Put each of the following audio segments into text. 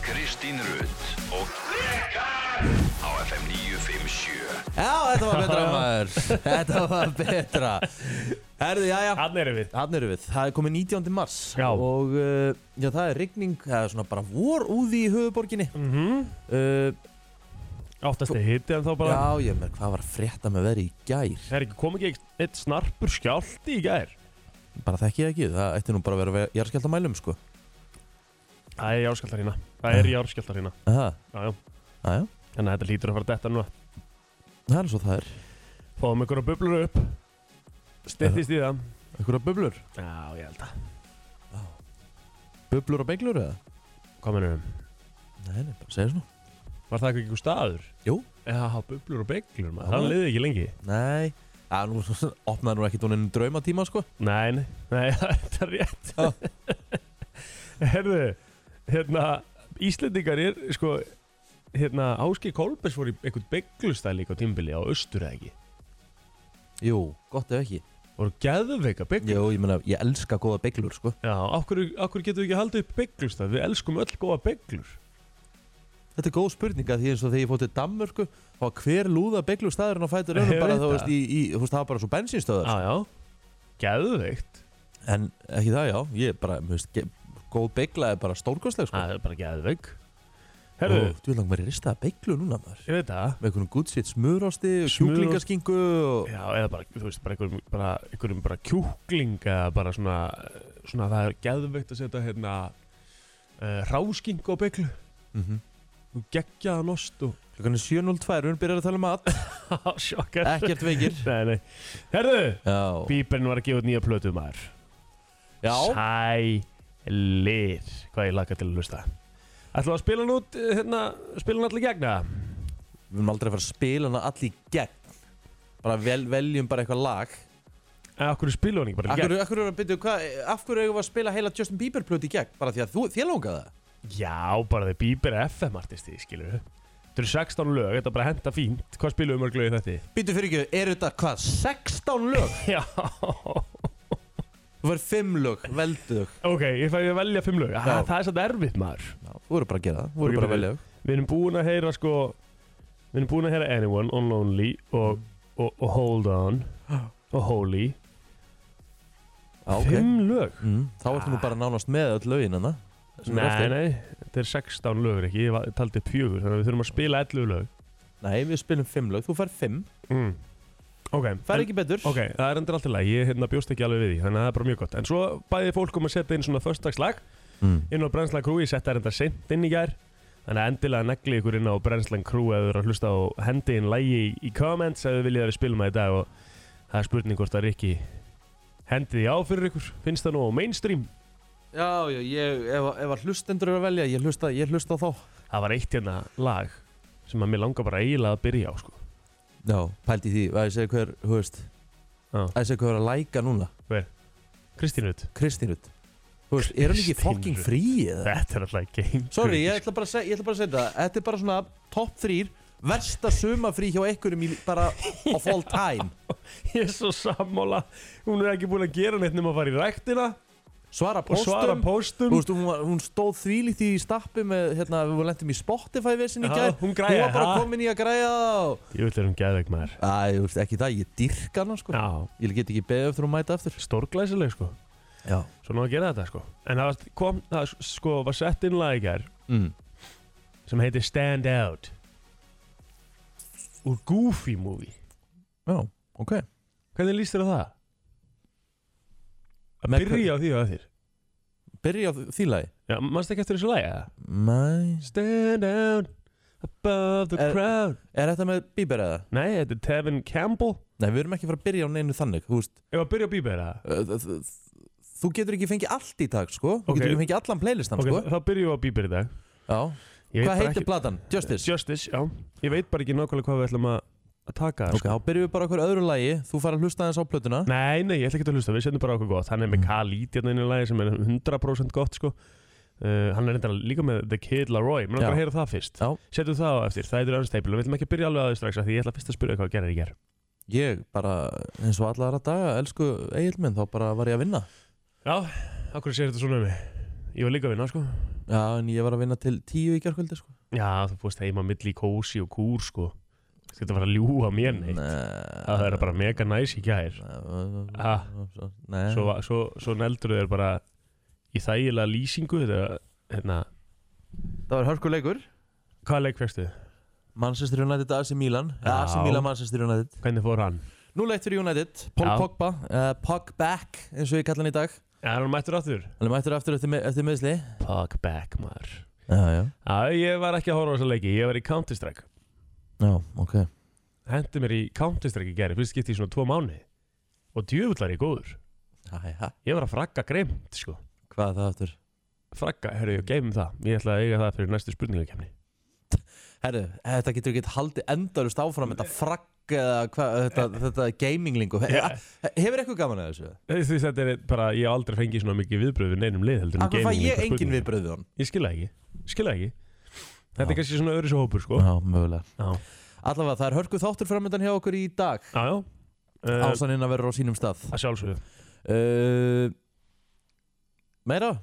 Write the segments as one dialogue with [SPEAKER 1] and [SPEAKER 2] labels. [SPEAKER 1] Kristín Rutt og Rikar á FM 957
[SPEAKER 2] Já, þetta var betra maður Þetta var betra Herðu, já, já
[SPEAKER 3] Hann erum við
[SPEAKER 2] Þannig erum við, það er komið 19. mars
[SPEAKER 3] Já.
[SPEAKER 2] Og uh, já, það er rigning, það er svona bara vor úði í höfuborginni
[SPEAKER 3] mm -hmm.
[SPEAKER 2] uh,
[SPEAKER 3] Oftast er hitti en þá bara
[SPEAKER 2] Já, ég með, hvað var að frétta með verið í gær?
[SPEAKER 3] Það er ekki kom ekki eitt snarpur skjálti í gær
[SPEAKER 2] Bara þekki ég ekki, það ætti nú bara að vera jarðskjálta mælum, sko
[SPEAKER 3] Það er járskjáltar hérna Það er járskjáltar hérna
[SPEAKER 2] Aha,
[SPEAKER 3] Já, já
[SPEAKER 2] aðja,
[SPEAKER 3] Þannig að þetta lítur að fara að detta núna
[SPEAKER 2] það er svo það er
[SPEAKER 3] Fáum einhverja bublur upp Stittist í það
[SPEAKER 2] Ekkur að bublur?
[SPEAKER 3] Já, ég held að
[SPEAKER 2] Bublur og beiglur eða?
[SPEAKER 3] Hvað mennum við?
[SPEAKER 2] Nei, nei, bara segja svona
[SPEAKER 3] Var það ekki einhver staður?
[SPEAKER 2] Jú.
[SPEAKER 3] Já, bublur og beiglur maður
[SPEAKER 2] Já.
[SPEAKER 3] Það liði ekki lengi
[SPEAKER 2] Nei, að nú opnaði nú ekki tónin draumatíma, sko
[SPEAKER 3] Nei, nei, nei þetta er rétt
[SPEAKER 2] Já.
[SPEAKER 3] Herðu, hérna Íslendingar er, sko Hérna, Áski Kolbers voru í einhvern beiglustæð líka á tímbili á austur eða ekki
[SPEAKER 2] Jú, gott ef ekki
[SPEAKER 3] Voru geðveika beiglur
[SPEAKER 2] Jú, ég meina, ég elska góða beiglur, sko
[SPEAKER 3] Já, okkur, okkur getum við ekki haldið upp beiglustæð Við elskum öll góða beiglur
[SPEAKER 2] Þetta er góð spurninga því eins og þegar ég fótt til Danmörku þá var hver lúða beiglu staðurinn á fætur öðrum
[SPEAKER 3] Ég
[SPEAKER 2] bara
[SPEAKER 3] veit
[SPEAKER 2] þá
[SPEAKER 3] það.
[SPEAKER 2] veist í, í þú veist það var bara svo bensinstöðar
[SPEAKER 3] Já, já, geðveikt
[SPEAKER 2] en ekki það já, ég er bara, þú veist ge- góð beigla er bara stórkostleg sko
[SPEAKER 3] Það er bara geðveik
[SPEAKER 2] Þú
[SPEAKER 3] Herðu,
[SPEAKER 2] vil langt mér í ristaða beiglu núna maður
[SPEAKER 3] ég veit það
[SPEAKER 2] með einhvern gútsvitt smurrosti og
[SPEAKER 3] Smörost-
[SPEAKER 2] kjúklingaskingu og
[SPEAKER 3] Já, eða bara, þú veist, bara einhverjum bara, einhverjum bara kjúkling eða bara svona, eh, svona það er geðveikt að setja hérna uh, rásking á bygglu
[SPEAKER 2] Mhm.
[SPEAKER 3] og geggjaða nost og
[SPEAKER 2] klukkan er 7.02 hún byrjar að tala um mat
[SPEAKER 3] sjokkar
[SPEAKER 2] ekkert veikir
[SPEAKER 3] Nei, nei Herðu,
[SPEAKER 2] já,
[SPEAKER 3] Bíberinn var að gefa út nýja plötu maður
[SPEAKER 2] já,
[SPEAKER 3] Sælir Hvað ég laka til að hlusta Ætlum við að spila hann út, eh, hérna, spila hann allir gegna
[SPEAKER 2] við erum aldrei að fara að spila hana allir í gegn bara vel, veljum bara eitthvað lag
[SPEAKER 3] Eða, okkur spila hann ekki bara í
[SPEAKER 2] Akkur,
[SPEAKER 3] gegn
[SPEAKER 2] akkur, byrju, hva, af hverju eigum við að spila heila Justin Bieber plöti í gegn bara því að þú, þér langaði það
[SPEAKER 3] Já, bara þeir Bíber er FM artisti, skilur við Þetta eru 16 lög, þetta er bara henda fínt Hvað spilum við mörg lög í þetta?
[SPEAKER 2] Býtu fyrir ekki, eru þetta hvað, 16 lög?
[SPEAKER 3] Já
[SPEAKER 2] Þú verður 5 lög, veldu þau
[SPEAKER 3] Ok, ég fæði að velja fimm lög
[SPEAKER 2] Já.
[SPEAKER 3] ah, Það er svolítið erfitt maður
[SPEAKER 2] Þú verður bara að gera það,
[SPEAKER 3] Ok,
[SPEAKER 2] þú verður bara
[SPEAKER 3] byrju.
[SPEAKER 2] að velja þau
[SPEAKER 3] Við erum búin að heyra sko Við erum búin að heyra Anyone, On Lonely og, og, og Hold On og Holy
[SPEAKER 2] Já, Ah, ok
[SPEAKER 3] Fimm lög?
[SPEAKER 2] mm, Þá ertu nú bara nánast með öll lögin hana
[SPEAKER 3] Nei, nei, þetta er 16 lögur ekki Ég var- taldi upp fjögur, þannig að við þurfum að spila 11 lög
[SPEAKER 2] Nei, við spilum 5 lög, þú fær 5
[SPEAKER 3] mm. Ok,
[SPEAKER 2] Fær
[SPEAKER 3] en-
[SPEAKER 2] ekki betur
[SPEAKER 3] Ok, það er endur allt í lagi, ég hérna bjóst ekki alveg við því, þannig að það er bara mjög gott. En svo bæði fólk um að setja inn svona föstdagslag
[SPEAKER 2] mm.
[SPEAKER 3] inn á Brennslan Crew, ég setja það enda sent inn í gær, þannig að endilega negli ykkur inn á Brennslan Crew ef þú eru að hlusta og hendi inn lagi í, í comments ef þú viljið að við spilum það í dag og það er spurning hvort það er ekki hendið í á fyrir ykkur, finnst það nú á mainstream?
[SPEAKER 2] Já, já, ég, ef, ef að hlustendur eru að velja, ég hlusta, ég hlusta á þá
[SPEAKER 3] Það var eitt hérna lag sem að mér langar bara eiginlega að byrja á sko.
[SPEAKER 2] Já, pældi í því, að ég segi hver, hú veist
[SPEAKER 3] Já.
[SPEAKER 2] Að ég segi hver er að læka núna,
[SPEAKER 3] Kristínut,
[SPEAKER 2] Kristínut Þú veist, er hann ekki
[SPEAKER 3] Kristín
[SPEAKER 2] fucking
[SPEAKER 3] Rut.
[SPEAKER 2] frí eða?
[SPEAKER 3] þetta er alltaf gengur.
[SPEAKER 2] Sorry, ég ætla bara að segja, ég ætla bara að segja þetta Þetta er bara svona top 3 Versta sumafrí hjá einhverjum í, bara of all time
[SPEAKER 3] Ég er svo sammála, hún er ekki búin að gera neitt nema að fara í ræktina
[SPEAKER 2] Svara
[SPEAKER 3] og svara póstum
[SPEAKER 2] postum Þú veist, hún, var- hún stóð þvílíkt í stappi með, hérna, við lentum í Spotify vissin í
[SPEAKER 3] Já,
[SPEAKER 2] gær
[SPEAKER 3] hún græjaði
[SPEAKER 2] var bara
[SPEAKER 3] það.
[SPEAKER 2] komin í að græja það og...
[SPEAKER 3] Ég vil vera um geðveik maður
[SPEAKER 2] Æ, þú veist, ekki það, ég dyrka hana, sko
[SPEAKER 3] Já,
[SPEAKER 2] Ég get ekki beðið eftir hún mæta aftur
[SPEAKER 3] stórglæsileg sko
[SPEAKER 2] Já
[SPEAKER 3] Svo náðu að gera þetta sko En það var- kom, það sko var sett inn lag í gær
[SPEAKER 2] mm.
[SPEAKER 3] sem heitir Stand Out Úr Goofy Movie
[SPEAKER 2] Já, ok
[SPEAKER 3] Hvernig líst þér á það? Að
[SPEAKER 2] Með
[SPEAKER 3] byrja á því og að þér
[SPEAKER 2] Byrja á þ- því lagi
[SPEAKER 3] Já, mannst ekki eftir þessu lagi eða?
[SPEAKER 2] Mæ
[SPEAKER 3] Stand out above the
[SPEAKER 2] Er-
[SPEAKER 3] crowd
[SPEAKER 2] Er þetta með Bieber eða?
[SPEAKER 3] Nei, þetta er Tevin Campbell
[SPEAKER 2] Nei, við erum ekki að fara að byrja á neinu þannig, þú veist
[SPEAKER 3] Ef að byrja á Bieber eða?
[SPEAKER 2] uh, þ- þ- þ- Þú getur ekki fengið allt í dag, sko Þú
[SPEAKER 3] Ok.
[SPEAKER 2] getur ekki fengið allan playlistan,
[SPEAKER 3] Ok, þá byrjum við á Bieber í dag
[SPEAKER 2] sko Já
[SPEAKER 3] Ég veit
[SPEAKER 2] Hvað
[SPEAKER 3] bara
[SPEAKER 2] heitir platan? Justice?
[SPEAKER 3] Justice, já Ég veit bara ekki nákvæmlega hvað við ætlum að að taka sko.
[SPEAKER 2] Ok, þá byrjum við bara okkur öðru lagi Þú fara að hlusta þess á plötuna
[SPEAKER 3] Nei, nei, ég ætla ekki að hlusta, við setjum bara okkur gott Hann er með
[SPEAKER 2] Mm.
[SPEAKER 3] Khalid hérna inn í lagi sem er 100% gott sko. uh, Hann er reyndar líka með The Kid Laroi Mér langar
[SPEAKER 2] Já.
[SPEAKER 3] að heyra það fyrst
[SPEAKER 2] Já.
[SPEAKER 3] Setjum það á eftir, það er unstable Við ætlum ekki að byrja alveg að því strax af Því ég ætla fyrst að spyrja þig hvað gerir í ger
[SPEAKER 2] Ég bara, eins og alla aðra daga, elsku Egil minn, þá bara var ég að vinna.
[SPEAKER 3] Já, okkur sér þetta svona um mig Ég var líka að vinna sko
[SPEAKER 2] Já, en ég var að vinna til tíu í gerkvöldi sko.
[SPEAKER 3] Já, þú fórst heima milli í kósi og kúr sko Þetta var að ljúa mér neitt Það er bara mega næs í gær Ha.
[SPEAKER 2] Nei
[SPEAKER 3] Svo, va- svo, svo neldur þau bara í þægilega lýsingu Þetta er hérna
[SPEAKER 2] Það var hörkuleikur
[SPEAKER 3] Hvaða leik fegstu?
[SPEAKER 2] Manchester United AC Milan Eh, AC
[SPEAKER 3] Já.
[SPEAKER 2] Milan Manchester United
[SPEAKER 3] Hvernig fór hann?
[SPEAKER 2] Nú leitt fyrir United Paul
[SPEAKER 3] Já.
[SPEAKER 2] Pogba uh, Pog back eins og ég kalla hann í dag
[SPEAKER 3] Já, hann mættur aftur
[SPEAKER 2] Hann er mættur aftur eftir, mi- eftir meðsli
[SPEAKER 3] Fuck back maður
[SPEAKER 2] Já, já
[SPEAKER 3] Já, ég var ekki að horfa á þessa leiki Ég var í Counter-Strike
[SPEAKER 2] Já, ok
[SPEAKER 3] Hendi mér í Counter-Strike í gæri Fyrst skipti í svona tvo mánu Og djöfull var ég góður
[SPEAKER 2] Æja,
[SPEAKER 3] Ég var að fragga greimt sko
[SPEAKER 2] hvað er það aftur?
[SPEAKER 3] Fragga, herru, ég geimum það Ég ætla að eiga það fyrir næstu spurningakefni
[SPEAKER 2] Herru, þetta getur ekki haldið endalust áfram Þetta fragg eða hvað, þetta, þetta gaminglingu He-
[SPEAKER 3] Já.
[SPEAKER 2] Hefur eitthvað gaman að þessu?
[SPEAKER 3] Því þetta er bara, ég hef aldrei fengið svona mikið viðbröð Við neinum lið heldur en
[SPEAKER 2] Akkur fæ
[SPEAKER 3] gaming
[SPEAKER 2] ég
[SPEAKER 3] einhver
[SPEAKER 2] engin
[SPEAKER 3] spurning.
[SPEAKER 2] viðbröðið hann
[SPEAKER 3] Ég skil það ekki, skil það ekki Þetta
[SPEAKER 2] Já.
[SPEAKER 3] er kannski svona öðru hópur sko
[SPEAKER 2] Já, mögulega
[SPEAKER 3] Já,
[SPEAKER 2] Allavega, það er hörku þáttur framöndan hjá okkur í dag
[SPEAKER 3] já, já. Uh,
[SPEAKER 2] Ásaninn að vera á sínum stað
[SPEAKER 3] Að sjálfsögðu
[SPEAKER 2] uh, Meira?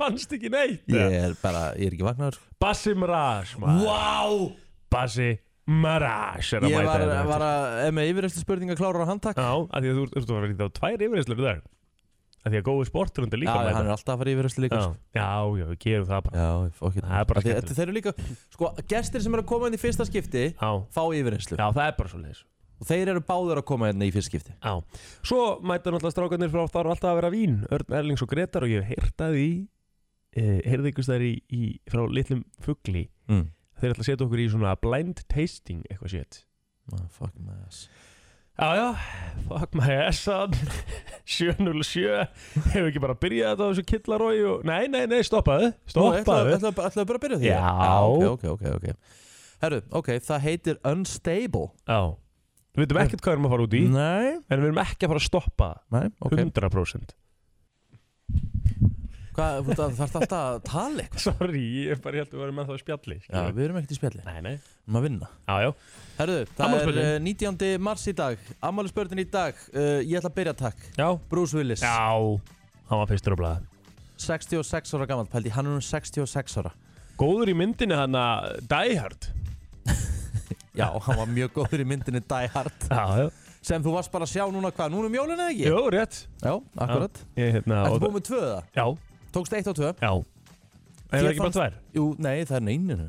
[SPEAKER 3] Manst ekki neitt
[SPEAKER 2] Ég er bara, ég er ekki vagnar
[SPEAKER 3] Bassi Mirage maður.
[SPEAKER 2] Vá!
[SPEAKER 3] Bassi Mirage er að
[SPEAKER 2] Ég
[SPEAKER 3] mæta
[SPEAKER 2] var,
[SPEAKER 3] hérna.
[SPEAKER 2] var að, ef með yfirreyslu spurninga klárar á handtak
[SPEAKER 3] Já, af því að þú ert- ert að fara í þá tvær yfirreyslar í dag Af því að góðu sportur undir
[SPEAKER 2] Já,
[SPEAKER 3] líka að
[SPEAKER 2] hann er
[SPEAKER 3] mæta
[SPEAKER 2] alltaf að fara yfirreyslu líka
[SPEAKER 3] Já, já, já, við gerum það bara
[SPEAKER 2] Já, fokkir
[SPEAKER 3] Það er bara skemmtilegt.
[SPEAKER 2] Þeir eru líka, sko, gestir sem eru að koma inn í fyrsta skipti
[SPEAKER 3] Já,
[SPEAKER 2] fá yfirreynslu
[SPEAKER 3] já það er bara svo leiðis
[SPEAKER 2] og þeir eru báðir að koma inn í fyrsta skipti
[SPEAKER 3] Já, svo mæta náttúrulega strákarnir frá þar alltaf að vera vín Örn Erlings og Gretar og ég hef heyrtaði í eh, heyrði ykkur stær í, í frá litlum fugli
[SPEAKER 2] mm.
[SPEAKER 3] Þeir ætla að setja okkur í svona blind tasting eitthvað sétt
[SPEAKER 2] ah, Fuck my ass
[SPEAKER 3] Já, já, fuck my ass on 707 Hefur ekki bara byrjað þetta á þessu killarói og... Nei, nei, nei, stoppaðu,
[SPEAKER 2] Ætlaðu
[SPEAKER 3] stoppaðu
[SPEAKER 2] ætla, ætla, ætla bara að byrja á því? Ah,
[SPEAKER 3] Já.
[SPEAKER 2] ok, ok, ok, ok Herru, ok, það heitir Unstable
[SPEAKER 3] Já, við veitum ekkert hvað við erum að fara út í
[SPEAKER 2] Nei,
[SPEAKER 3] En við erum ekki að fara að stoppa það,
[SPEAKER 2] nei, ok
[SPEAKER 3] 100%
[SPEAKER 2] Hvað, þú þarf alltaf að tala eitthvað
[SPEAKER 3] Sorry, ég er bara ég held að við erum að það spjalli
[SPEAKER 2] Já,
[SPEAKER 3] skilurðu.
[SPEAKER 2] við erum ekkert í spjalli,
[SPEAKER 3] Nei, nei,
[SPEAKER 2] við erum að vinna
[SPEAKER 3] já, já
[SPEAKER 2] Herru, það er
[SPEAKER 3] Afmælisbörnin.
[SPEAKER 2] eh, 19. mars í dag Ammálisbörnin í dag, uh, ég ætla að byrja takk
[SPEAKER 3] Já,
[SPEAKER 2] Bruce Willis,
[SPEAKER 3] já, hann var fyrstur á blaða
[SPEAKER 2] 66 ára gammal, pældi, hann er um 66 ára
[SPEAKER 3] Góður í myndinni hann að Die Hard
[SPEAKER 2] Já, hann var mjög góður í myndinni Die Hard
[SPEAKER 3] Já, já
[SPEAKER 2] sem þú varst bara að sjá núna hvað, núna um jólun eða ekki?
[SPEAKER 3] Jú, rétt
[SPEAKER 2] Já, akkurat
[SPEAKER 3] Ég, hérna,
[SPEAKER 2] Ertu
[SPEAKER 3] og-
[SPEAKER 2] búið með tvö það?
[SPEAKER 3] Já,
[SPEAKER 2] Tókst eitt og tvö?
[SPEAKER 3] já Er það
[SPEAKER 2] Þér
[SPEAKER 3] ekki bara
[SPEAKER 2] fannst-
[SPEAKER 3] tvær?
[SPEAKER 2] Jú, nei, það er neyninu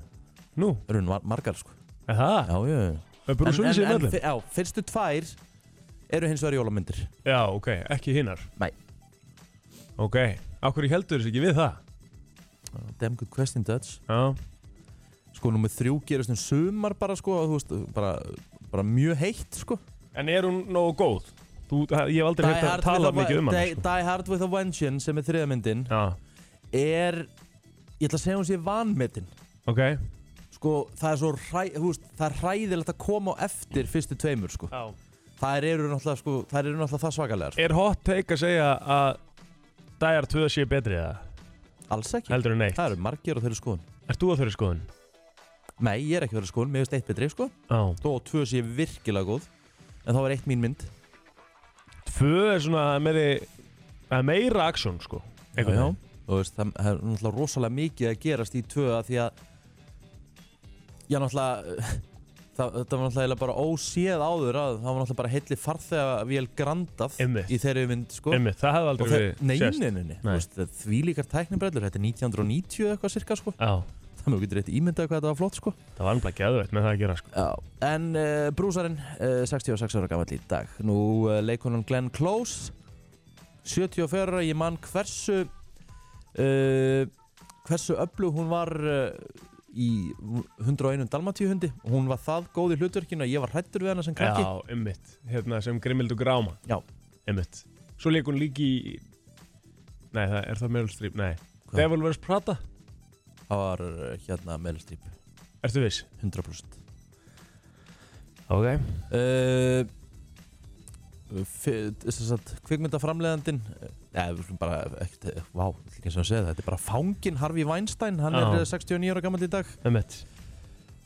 [SPEAKER 3] Nú,
[SPEAKER 2] Það eru mar- margar sko
[SPEAKER 3] er það?
[SPEAKER 2] Já, já
[SPEAKER 3] Er Bruce Willis í
[SPEAKER 2] en,
[SPEAKER 3] möllum?
[SPEAKER 2] fi- já, fyrstu tvær eru hins vegar jólamyndir
[SPEAKER 3] Já, ok, ekki hinnar
[SPEAKER 2] Nei.
[SPEAKER 3] Ok, akkur ég heldur þessu ekki við það
[SPEAKER 2] Ah, Damn good question, Dutch
[SPEAKER 3] Já,
[SPEAKER 2] Sko, nummið þrjú gerist um sumar bara sko og Þú veist, bara, bara mjög heitt sko
[SPEAKER 3] en er hún nógu góð? Þú, ég hef aldrei hægt að tala
[SPEAKER 2] with a,
[SPEAKER 3] mikið um hann
[SPEAKER 2] Die, Die Hard with a Vengeance sem er þriðamyndin
[SPEAKER 3] Já,
[SPEAKER 2] er, ég ætla að segja hún sé vanmetin
[SPEAKER 3] ok
[SPEAKER 2] Sko, það er svo hræ, þú veist, það er hræðilegt að koma á eftir fyrstu tveimur sko
[SPEAKER 3] Já
[SPEAKER 2] Það eru náttúrulega, sko, það, eru náttúrulega það svakalega sko.
[SPEAKER 3] Er hot take að segja að Die Hard 2 sé betri eða?
[SPEAKER 2] Alls ekki
[SPEAKER 3] Heldur en neitt
[SPEAKER 2] Það eru margir og þeir eru skoðun
[SPEAKER 3] Ert þú að þeirri skoðun?
[SPEAKER 2] Nei, ég er ekki verið skoðun, mér finnst eitt betri sko
[SPEAKER 3] Já
[SPEAKER 2] Þó að tvö sé virkilega góð En þá er eitt mín mynd
[SPEAKER 3] Tvö er svona meiri, það er meira aksjón sko einhvern
[SPEAKER 2] Já,
[SPEAKER 3] veginn.
[SPEAKER 2] já. Þú veist, það það er náttúrulega rosalega mikið að gerast í tvö að Því að Já, náttúrulega eh, það, Þetta var náttúrulega eiginlega bara óséð áður að Það var náttúrulega bara heilli farþega vel grandað
[SPEAKER 3] Einmitt.
[SPEAKER 2] Í þeirri mynd sko
[SPEAKER 3] Einmitt, það hefði aldrei verið sést.
[SPEAKER 2] Neininni,
[SPEAKER 3] Nei.
[SPEAKER 2] því líkar tæknibrellur Þetta er 1990 eða eitthvað cirka sko
[SPEAKER 3] Já,
[SPEAKER 2] Það mjög getur rétt ímyndað hvað þetta var flott sko
[SPEAKER 3] það var alveg geðveitt með það að gera sko
[SPEAKER 2] Já, en uh, brúsarinn uh, 66 ára gammal í dag Nú uh, leikonan Glenn Close 74 ára, ég man hversu uh, hversu öflug hún var uh, í 101 Dalmatíu hundi hún var það góð í hlutverkinu að ég var hrættur við hana sem krakki
[SPEAKER 3] Já, einmitt, hérna sem Grimmild og Gráma
[SPEAKER 2] Já.
[SPEAKER 3] Einmitt Svo leik hún líki í Nei, það er það Meryl Streep, nei
[SPEAKER 2] Hvað?
[SPEAKER 3] Devil Wears Prada,
[SPEAKER 2] það var uh, hérna meðlustrýp
[SPEAKER 3] ertu viss?
[SPEAKER 2] 100%
[SPEAKER 3] Ok
[SPEAKER 2] uh, fi- þess að kvikmyndaframleðandin eða eh, við slum bara ekkert, eh, vá, ekki eins og að segja það þetta er bara fangin Harvey Weinstein hann
[SPEAKER 3] Já.
[SPEAKER 2] er eh, 69 ára gammal í dag
[SPEAKER 3] Einmitt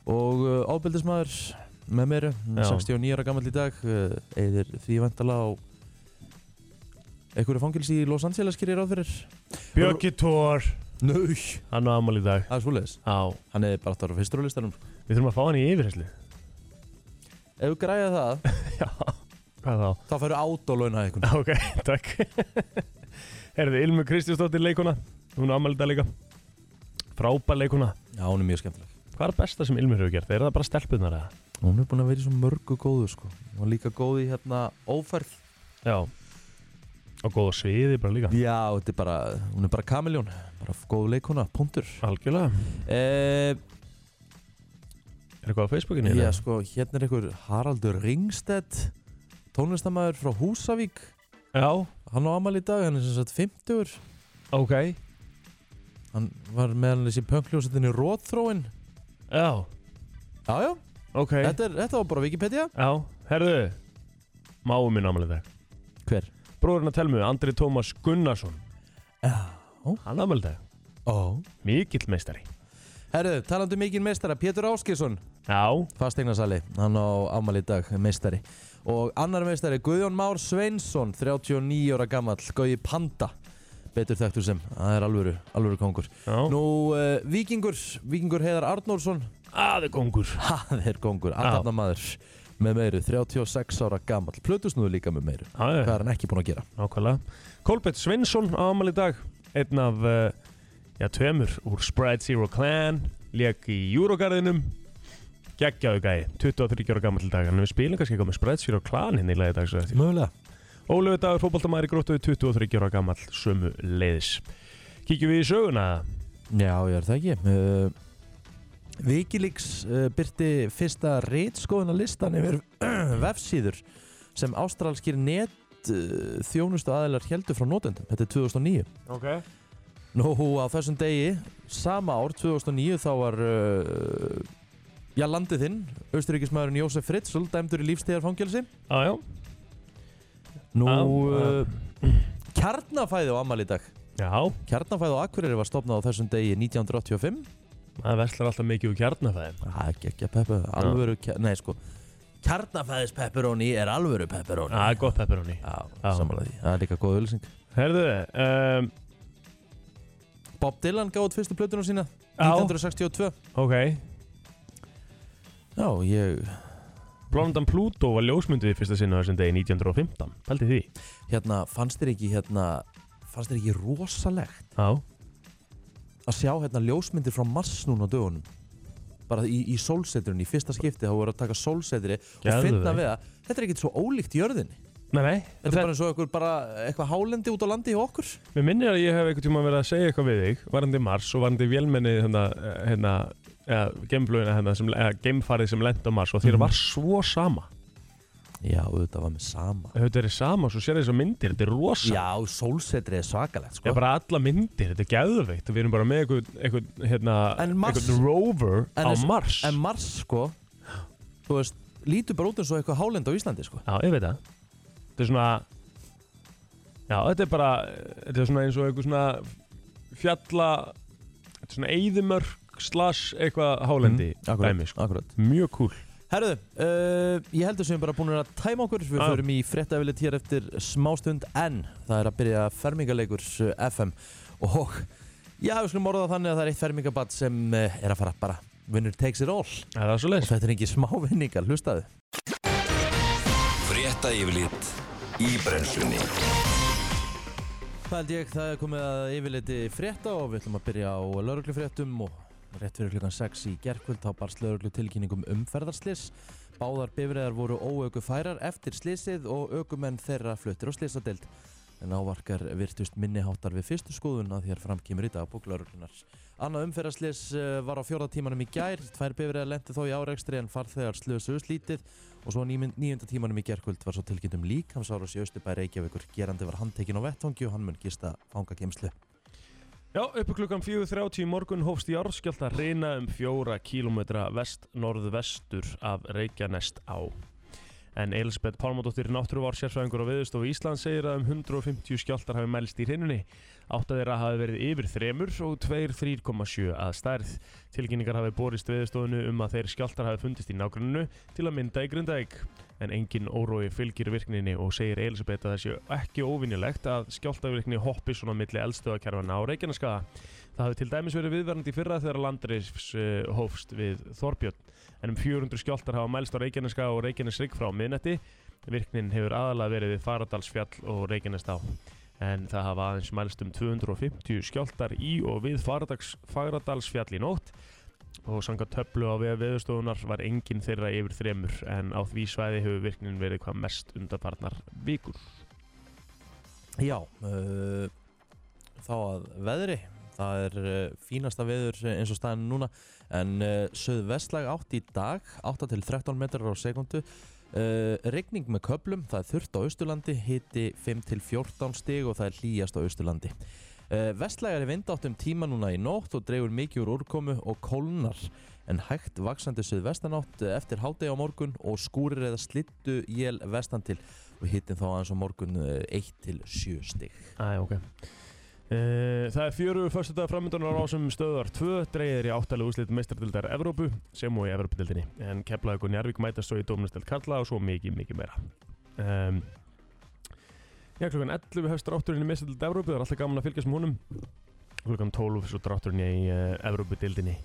[SPEAKER 2] og uh, ábyldismæður með mér,
[SPEAKER 3] Já.
[SPEAKER 2] eh, 69 ára gammal í dag uh, eðir því vendala á Ekkur fangilsi í Los Angeles gerir ráð fyrir
[SPEAKER 3] Björki Tór
[SPEAKER 2] Nau
[SPEAKER 3] Hann á ammali í dag
[SPEAKER 2] Það er svoleiðis
[SPEAKER 3] Á
[SPEAKER 2] Hann er bara aftur á fyrstur á listanum
[SPEAKER 3] Við þurfum að fá hann í yfirherslu
[SPEAKER 2] Ef við græða það
[SPEAKER 3] Já Hvað þá?
[SPEAKER 2] Þá færu át og launa eitthvað
[SPEAKER 3] Ok, takk Herði, Ilmur Kristjánsdóttir leikuna Hún á ammali í dag líka Frábær leikuna
[SPEAKER 2] Já, hún er mjög skemmtileg
[SPEAKER 3] Hvað er besta sem Ilmur hefur gert? Er það bara stelpunar eða?
[SPEAKER 2] Hún er búin að vera í svo mörgu góðu sko Hún var líka góð í hérna óferð
[SPEAKER 3] Já Og góða sviði bara líka
[SPEAKER 2] Já, þetta er bara Hún er bara kamiljón Bara góð leikona, punktur
[SPEAKER 3] Algjörlega
[SPEAKER 2] eh,
[SPEAKER 3] Er eitthvað á Facebookinu?
[SPEAKER 2] Já,
[SPEAKER 3] eða?
[SPEAKER 2] sko, hérna er einhver Haraldur Ringstedt Tónlistamæður frá Húsavík
[SPEAKER 3] Já,
[SPEAKER 2] Hann á amal í dag, hann er sem sagt 50
[SPEAKER 3] ok
[SPEAKER 2] Hann var meðan þessi pöngljósetinni Róðþróin
[SPEAKER 3] Já,
[SPEAKER 2] Já, já,
[SPEAKER 3] ok
[SPEAKER 2] þetta, er, þetta var bara Wikipedia
[SPEAKER 3] Já, herðu Máum minn ámælið dag
[SPEAKER 2] Hver?
[SPEAKER 3] Bróðurinn að telmu, Andri Tómas Gunnarsson
[SPEAKER 2] Já.
[SPEAKER 3] Hann ámælið dag,
[SPEAKER 2] Ó
[SPEAKER 3] mikill meistari
[SPEAKER 2] Herru, talandi um mikinn meistara, Pétur Áskilsson
[SPEAKER 3] Já,
[SPEAKER 2] Fasteignarsali, hann á afmæli í dag, meistari Og annar meistari, Guðjón Már Sveinsson 39 ára gamall, Gauji Panda Betur þekktur sem, það er alvöru, alvöru kongur
[SPEAKER 3] já
[SPEAKER 2] Nú, uh, Víkingur, Víkingur Heiðar Arnórsson
[SPEAKER 3] Aðu kongur
[SPEAKER 2] Það er kongur, aðtapna maður Með meiru, 36 ára gamall Plötusnúður líka með meiru,
[SPEAKER 3] Já,
[SPEAKER 2] hvað
[SPEAKER 3] já,
[SPEAKER 2] er hann ekki búinn að gera?
[SPEAKER 3] nákvæmlega Kolbett Svinsson ámælið dag Einn af, uh, já, tveimur Úr Sprite Zero Clan Lék í Júrogarðinum Geggjaðu gæi, 23 ára gammal dag En við spilum kannski eitthvað með Sprite Zero Clan hinn í lagi í dag svo eftir
[SPEAKER 2] Mögulega
[SPEAKER 3] Ólöfi Dagur, fótboltamæður í gróttu, 23 ára gammal, sömu leiðis. Kíkjum við í söguna?
[SPEAKER 2] Já, ég er það ekki uh, Wikileaks uh, byrti fyrsta reitskoðuna listan yfir vefsíður sem ástralskir net uh, þjónustu aðeinar heldur frá notendum Þetta er 2009
[SPEAKER 3] Ok.
[SPEAKER 2] Nú á þessum degi, sama ár 2009 þá var uh, já, landið þinn, austuríkismæðurinn Jósef Fritzl dæmdur í lífstíðarfangelsi
[SPEAKER 3] Já, já.
[SPEAKER 2] Nú,
[SPEAKER 3] Ah,
[SPEAKER 2] uh, kjarnafæði á ammali í dag
[SPEAKER 3] Já,
[SPEAKER 2] Kjarnafæði á Akureyri var stopnað á þessum degi 1985
[SPEAKER 3] það verslar alltaf mikið úr kjarnafæðin.
[SPEAKER 2] Það er geggja pepper, alvöru kjar, Nei sko, kjarnafæðis pepperoni er alvöru pepperoni
[SPEAKER 3] Það er gott pepperoni.
[SPEAKER 2] Já,
[SPEAKER 3] Já.
[SPEAKER 2] samanlega því, það er líka góð ölsing
[SPEAKER 3] Herðu, um,
[SPEAKER 2] Bob Dylan gáði út fyrstu plötunum sína
[SPEAKER 3] Já.
[SPEAKER 2] 1962
[SPEAKER 3] ok,
[SPEAKER 2] Já, ég,
[SPEAKER 3] Blondan Pluto var ljósmyndið í fyrsta sinna þessum degi 1915. Pældi því?
[SPEAKER 2] hérna, fannst þér ekki hérna fannst þér ekki rosalegt
[SPEAKER 3] Já.
[SPEAKER 2] að sjá hérna ljósmyndir frá Mars núna á dögunum bara í, í sólsetrun, í fyrsta skipti þá voru að taka sólsetri og
[SPEAKER 3] Geðveikt.
[SPEAKER 2] finna við að þetta er ekkert svo ólíkt jörðinni
[SPEAKER 3] Nei, nei.
[SPEAKER 2] þetta er bara eins og einhver bara eitthvað hálendi út á landi hjá okkur
[SPEAKER 3] Mér minnir að ég hef einhvern tíma verið að segja eitthvað við þig, varandi Mars og varandi vélmennið hérna, eh, hérna, eða geimflugina hérna, sem, eða geimfarið sem lent á Mars og þér
[SPEAKER 2] Mhm.
[SPEAKER 3] var svo sama.
[SPEAKER 2] Já, auðvitað var með sama
[SPEAKER 3] Þetta er sama, svo sér þess að myndir, þetta er rosa.
[SPEAKER 2] Já, sólsetri er svakalegt
[SPEAKER 3] Það
[SPEAKER 2] sko.
[SPEAKER 3] er bara alla myndir, þetta er gæðveikt og við erum bara með einhvern, einhvern, hérna,
[SPEAKER 2] En Mars-
[SPEAKER 3] einhvern rover
[SPEAKER 2] En
[SPEAKER 3] á
[SPEAKER 2] eins-
[SPEAKER 3] Mars.
[SPEAKER 2] En Mars sko Þú veist, lítur bara út eins og eitthvað hálend á Íslandi sko
[SPEAKER 3] Já, ég veit það. Þetta er svona, já, þetta er bara, þetta er svona eins og einhver svona fjalla, þetta er svona eyðimörk slash eitthvað hálendi
[SPEAKER 2] Mhm.
[SPEAKER 3] dæmi, sko.
[SPEAKER 2] Mm, akkurat
[SPEAKER 3] Mjög cool.
[SPEAKER 2] Herðu, uh, ég heldur sem við erum bara búin að tæma okkur Við
[SPEAKER 3] Já.
[SPEAKER 2] förum í fréttafilit hér eftir smástund En það er að byrja fermingarleikur uh, FM Og já, við skulum orða það þannig að það er eitt fermingabat sem uh, er að fara bara Winner takes it all Og
[SPEAKER 3] Er það svo leiðis?
[SPEAKER 2] þetta er ekki smá vinningar, hlustaðu
[SPEAKER 1] Frétta yfirlit í brennslunni
[SPEAKER 2] Það held ég, það er komið að yfirleiti frétta og við ætlum að byrja á lauruglufréttum og rétt fyrir klukkan 6 í gerkvöld þá barst lauruglu tilkynningum umferðarslis. Báðar bifræðar voru óauku færar eftir slisið og aukumenn þeirra fluttir á slisadeild. En ávarkar virtust minniháttar við fyrstu skoðun að þér fram kemur í dagbók lauruglunar. Annað umferðarslis eh, var á fjórða tímanum í gær, tvær bifræðar lendi þó í árekstri en farþegar slösuðu slítið og svo á nímin- níunda tímanum í gerkvöld var svo tilkynnt um líkamsárás í Östubæ Reykjavíkur gerandi var handtekinn á vettvangi og hann mun gista fangagemslu.
[SPEAKER 3] Já, uppu klukkan 4.30 í morgun hófst járskjálft að reyna um fjóra kílómetra vest-norðvestur af Reykjanest á. En Elisabeth Pálmadóttir, náttúruvár sérfræðingur á viðustofu Ísland, segir að um 150 skjáltar hafi mælst í hrinunni. Átt að þeirra hafi verið yfir þremur og tveir 3,7 að stærð. Tilkynningar hafi borist viðustofunu um að þeir skjáltar hafi fundist í nágrunnu til að mynda í Grindavík. En engin órói fylgir virkninni og segir Elisabeth að það sé ekki óvinnilegt að skjáltavirkni hoppi svona milli eldstöðakerfana á Reykjaneskaða. Það hafi til dæmis verið viðverandi í fyrra þegar landreifs eh, hófst við Þorbjörn. En um 400 skjáltar hafa mælst á Reykjaneska og Reykjanesrygg frá miðnætti. Virknin hefur aðalega verið við Faradalsfjall og Reykjanestá. En það hafa aðeins mælst um 250 skjáltar í og við Faradags, Faradalsfjall í nótt. Og sanga töflu á vega veðustofunar var enginn þeirra yfir þremur en á því svæði hefur virknin verið hvað mest undarfarnar vikur.
[SPEAKER 2] Já, uh, þá að veðri Það er uh, fínasta veður eins og staðan núna en uh, söðvestlæg átt í dag 8 til 13 metrar á sekundu uh, Regning með köplum, það er þurft á Austurlandi hiti 5 til 14 stig og það er hlýjast á Austurlandi uh, Vestlægari vind átt um tíma núna í nótt og dreifur mikið úr úrkomu og kólnar en hægt vaksandi söðvestanátt eh, eftir hádegi á morgun og skúrir eða slittu jél vestan til og hittin þá aðeins á morgun eh, 1 til 7 stig
[SPEAKER 3] Æ, ok. Uh, það er fjörugu fyrstu dag framöndunar á sem stöðar 2 dreigir í áttalegu úslit meistardildar Evrópu sem og í Evrópudildinni en Keflavík og Njarvík mætast svo í Dómnastild Karla og svo mikið, mikið meira um, Já, klukkan 11 hefst drátturinn í meistardild Evrópu það er alltaf gaman að fylgjast með honum klukkan 12 svo drátturinn í uh, Evrópudildinni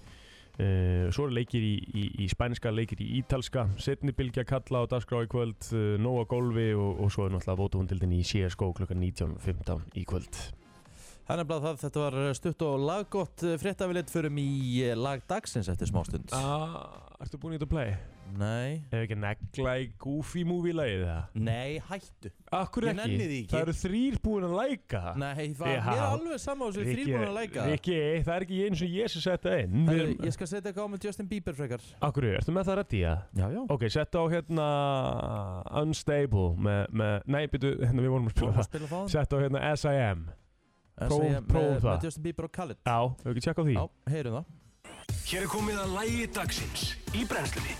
[SPEAKER 3] Uh, svo eru leikir í, í, í spænska, leikir í ítalska setni bylgja kalla á dagskrá í kvöld uh, nóg á gólfi og, og svo er náttúrulega vótuhundildin í CSGO klukkan 19.15 í kvöld
[SPEAKER 2] Það er nefnilega það, þetta var eh, stutt og laggott fréttafilitt förum í eh, lag dagsins eftir smástund.
[SPEAKER 3] Ah, ertu búin í þetta að play?
[SPEAKER 2] Nei.
[SPEAKER 3] Hefur ekki negla í Goofy Movie lagið það?
[SPEAKER 2] Nei, hættu.
[SPEAKER 3] Akkur
[SPEAKER 2] Ég
[SPEAKER 3] ekki?
[SPEAKER 2] nenni því ekki.
[SPEAKER 3] Það eru þrýr búin að læka það?
[SPEAKER 2] Nei, það,
[SPEAKER 3] Já.
[SPEAKER 2] mér er alveg sama á þessu
[SPEAKER 3] Rikki-
[SPEAKER 2] þrýbúin að læka.
[SPEAKER 3] Rikki, það er ekki eins og ég sem setja inn
[SPEAKER 2] Herru,
[SPEAKER 3] Við erum-
[SPEAKER 2] Ég skal setja eitthvað á með Justin Bieber frekar.
[SPEAKER 3] Akkur, ertu með það reddi ég?
[SPEAKER 2] Já, já.
[SPEAKER 3] Ok, setja á hérna Unstable með, með Nei, byrju, hérna við vorum að
[SPEAKER 2] Þú
[SPEAKER 3] spila
[SPEAKER 2] að
[SPEAKER 3] það
[SPEAKER 2] spila það.
[SPEAKER 3] Setja á hérna S.I.M.
[SPEAKER 2] En
[SPEAKER 3] próf-
[SPEAKER 2] segja
[SPEAKER 3] prófum
[SPEAKER 2] með-
[SPEAKER 3] það.
[SPEAKER 2] Með Justin Bieber og Khaled.
[SPEAKER 3] Já, hefur ekki tjekka á því?
[SPEAKER 2] Já, heyrum það.
[SPEAKER 1] Hér er komið að lægi dagsins í brennslunni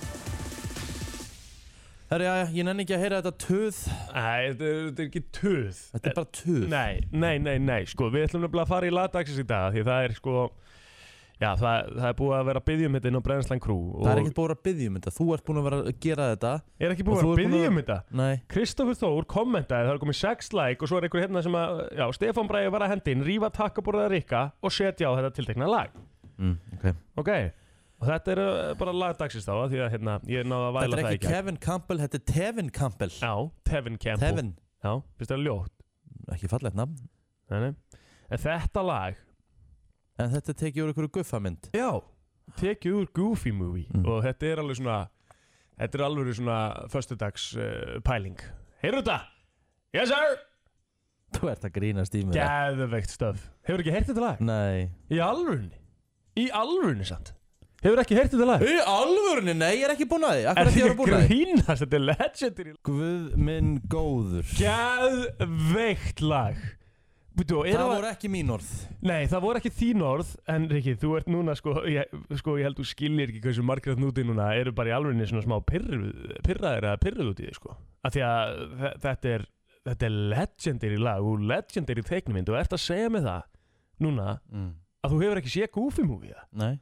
[SPEAKER 2] Herru, já, já, ég nenni ekki að heyra þetta töð.
[SPEAKER 3] Nei, þetta er, þetta er ekki tuð
[SPEAKER 2] Þetta er bara töð.
[SPEAKER 3] Nei, nei, nei, nei, sko, við ætlum nefnilega að fara í lagdagsins í dag því það er sko já, það, það er búið að vera að biðja um þetta inn á Brennslan Crew og
[SPEAKER 2] Það er ekkert búin að biðja um þetta. Þú ert búin að vera að gera þetta.
[SPEAKER 3] er ekki
[SPEAKER 2] og
[SPEAKER 3] búið að
[SPEAKER 2] þú er búin
[SPEAKER 3] biðja
[SPEAKER 2] að-
[SPEAKER 3] um þetta
[SPEAKER 2] Nei.
[SPEAKER 3] Kristoffer Þór kommentaði, það er komið 6 like og svo er einhver hérna sem að, já, Stefán Bræði var að hendin, rífa takkaborða rikka og setja á þetta tiltekna lag
[SPEAKER 2] Mm, okay.
[SPEAKER 3] ok, og þetta er uh, bara lagdagsins þá, af því að hérna, ég náði að
[SPEAKER 2] Þetta
[SPEAKER 3] væla
[SPEAKER 2] er
[SPEAKER 3] það
[SPEAKER 2] ekki
[SPEAKER 3] ekki
[SPEAKER 2] Kevin Campbell, þetta er Tevin Campbell.
[SPEAKER 3] Já, Tevin Campbell
[SPEAKER 2] Tevin,
[SPEAKER 3] Já, finnst það ljótt
[SPEAKER 2] ekki fallegt nafn.
[SPEAKER 3] Nei, nei. En þetta lag
[SPEAKER 2] En þetta er tekið úr einhverju guffamynd.
[SPEAKER 3] Já Tekið úr Goofy Movie
[SPEAKER 2] Mm.
[SPEAKER 3] Og þetta er alveg svona Þetta er alveg svona Föstudags uh, pæling Heyrðu þetta? Yes sir
[SPEAKER 2] Þú ert að grínast í mig
[SPEAKER 3] Gæðveikt stöf Hefur ekki heyrt þetta lag?
[SPEAKER 2] Nei
[SPEAKER 3] Í alvörunni Í alvörunni samt Hefur ekki heyrt þetta lag?
[SPEAKER 2] Í alvörunni, nei, ég er ekki búin að því Akkur
[SPEAKER 3] Er
[SPEAKER 2] er ég
[SPEAKER 3] þetta
[SPEAKER 2] að
[SPEAKER 3] ekki
[SPEAKER 2] búin að því
[SPEAKER 3] grínast? Þetta er legendary
[SPEAKER 2] Guð minn góður
[SPEAKER 3] Gæðveikt lag Búiðu, er
[SPEAKER 2] Það voru ekki mín orð
[SPEAKER 3] Nei, það voru ekki þín orð, en Rikki, þú ert núna, sko, ég, sko, ég held þú skilir ekki hversu margrið núti núna, eru bara í alvegni svona smá pirruð- pirraðir að pirruð út í því, sko. Af því að þe- þetta er, þetta er legendary lag og legendary teiknumind og ert að segja mig það núna
[SPEAKER 2] mm.
[SPEAKER 3] að þú hefur ekki séð Goofy movie það.
[SPEAKER 2] Nei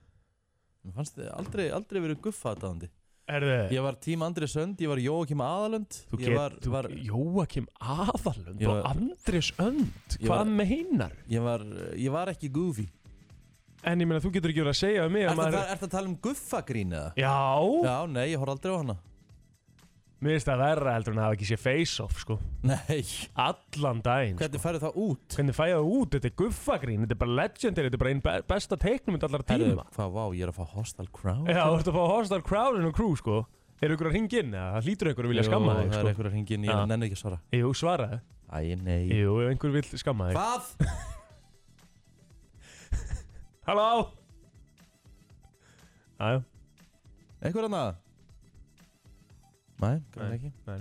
[SPEAKER 2] Mér fannst þið aldrei, aldrei verið guffaðdáðandi
[SPEAKER 3] Er það?
[SPEAKER 2] Ég var tím Andri Sönd, ég var Jókim Aðalund
[SPEAKER 3] Þú
[SPEAKER 2] ég
[SPEAKER 3] get,
[SPEAKER 2] var,
[SPEAKER 3] þú,
[SPEAKER 2] var,
[SPEAKER 3] Jóakim Aðalund
[SPEAKER 2] Ég var-
[SPEAKER 3] og Andrés Önd,
[SPEAKER 2] Ég
[SPEAKER 3] hvað
[SPEAKER 2] var-
[SPEAKER 3] meinar?
[SPEAKER 2] ég, var, ég var ekki goofy
[SPEAKER 3] En ég meina, þú getur ekki verið að segja um mig að
[SPEAKER 2] Ertu að,
[SPEAKER 3] maður...
[SPEAKER 2] er, að tala um guffagrín eða?
[SPEAKER 3] Já,
[SPEAKER 2] Já, nei, ég horf aldrei á hana
[SPEAKER 3] mér finnst það verra heldur en að hafa ekki séð Face Off, sko.
[SPEAKER 2] Nei,
[SPEAKER 3] Allan daginn, sko.
[SPEAKER 2] hvernig færðu það út?
[SPEAKER 3] hvernig fæ ég það út, þetta er guffagrín, þetta er bara legendary, þetta er bara einn be- besta teiknum allar
[SPEAKER 2] Herðu,
[SPEAKER 3] tíma.
[SPEAKER 2] Hvað, vá, ég er að fá Hostel Crown
[SPEAKER 3] Já, þú ert að fá Hostar Crowdin og Crew, sko. Eru ykkur að ringa inn, eða það hlýtur ykkur að vilja skamma
[SPEAKER 2] Jú,
[SPEAKER 3] þig,
[SPEAKER 2] Það er
[SPEAKER 3] sko.
[SPEAKER 2] einhverja hringin,
[SPEAKER 3] Já.
[SPEAKER 2] ég nenni ekki að svara
[SPEAKER 3] Jú, svaraði.
[SPEAKER 2] Æ, nei
[SPEAKER 3] Jú, ef einhver vil skamma þig.
[SPEAKER 2] Hvað?
[SPEAKER 3] Halló! Æjá,
[SPEAKER 2] Einhver annað? Nei, grann
[SPEAKER 3] Nei,
[SPEAKER 2] ekki
[SPEAKER 3] nei.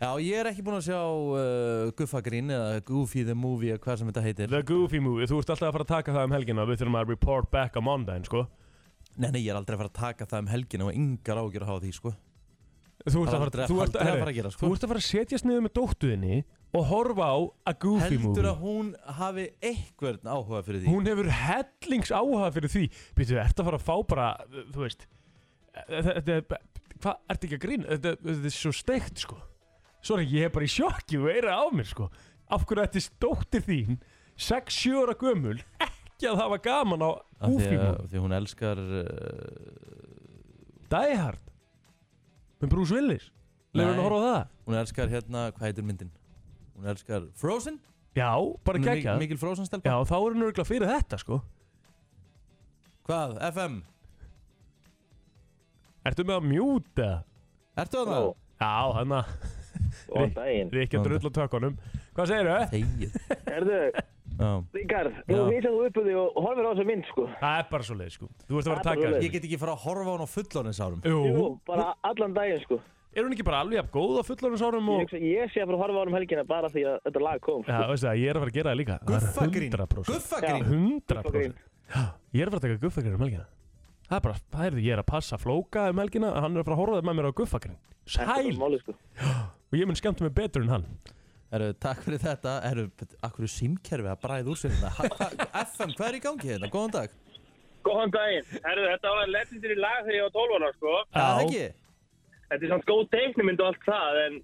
[SPEAKER 2] Já, ég er ekki búinn að sjá uh, Guffa Green eða Goofy the Movie eða hvað sem þetta heitir
[SPEAKER 3] The Goofy Movie, þú ert alltaf að fara að taka það um helgina, við þurfum að report back á mondaginn, sko.
[SPEAKER 2] Nei, nei, ég er aldrei að fara að taka það um helgina og yngar ágjur að hafa því, sko
[SPEAKER 3] Þú ert
[SPEAKER 2] Það
[SPEAKER 3] að
[SPEAKER 2] var
[SPEAKER 3] fara,
[SPEAKER 2] aldrei-
[SPEAKER 3] þú ert,
[SPEAKER 2] aldrei að
[SPEAKER 3] herri,
[SPEAKER 2] fara að gera, sko.
[SPEAKER 3] þú ert að fara að setjast niður með dóttuðinni og horfa á að Goofy
[SPEAKER 2] Heldur
[SPEAKER 3] movie
[SPEAKER 2] að hún hafi einhvern áhuga fyrir því
[SPEAKER 3] Hún hefur hellings áhuga fyrir því Býtu, ert að fara að fá bara, þú veist e, Þetta er, hvað, ert ekki að grína? Þetta, þetta er svo steikt, sko Sorry, ég er bara í sjokki og eira á mér, sko Af hverju ætti dóttir þín 6-7 ára gömul ekki að hafa gaman á
[SPEAKER 2] Af því
[SPEAKER 3] Goofy
[SPEAKER 2] að-
[SPEAKER 3] movie
[SPEAKER 2] af Því að hún elskar uh,
[SPEAKER 3] Die Hard Með Bruce Willis Leifur hann
[SPEAKER 2] Nei.
[SPEAKER 3] að horfa á það?
[SPEAKER 2] Hún elskar hérna, hvað heitir myndin? Hún elskar Frozen
[SPEAKER 3] Já, bara
[SPEAKER 2] Hún er
[SPEAKER 3] gegja
[SPEAKER 2] Mikil Frozen stelpa
[SPEAKER 3] Já, þá er hann örgulega fyrir þetta, sko
[SPEAKER 2] Hvað, FM?
[SPEAKER 3] Ertu með að mjúta?
[SPEAKER 2] Ertu að
[SPEAKER 4] Ó,
[SPEAKER 2] það?
[SPEAKER 3] Já, hann að
[SPEAKER 4] Góðan daginn.
[SPEAKER 3] við ekki að drull á tökunum Hvað segirðu?
[SPEAKER 2] Þegið
[SPEAKER 4] Herðu,
[SPEAKER 2] Já.
[SPEAKER 4] Ríkard, nú
[SPEAKER 3] Já.
[SPEAKER 4] vísar þú upp úr því og horfir á þessu mynd, sko.
[SPEAKER 3] Það er bara svo leið, sko Þú ert að vera að
[SPEAKER 4] Það er
[SPEAKER 3] taka
[SPEAKER 4] bara
[SPEAKER 2] Ég
[SPEAKER 3] þessu
[SPEAKER 2] get ekki fara að horfa á hún á fullorðinsárum
[SPEAKER 4] Jú,
[SPEAKER 3] Jú,
[SPEAKER 4] bara allan daginn, sko.
[SPEAKER 3] er hún ekki bara alveg jafn góð á fullorðinsárum
[SPEAKER 4] Ég,
[SPEAKER 3] og
[SPEAKER 4] hugsa, ég sé að fara að horfa á hann um helgina bara því að þetta lag kom,
[SPEAKER 3] Já,
[SPEAKER 4] sko.
[SPEAKER 3] veistu það, ég er að fara að gera það líka Það er
[SPEAKER 2] Guffagrín
[SPEAKER 3] 100%
[SPEAKER 2] Guffagrín
[SPEAKER 3] 100%
[SPEAKER 4] Guffagrín.
[SPEAKER 3] Já, Ég er að fara að taka guffagrín um helgina Það er bara, það er því, ég er að passa flóka um helgina Hann er að fara að horfa með mér á guffagrín
[SPEAKER 4] Þetta er bara
[SPEAKER 3] Sæl,
[SPEAKER 4] Máli, sko.
[SPEAKER 3] og ég mun skemmta mig betur en hann
[SPEAKER 2] Herru, takk fyrir þetta Herru, akkur er símkerfi að bræða úr sér hérna Ha- hva- FM, hvað er í gangi hérna? Góðan dag
[SPEAKER 5] Góðan daginn. Herðu, þetta var legendary lag þegar ég var 12 ára, sko.
[SPEAKER 2] Það
[SPEAKER 3] Já.
[SPEAKER 2] ekki?
[SPEAKER 5] Þetta er samt góð teiknumynd og allt það, en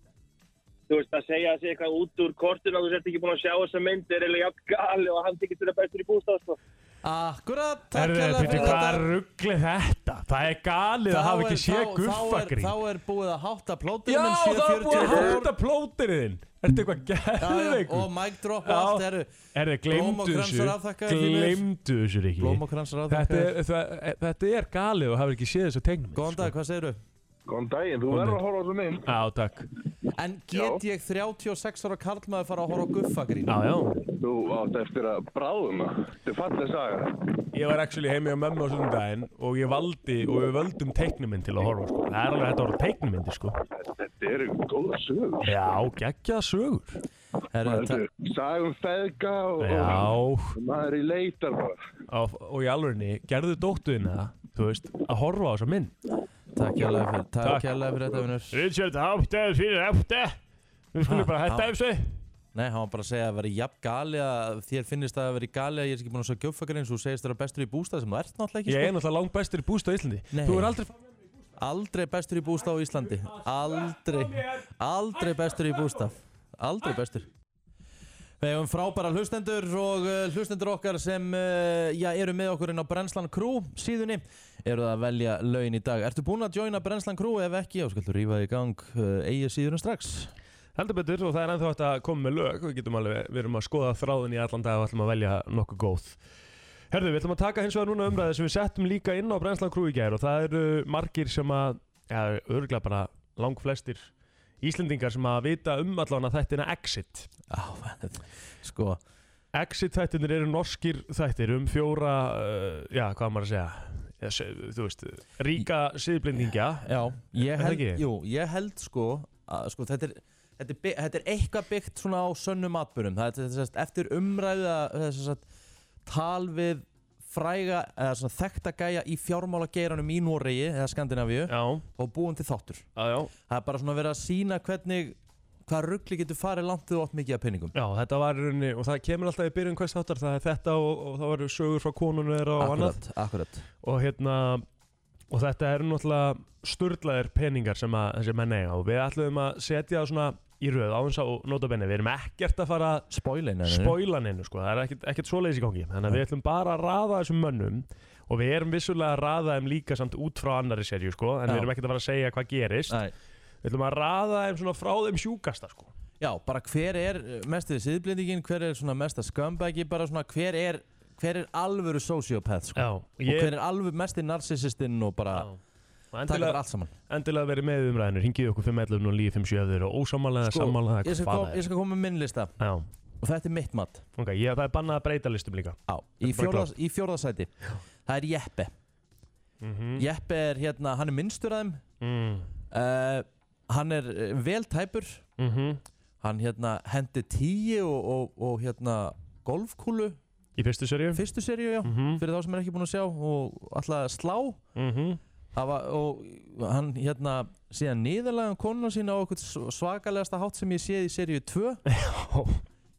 [SPEAKER 5] þú veist, að segja að segja eitthvað út úr kortun og þú sért ekki búin að sjá þessa mynd er eiginlega jafn gali og hann tekist þetta bestur í bústað, sko.
[SPEAKER 2] Akkurat, Ah, takk
[SPEAKER 3] Herðu,
[SPEAKER 2] hérlega
[SPEAKER 3] býttu, hvað er rugglið þetta? Það er galið að hafa ekki séð guffagrín
[SPEAKER 2] Þá er búið að hátta um plótur
[SPEAKER 3] Já, það er búið að háta plóterinn Ertu eitthvað
[SPEAKER 2] Og
[SPEAKER 3] gæðveikur?
[SPEAKER 2] mic drop og
[SPEAKER 3] Já.
[SPEAKER 2] allt herru
[SPEAKER 3] Er þið
[SPEAKER 2] Blóm og
[SPEAKER 3] glemdu þessu?
[SPEAKER 2] kransar afþakkaðir, því miður.
[SPEAKER 3] Glemdu þessu, Riki
[SPEAKER 2] Blóm og kransar á
[SPEAKER 3] Þetta er, það, þetta er galið og hafa ekki séð þessu tegnum
[SPEAKER 2] Góðan dag, hvað segirðu?
[SPEAKER 6] Góðan daginn, þú verður að horfa á þessu mynd.
[SPEAKER 3] Já, takk
[SPEAKER 2] En get ég 36 ára karlmaður fara að horfa á guffagrín?
[SPEAKER 3] Já, já
[SPEAKER 6] Þú átt eftir að bráðuna. Þetta er falleg saga.
[SPEAKER 3] Ég var actually heimi á mömmu á sundaginn og ég valdi og við völdum teiknumynd til að horfa sko. Það er alveg hægt að horfa á teiknumyndi sko
[SPEAKER 6] Þetta eru góða sögur.
[SPEAKER 3] Já, geggjað sögur
[SPEAKER 2] Herru,
[SPEAKER 6] Þetta er saga um feðga og,
[SPEAKER 3] Já,
[SPEAKER 6] og maður í leitar bara.
[SPEAKER 3] og, og í alvegni, gerðu dóttuðina það Þú veist, að horfa á þessa mynd
[SPEAKER 2] Takk hérlega fyrir, takk
[SPEAKER 3] Takk.
[SPEAKER 2] hérlega fyrir þetta vinnur
[SPEAKER 3] Richard, átta, fyrir átta Nú skulum
[SPEAKER 2] Ha,
[SPEAKER 3] bara hætta
[SPEAKER 2] já.
[SPEAKER 3] þessu
[SPEAKER 2] Nei, hann var bara að segja að vera jafn gali að þér finnist það að vera í gali að ég er ekki búin að sjá gjöfagrein þú segist þér að bestur í bústað sem þú ert náttúrulega ekki
[SPEAKER 3] Ég er
[SPEAKER 2] sko.
[SPEAKER 3] náttúrulega langt bestur í bústa á Íslandi
[SPEAKER 2] Nei.
[SPEAKER 3] Þú er aldrei
[SPEAKER 2] Aldrei bestur í bústað á Íslandi Aldrei, aldrei bestur í bústað Aldrei bestur Við hefum frábæra hlustendur og uh, hlustendur okkar sem uh, já, eru með okkur inn á Brennslan Crew síðunni eru það að velja laun í dag Ertu búin að joina Brennslan Crew? Ef ekki, þá skaltu rífa þig í gang uh, eigið síðunum strax
[SPEAKER 3] Heldur betur og það er ennþá hægt að koma með lög Við getum alveg, við erum að skoða þráðin í allan dag og ætlum að velja nokkuð góð Herðu, við ætlum að taka hins vegar núna umræði sem við settum líka inn á Brennslan Crew í gær og það eru margir sem að ja, örgulega bara langflestir Íslendingar sem að vita um allan að þættina Exit
[SPEAKER 2] Já, sko
[SPEAKER 3] Exit þættinir eru norskir þættir um fjóra, uh, já, hvað á maður að segja Já, se- þú veist, ríka siðblendingja
[SPEAKER 2] Já, ég
[SPEAKER 3] það
[SPEAKER 2] held,
[SPEAKER 3] ekki?
[SPEAKER 2] jú, ég held sko, að, sko þetta, er, þetta, er, by- þetta er eitthvað byggt svona á sönnum atbyrjum það er þetta er sem sagt eftir umræða þess að tal við fræga eða svona þekkta gæja í fjármála í Noregi eða Skandinavíu
[SPEAKER 3] Já,
[SPEAKER 2] og búin til þáttur
[SPEAKER 3] já, já
[SPEAKER 2] það er bara svona verið að sína hvernig hvað ruggli getur farið langt þegar þú átt mikið af penningum
[SPEAKER 3] Já, þetta var í rauninni, og það kemur alltaf í byrjun hvers þáttar, það er þetta og, og það var sögur frá konunum þeirra og annað
[SPEAKER 2] Akkurat, akkurat
[SPEAKER 3] og hérna, og þetta eru náttúrulega sturlaðir peningar sem að þessi menn eiga og við ætlum að setja það svona í röð á eins og notabenni, við erum ekkert að fara að
[SPEAKER 2] Spoilein
[SPEAKER 3] spoila neinu sko, það er ekkert, ekkert svoleiðis í gangi, þannig að við ætlum bara að raða þessum mönnum og við erum vissulega að raða þeim líka samt út frá annari serju sko, en
[SPEAKER 2] Já.
[SPEAKER 3] við erum ekkert að fara að segja hvað gerist,
[SPEAKER 2] Nei.
[SPEAKER 3] við ætlum að raða þeim svona frá þeim sjúkasta sko.
[SPEAKER 2] Já, bara hver er mestið síðblendingin, hver er svona mesta skömbæki, bara svona hver er, hver er alvöru sociopath, sko.
[SPEAKER 3] Já,
[SPEAKER 2] Og
[SPEAKER 3] ég-
[SPEAKER 2] hver er alvöru mestið narsissistinn og bara
[SPEAKER 3] Já. Og
[SPEAKER 2] taka
[SPEAKER 3] endilega-
[SPEAKER 2] þér allt saman.
[SPEAKER 3] endilega verið með í umræðinu, ringið okkur 511 og 957 ef þið eru ósamálaða, sko, samálaða,
[SPEAKER 2] ég
[SPEAKER 3] hvað
[SPEAKER 2] skal,
[SPEAKER 3] það
[SPEAKER 2] kom,
[SPEAKER 3] er
[SPEAKER 2] ég skal koma með minn lista
[SPEAKER 3] Já,
[SPEAKER 2] og þetta er mitt mat.
[SPEAKER 3] ok, ég, það er bannað að breyta listum líka
[SPEAKER 2] Já,
[SPEAKER 3] Þetta
[SPEAKER 2] í,
[SPEAKER 3] er bara
[SPEAKER 2] fjórða, í fjórðasæti. Það er Jeppe. Jeppe er hérna, hann er minnstur af þeim,
[SPEAKER 3] Mhm. mm.
[SPEAKER 2] uh, hann er eh, vel tæpur,
[SPEAKER 3] Mm
[SPEAKER 2] hann hérna hendi tíu og, og, og hérna golfkúlu,
[SPEAKER 3] Í fyrstu Mhm. serju
[SPEAKER 2] fyrstu seríu já, fyrir þá sem er ekki búin að sjá og alltaf slá.
[SPEAKER 3] mm -hmm.
[SPEAKER 2] hafa, og hann hérna síðan niðurlega konuna sína á okkur svakalegasta hátt sem ég séð í seríu 2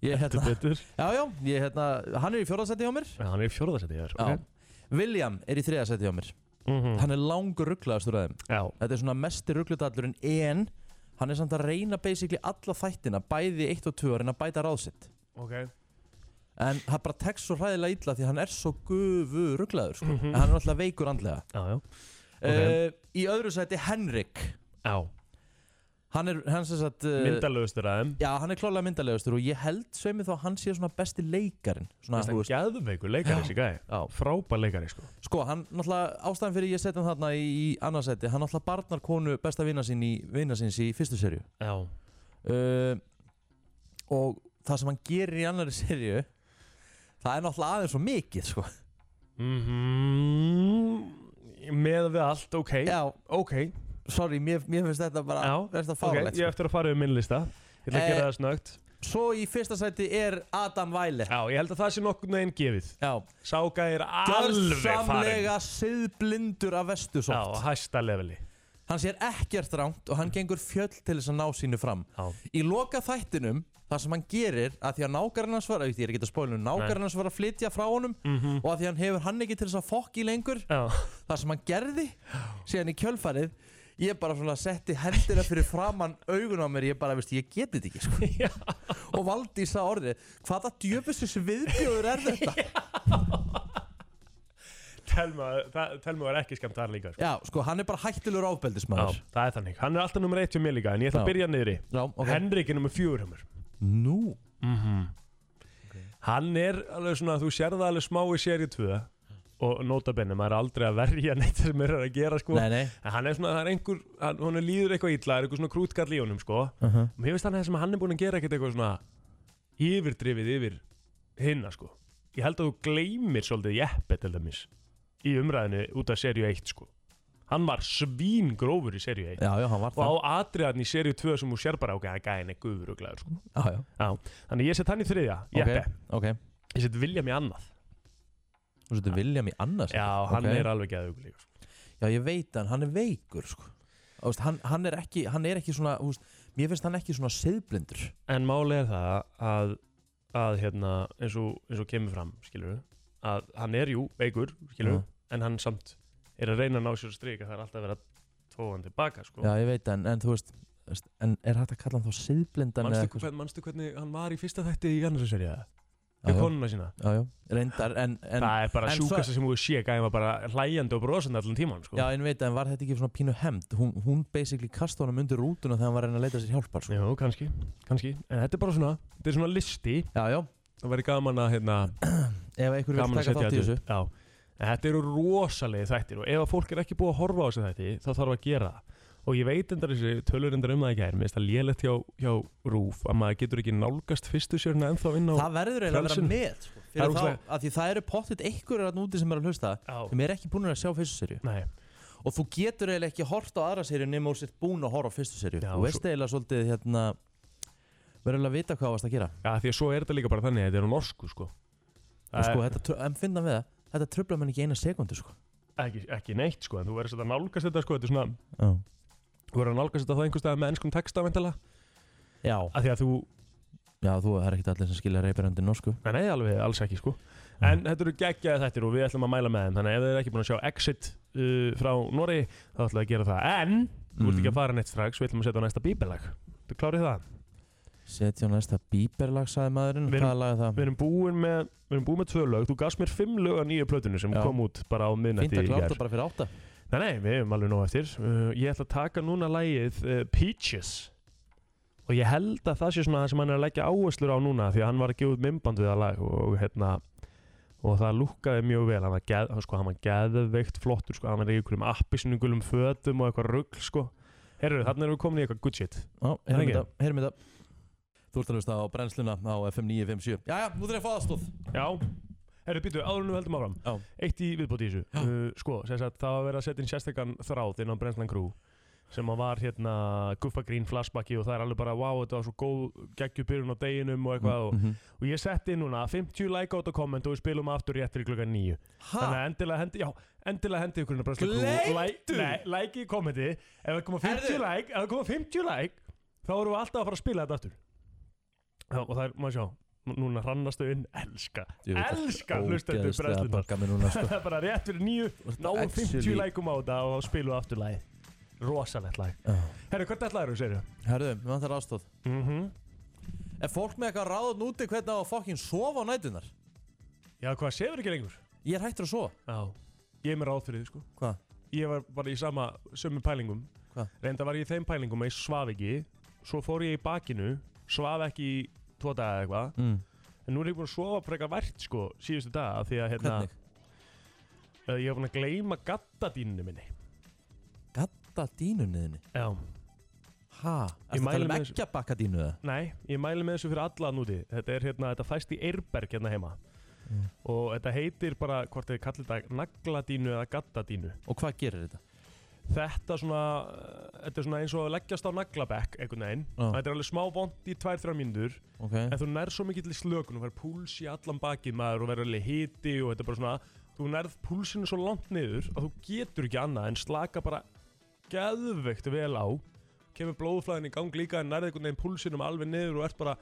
[SPEAKER 2] ég,
[SPEAKER 3] Þetta
[SPEAKER 2] hérna,
[SPEAKER 3] betur
[SPEAKER 2] já, já, ég, hérna, hann er í fjórðarsæti hjá mér
[SPEAKER 3] Já, hann er í fjórðarsæti hér
[SPEAKER 2] já. William er í þriðarsæti hjá mér hann er langur rugglaðastur að þeim
[SPEAKER 3] Mhm. Já,
[SPEAKER 2] þetta er svona mestir ruggludallurinn en hann er samt að reyna basically alla þættina bæði 1 og 2 að reyna að bæta ráðsitt
[SPEAKER 3] ok
[SPEAKER 2] en hann bara tekst svo hræðilega illa því hann er svo gufu rugglaður sko. en hann er alltaf veikur andlega
[SPEAKER 3] Mhm. Já, já
[SPEAKER 2] okay. í öðru sæti Henrik
[SPEAKER 3] Já,
[SPEAKER 2] hann er hann sem sagt uh,
[SPEAKER 3] myndalögustur aðeim
[SPEAKER 2] já hann er klálega myndalegastur og ég held sveimi þá að hann sé svona besti leikarin svona,
[SPEAKER 3] Það
[SPEAKER 2] þú
[SPEAKER 3] er
[SPEAKER 2] veist,
[SPEAKER 3] gæðveikur leikari þessi gæði
[SPEAKER 2] Já.
[SPEAKER 3] Frábær leikari sko
[SPEAKER 2] sko hann náttúrulega ástæðan fyrir ég setja hann þarna í, í annarsæti hann náttúrulega barnar konu besta vina sín í, vina síns í fyrstu serju
[SPEAKER 3] Já
[SPEAKER 2] uh, og það sem hann gerir í annari serju það er náttúrulega aðeins svo mikið sko.
[SPEAKER 3] Mhm. Með við allt, ok
[SPEAKER 2] já,
[SPEAKER 3] Ok,
[SPEAKER 2] sorry, mér, mér finnst þetta bara
[SPEAKER 3] já
[SPEAKER 2] þetta
[SPEAKER 3] Ok,
[SPEAKER 2] fárlegt
[SPEAKER 3] ég á eftir að fara yfir minn lista Ég ætla að
[SPEAKER 2] sko. Eh,
[SPEAKER 3] gera það snögt
[SPEAKER 2] sko. svo í fyrsta sæti er Adam Weiler
[SPEAKER 3] Já, ég held að það sé nokkurn veginn gefið
[SPEAKER 2] já,
[SPEAKER 3] Sáka er alveg farin
[SPEAKER 2] samlega siðblindur af vestu
[SPEAKER 3] Já,
[SPEAKER 2] sótt
[SPEAKER 3] hæsta leveli Mm.
[SPEAKER 2] hann sér ekkert rámt og hann gengur fjöll til þess að ná sínu fram
[SPEAKER 3] Já,
[SPEAKER 2] í loka þættinum það sem hann gerir að því að nákarinn hans var, ég er ekki að spóla nákarinn hans var að flytja frá honum og að því hann hefur hann ekki til þess að fokki lengur
[SPEAKER 3] Mhm. já
[SPEAKER 2] það sem hann gerði síðan í kjölfarið ég bara svona setti hendina fyrir framann augun á mér, ég bara, veist, ég geti þetta ekki sko.
[SPEAKER 3] Já,
[SPEAKER 2] og valdi í sá orðið hvaða djöfustis viðbjóður er þetta
[SPEAKER 3] Telma, það- Telma var ekki skemmt þar líka sko.
[SPEAKER 2] já, sko, hann er bara hættilegur
[SPEAKER 3] Já,
[SPEAKER 2] ábeldismæður
[SPEAKER 3] það er þannig Hann er alltaf nummer 1 hjá mér líka En ég ætla að
[SPEAKER 2] Já.
[SPEAKER 3] byrja niðri
[SPEAKER 2] já, ok,
[SPEAKER 3] Henrik er nummer 4 hjá mér
[SPEAKER 2] nú
[SPEAKER 3] Mhm. Hann er alveg svona, þú sér það alveg smá í séri 2 og nota bene, maður er aldrei að verja neitt sem er að gera sko
[SPEAKER 2] nei, nei,
[SPEAKER 3] en hann er svona, það er einhver, hann, hún líður eitthvað illa það er einhver svona krútgall í honum sko
[SPEAKER 2] Uh-huh.
[SPEAKER 3] mér finnst hann þess að hann er búin að gera ekkert eitthvað svona yfirdrifið yfir hinna sko ég held að þú gleymir svolítið jeppi til dæmis í umræðinu út af serju 1 sko hann var svín grófur í serju 1
[SPEAKER 2] já, já, hann var
[SPEAKER 3] og
[SPEAKER 2] það
[SPEAKER 3] á atriðan í serju 2 sem hún sér bara ok, hann gæði henni gufur og glæður sko
[SPEAKER 2] já, já,
[SPEAKER 3] Já, þannig ég set hann í þriðja, jeppi
[SPEAKER 2] ok, ok
[SPEAKER 3] ég set William í annað
[SPEAKER 2] þú setur William í annars
[SPEAKER 3] Já, hann
[SPEAKER 2] ok.
[SPEAKER 3] er alveg geðugur líka sko.
[SPEAKER 2] já, ég veit hann, hann er veikur sko. Þú veist, hann, hann er ekki, hann er ekki svona þú veist, mér finnst hann ekki svona siðblindur
[SPEAKER 3] En máli er það að, að hérna, eins og, eins og kemur fram skilur að hann er jú veikur skilur
[SPEAKER 2] Já.
[SPEAKER 3] en hann samt er að reyna að ná sér að strika það er alltaf að vera tóðan tilbaka sko.
[SPEAKER 2] já, ég veit en, en þú veist veist, en er hægt að kalla hann þá siðblindan eða
[SPEAKER 3] manstu,
[SPEAKER 2] eitthvað
[SPEAKER 3] hvern, manstu hvernig hann var í fyrsta þætti í annars serið
[SPEAKER 2] Já,
[SPEAKER 3] með
[SPEAKER 2] já.
[SPEAKER 3] konuna sína
[SPEAKER 2] Já, já, reyndar en, en
[SPEAKER 3] það er bara
[SPEAKER 2] en
[SPEAKER 3] sjúkasta sem þú sé gæði var bara hlæjandi og brosandi allan tíman sko.
[SPEAKER 2] Já, en veit, en var þetta ekki svona pínu hemmt? Hún, hún basically kasta honum undir rútuna þegar hann var að reyna að leita sér hjálpar sko.
[SPEAKER 3] Jú, kannski, kannski en þetta er bara svona, þetta er svona listi
[SPEAKER 2] Já, já,
[SPEAKER 3] það væri gaman að hérna,
[SPEAKER 2] ef einhver vil
[SPEAKER 3] gaman að
[SPEAKER 2] taka
[SPEAKER 3] setja
[SPEAKER 2] þátt
[SPEAKER 3] þetta
[SPEAKER 2] í þessu
[SPEAKER 3] upp já. En þetta eru rosalegi þættir og ef að fólk er ekki búið að horfa á þessu þætti þá þarf að gera það og ég veit endar þessi tölur endar um það í gær mér finnst það lélegt hjá, hjá Rúf að maður getur ekki nálgast fyrstu sérna ennþá inn á
[SPEAKER 2] Það verður eiginlega að vera
[SPEAKER 3] Frelsinu.
[SPEAKER 2] með
[SPEAKER 3] Það
[SPEAKER 2] sko,
[SPEAKER 3] er
[SPEAKER 2] fyrir þá,
[SPEAKER 3] ógeðslega-
[SPEAKER 2] að því það eru pottitt einhverjur hann úti sem er að hlusta
[SPEAKER 3] Já.
[SPEAKER 2] sem er ekki búin að sjá fyrstu serju
[SPEAKER 3] Nei,
[SPEAKER 2] og þú getur eiginlega ekki hort á aðra serju nema úr sér búin að horfa á fyrstu serju
[SPEAKER 3] Já,
[SPEAKER 2] þú veist
[SPEAKER 3] svo-
[SPEAKER 2] eiginlega svolítið hérna verður eiginlega að vita hvað varst að gera
[SPEAKER 3] ja, því að svo er þetta líka bara þannig að þetta er á norsku sko
[SPEAKER 2] og sko,
[SPEAKER 3] Eh,
[SPEAKER 2] þetta, tru- en finna við það, þetta tröfla mann ekki í eina sekundu sko.
[SPEAKER 3] ekki, ekki neitt sko en þú verður svolítið að nálgast þetta sko þetta er svona,
[SPEAKER 2] Já.
[SPEAKER 3] þú verður að nálgast þetta það einhvers staðar með ennskum texta veintalega
[SPEAKER 2] Já,
[SPEAKER 3] að því að þú
[SPEAKER 2] já, þú það er ekkert allir sem skilja reyperandi norsku
[SPEAKER 3] Nei, nei, alveg, alls ekki sko En þetta eru geggjaði þættir og við ætlum að mæla með þeim Þannig að ef þið eru ekki búin að sjá Exit uh, frá Nóri þá ætlum við að gera það En, þú ert ekki að fara neitt strax, við ætlum að setja á næsta bíbelag Þú klárið það?
[SPEAKER 2] Setja á næsta bíberlag, sagði maðurinn
[SPEAKER 3] Við erum-
[SPEAKER 2] Hvaða lag er það?
[SPEAKER 3] Við erum búin með, við erum búin með tvö lög Þú gafst mér fimm lög að nýju plötunni sem
[SPEAKER 2] Já.
[SPEAKER 3] kom út bara á
[SPEAKER 2] Fínt
[SPEAKER 3] miðnætti
[SPEAKER 2] að
[SPEAKER 3] í
[SPEAKER 2] kláta
[SPEAKER 3] gær
[SPEAKER 2] bara fyrir átta
[SPEAKER 3] Nei, nei, við hefum alveg nóg eftir uh, Ég ætla að taka núna lagið uh, Peaches Og ég held að það sé svona það sem hann er að leggja áherslur á núna Því að hann var að gefa út mymband við það lag Og hérna Og það lúkkaði mjög vel Hann var, geð, sko, hann var geðveikt flottur sko. Hann var í einhverjum appisinugulum fötum og eitthvað rugl sko. Herru, þarna erum við komin í eitthvað good shit
[SPEAKER 2] Já, heyrum
[SPEAKER 3] ekki?
[SPEAKER 2] þetta, heyrum þetta Þú ert að hlusta á brennsluna á FM 957 Jæja, nú þarf ég að fá aðstóð
[SPEAKER 3] Já Herru, býtu, áður en við heldum áfram
[SPEAKER 2] Já.
[SPEAKER 3] Eitt í viðbóti í þessu uh, Sko, sem sagt, það var verið að setja inn sérstakann þráð inn á Brensland Crew sem að var hérna Guffa Green flashbacki og það er alveg bara wow, þetta var svo góð geggjubyrjun á deginum og eitthvað
[SPEAKER 2] Mhm.
[SPEAKER 3] og, og ég setti inn núna 50 like át og komment og við spilum aftur rétt fyrir klukkan 9 þannig að endilega hendi, já, endilega hendi ykkur inn á Brensla Crew
[SPEAKER 2] Gleymdu!
[SPEAKER 3] Like- nei, like í kommenti ef það koma 50
[SPEAKER 2] Herðu.
[SPEAKER 3] like ef það koma 50 like þá erum við alltaf að fara að spila þetta aftur já, og það er, maður sjá nú- núna rannastu inn, elska
[SPEAKER 2] Ég veit það.
[SPEAKER 3] elska hlustendur
[SPEAKER 2] Ógeðslega
[SPEAKER 3] Brensla
[SPEAKER 2] bagga mig núna, sko.
[SPEAKER 3] það er bara rétt fyrir nýju náum 50
[SPEAKER 2] actually-
[SPEAKER 3] lækum á þetta og þá spilum við aftur lagið rosalegt lag herru, hvernig ætlaður þú, Mhm. segir þú?
[SPEAKER 2] Herðu, við vantar aðstóð Er fólk með eitthvað ráðun úti hvernig á að fokkin sofa á nætunar?
[SPEAKER 3] já, hvað, sefur ekki lengur?
[SPEAKER 2] Ég er hættur að sofa
[SPEAKER 3] já, ég er mér ráð fyrir því, sko
[SPEAKER 2] Hvað?
[SPEAKER 3] ég var bara í sama, sömu pælingum
[SPEAKER 2] Hvað?
[SPEAKER 3] reynda var ég í þeim pælingum að ég svaf ekki svo fór ég í bakinu svaf ekki í tvo daga eða eitthvað
[SPEAKER 2] Mm.
[SPEAKER 3] en nú er ég búin að sofa frekar vært, sko, síðustu daga af því að, hérna,
[SPEAKER 2] Hvernig?
[SPEAKER 3] eh, ég var búin að gleyma gattadíninu minni
[SPEAKER 2] Gatta dínunniðinni
[SPEAKER 3] já,
[SPEAKER 2] Ha? Er það
[SPEAKER 3] mæli
[SPEAKER 2] talið
[SPEAKER 3] með
[SPEAKER 2] með
[SPEAKER 3] þessu.
[SPEAKER 2] ekki að um bakka dínu það?
[SPEAKER 3] Nei, ég mæli með þessu fyrir alla þarna úti Þetta er hérna, þetta fæst í Eirberg hérna heima
[SPEAKER 2] Mm.
[SPEAKER 3] Og þetta heitir bara, hvort þeir kallir þetta nagladínu eða gattadínu
[SPEAKER 2] Og hvað gerir þetta?
[SPEAKER 3] Þetta svona, uh, þetta er svona eins og að leggjast á naglabekk einhvern veginn
[SPEAKER 2] Já.
[SPEAKER 3] Þetta er alveg smá vond í 2-3 mínútur
[SPEAKER 2] Ok
[SPEAKER 3] En þú nærð svo mikið til slökun og verður púls í allan bakið maður og verður alveg hiti og þetta er bara svona Þú nærð púlsinu svo langt niður að þú getur ekki annað en slaka bara geðveikt vel á Kemur blóðflæðin í gang líka en nærð einhvern veginn púlsinum alveg niður og ert bara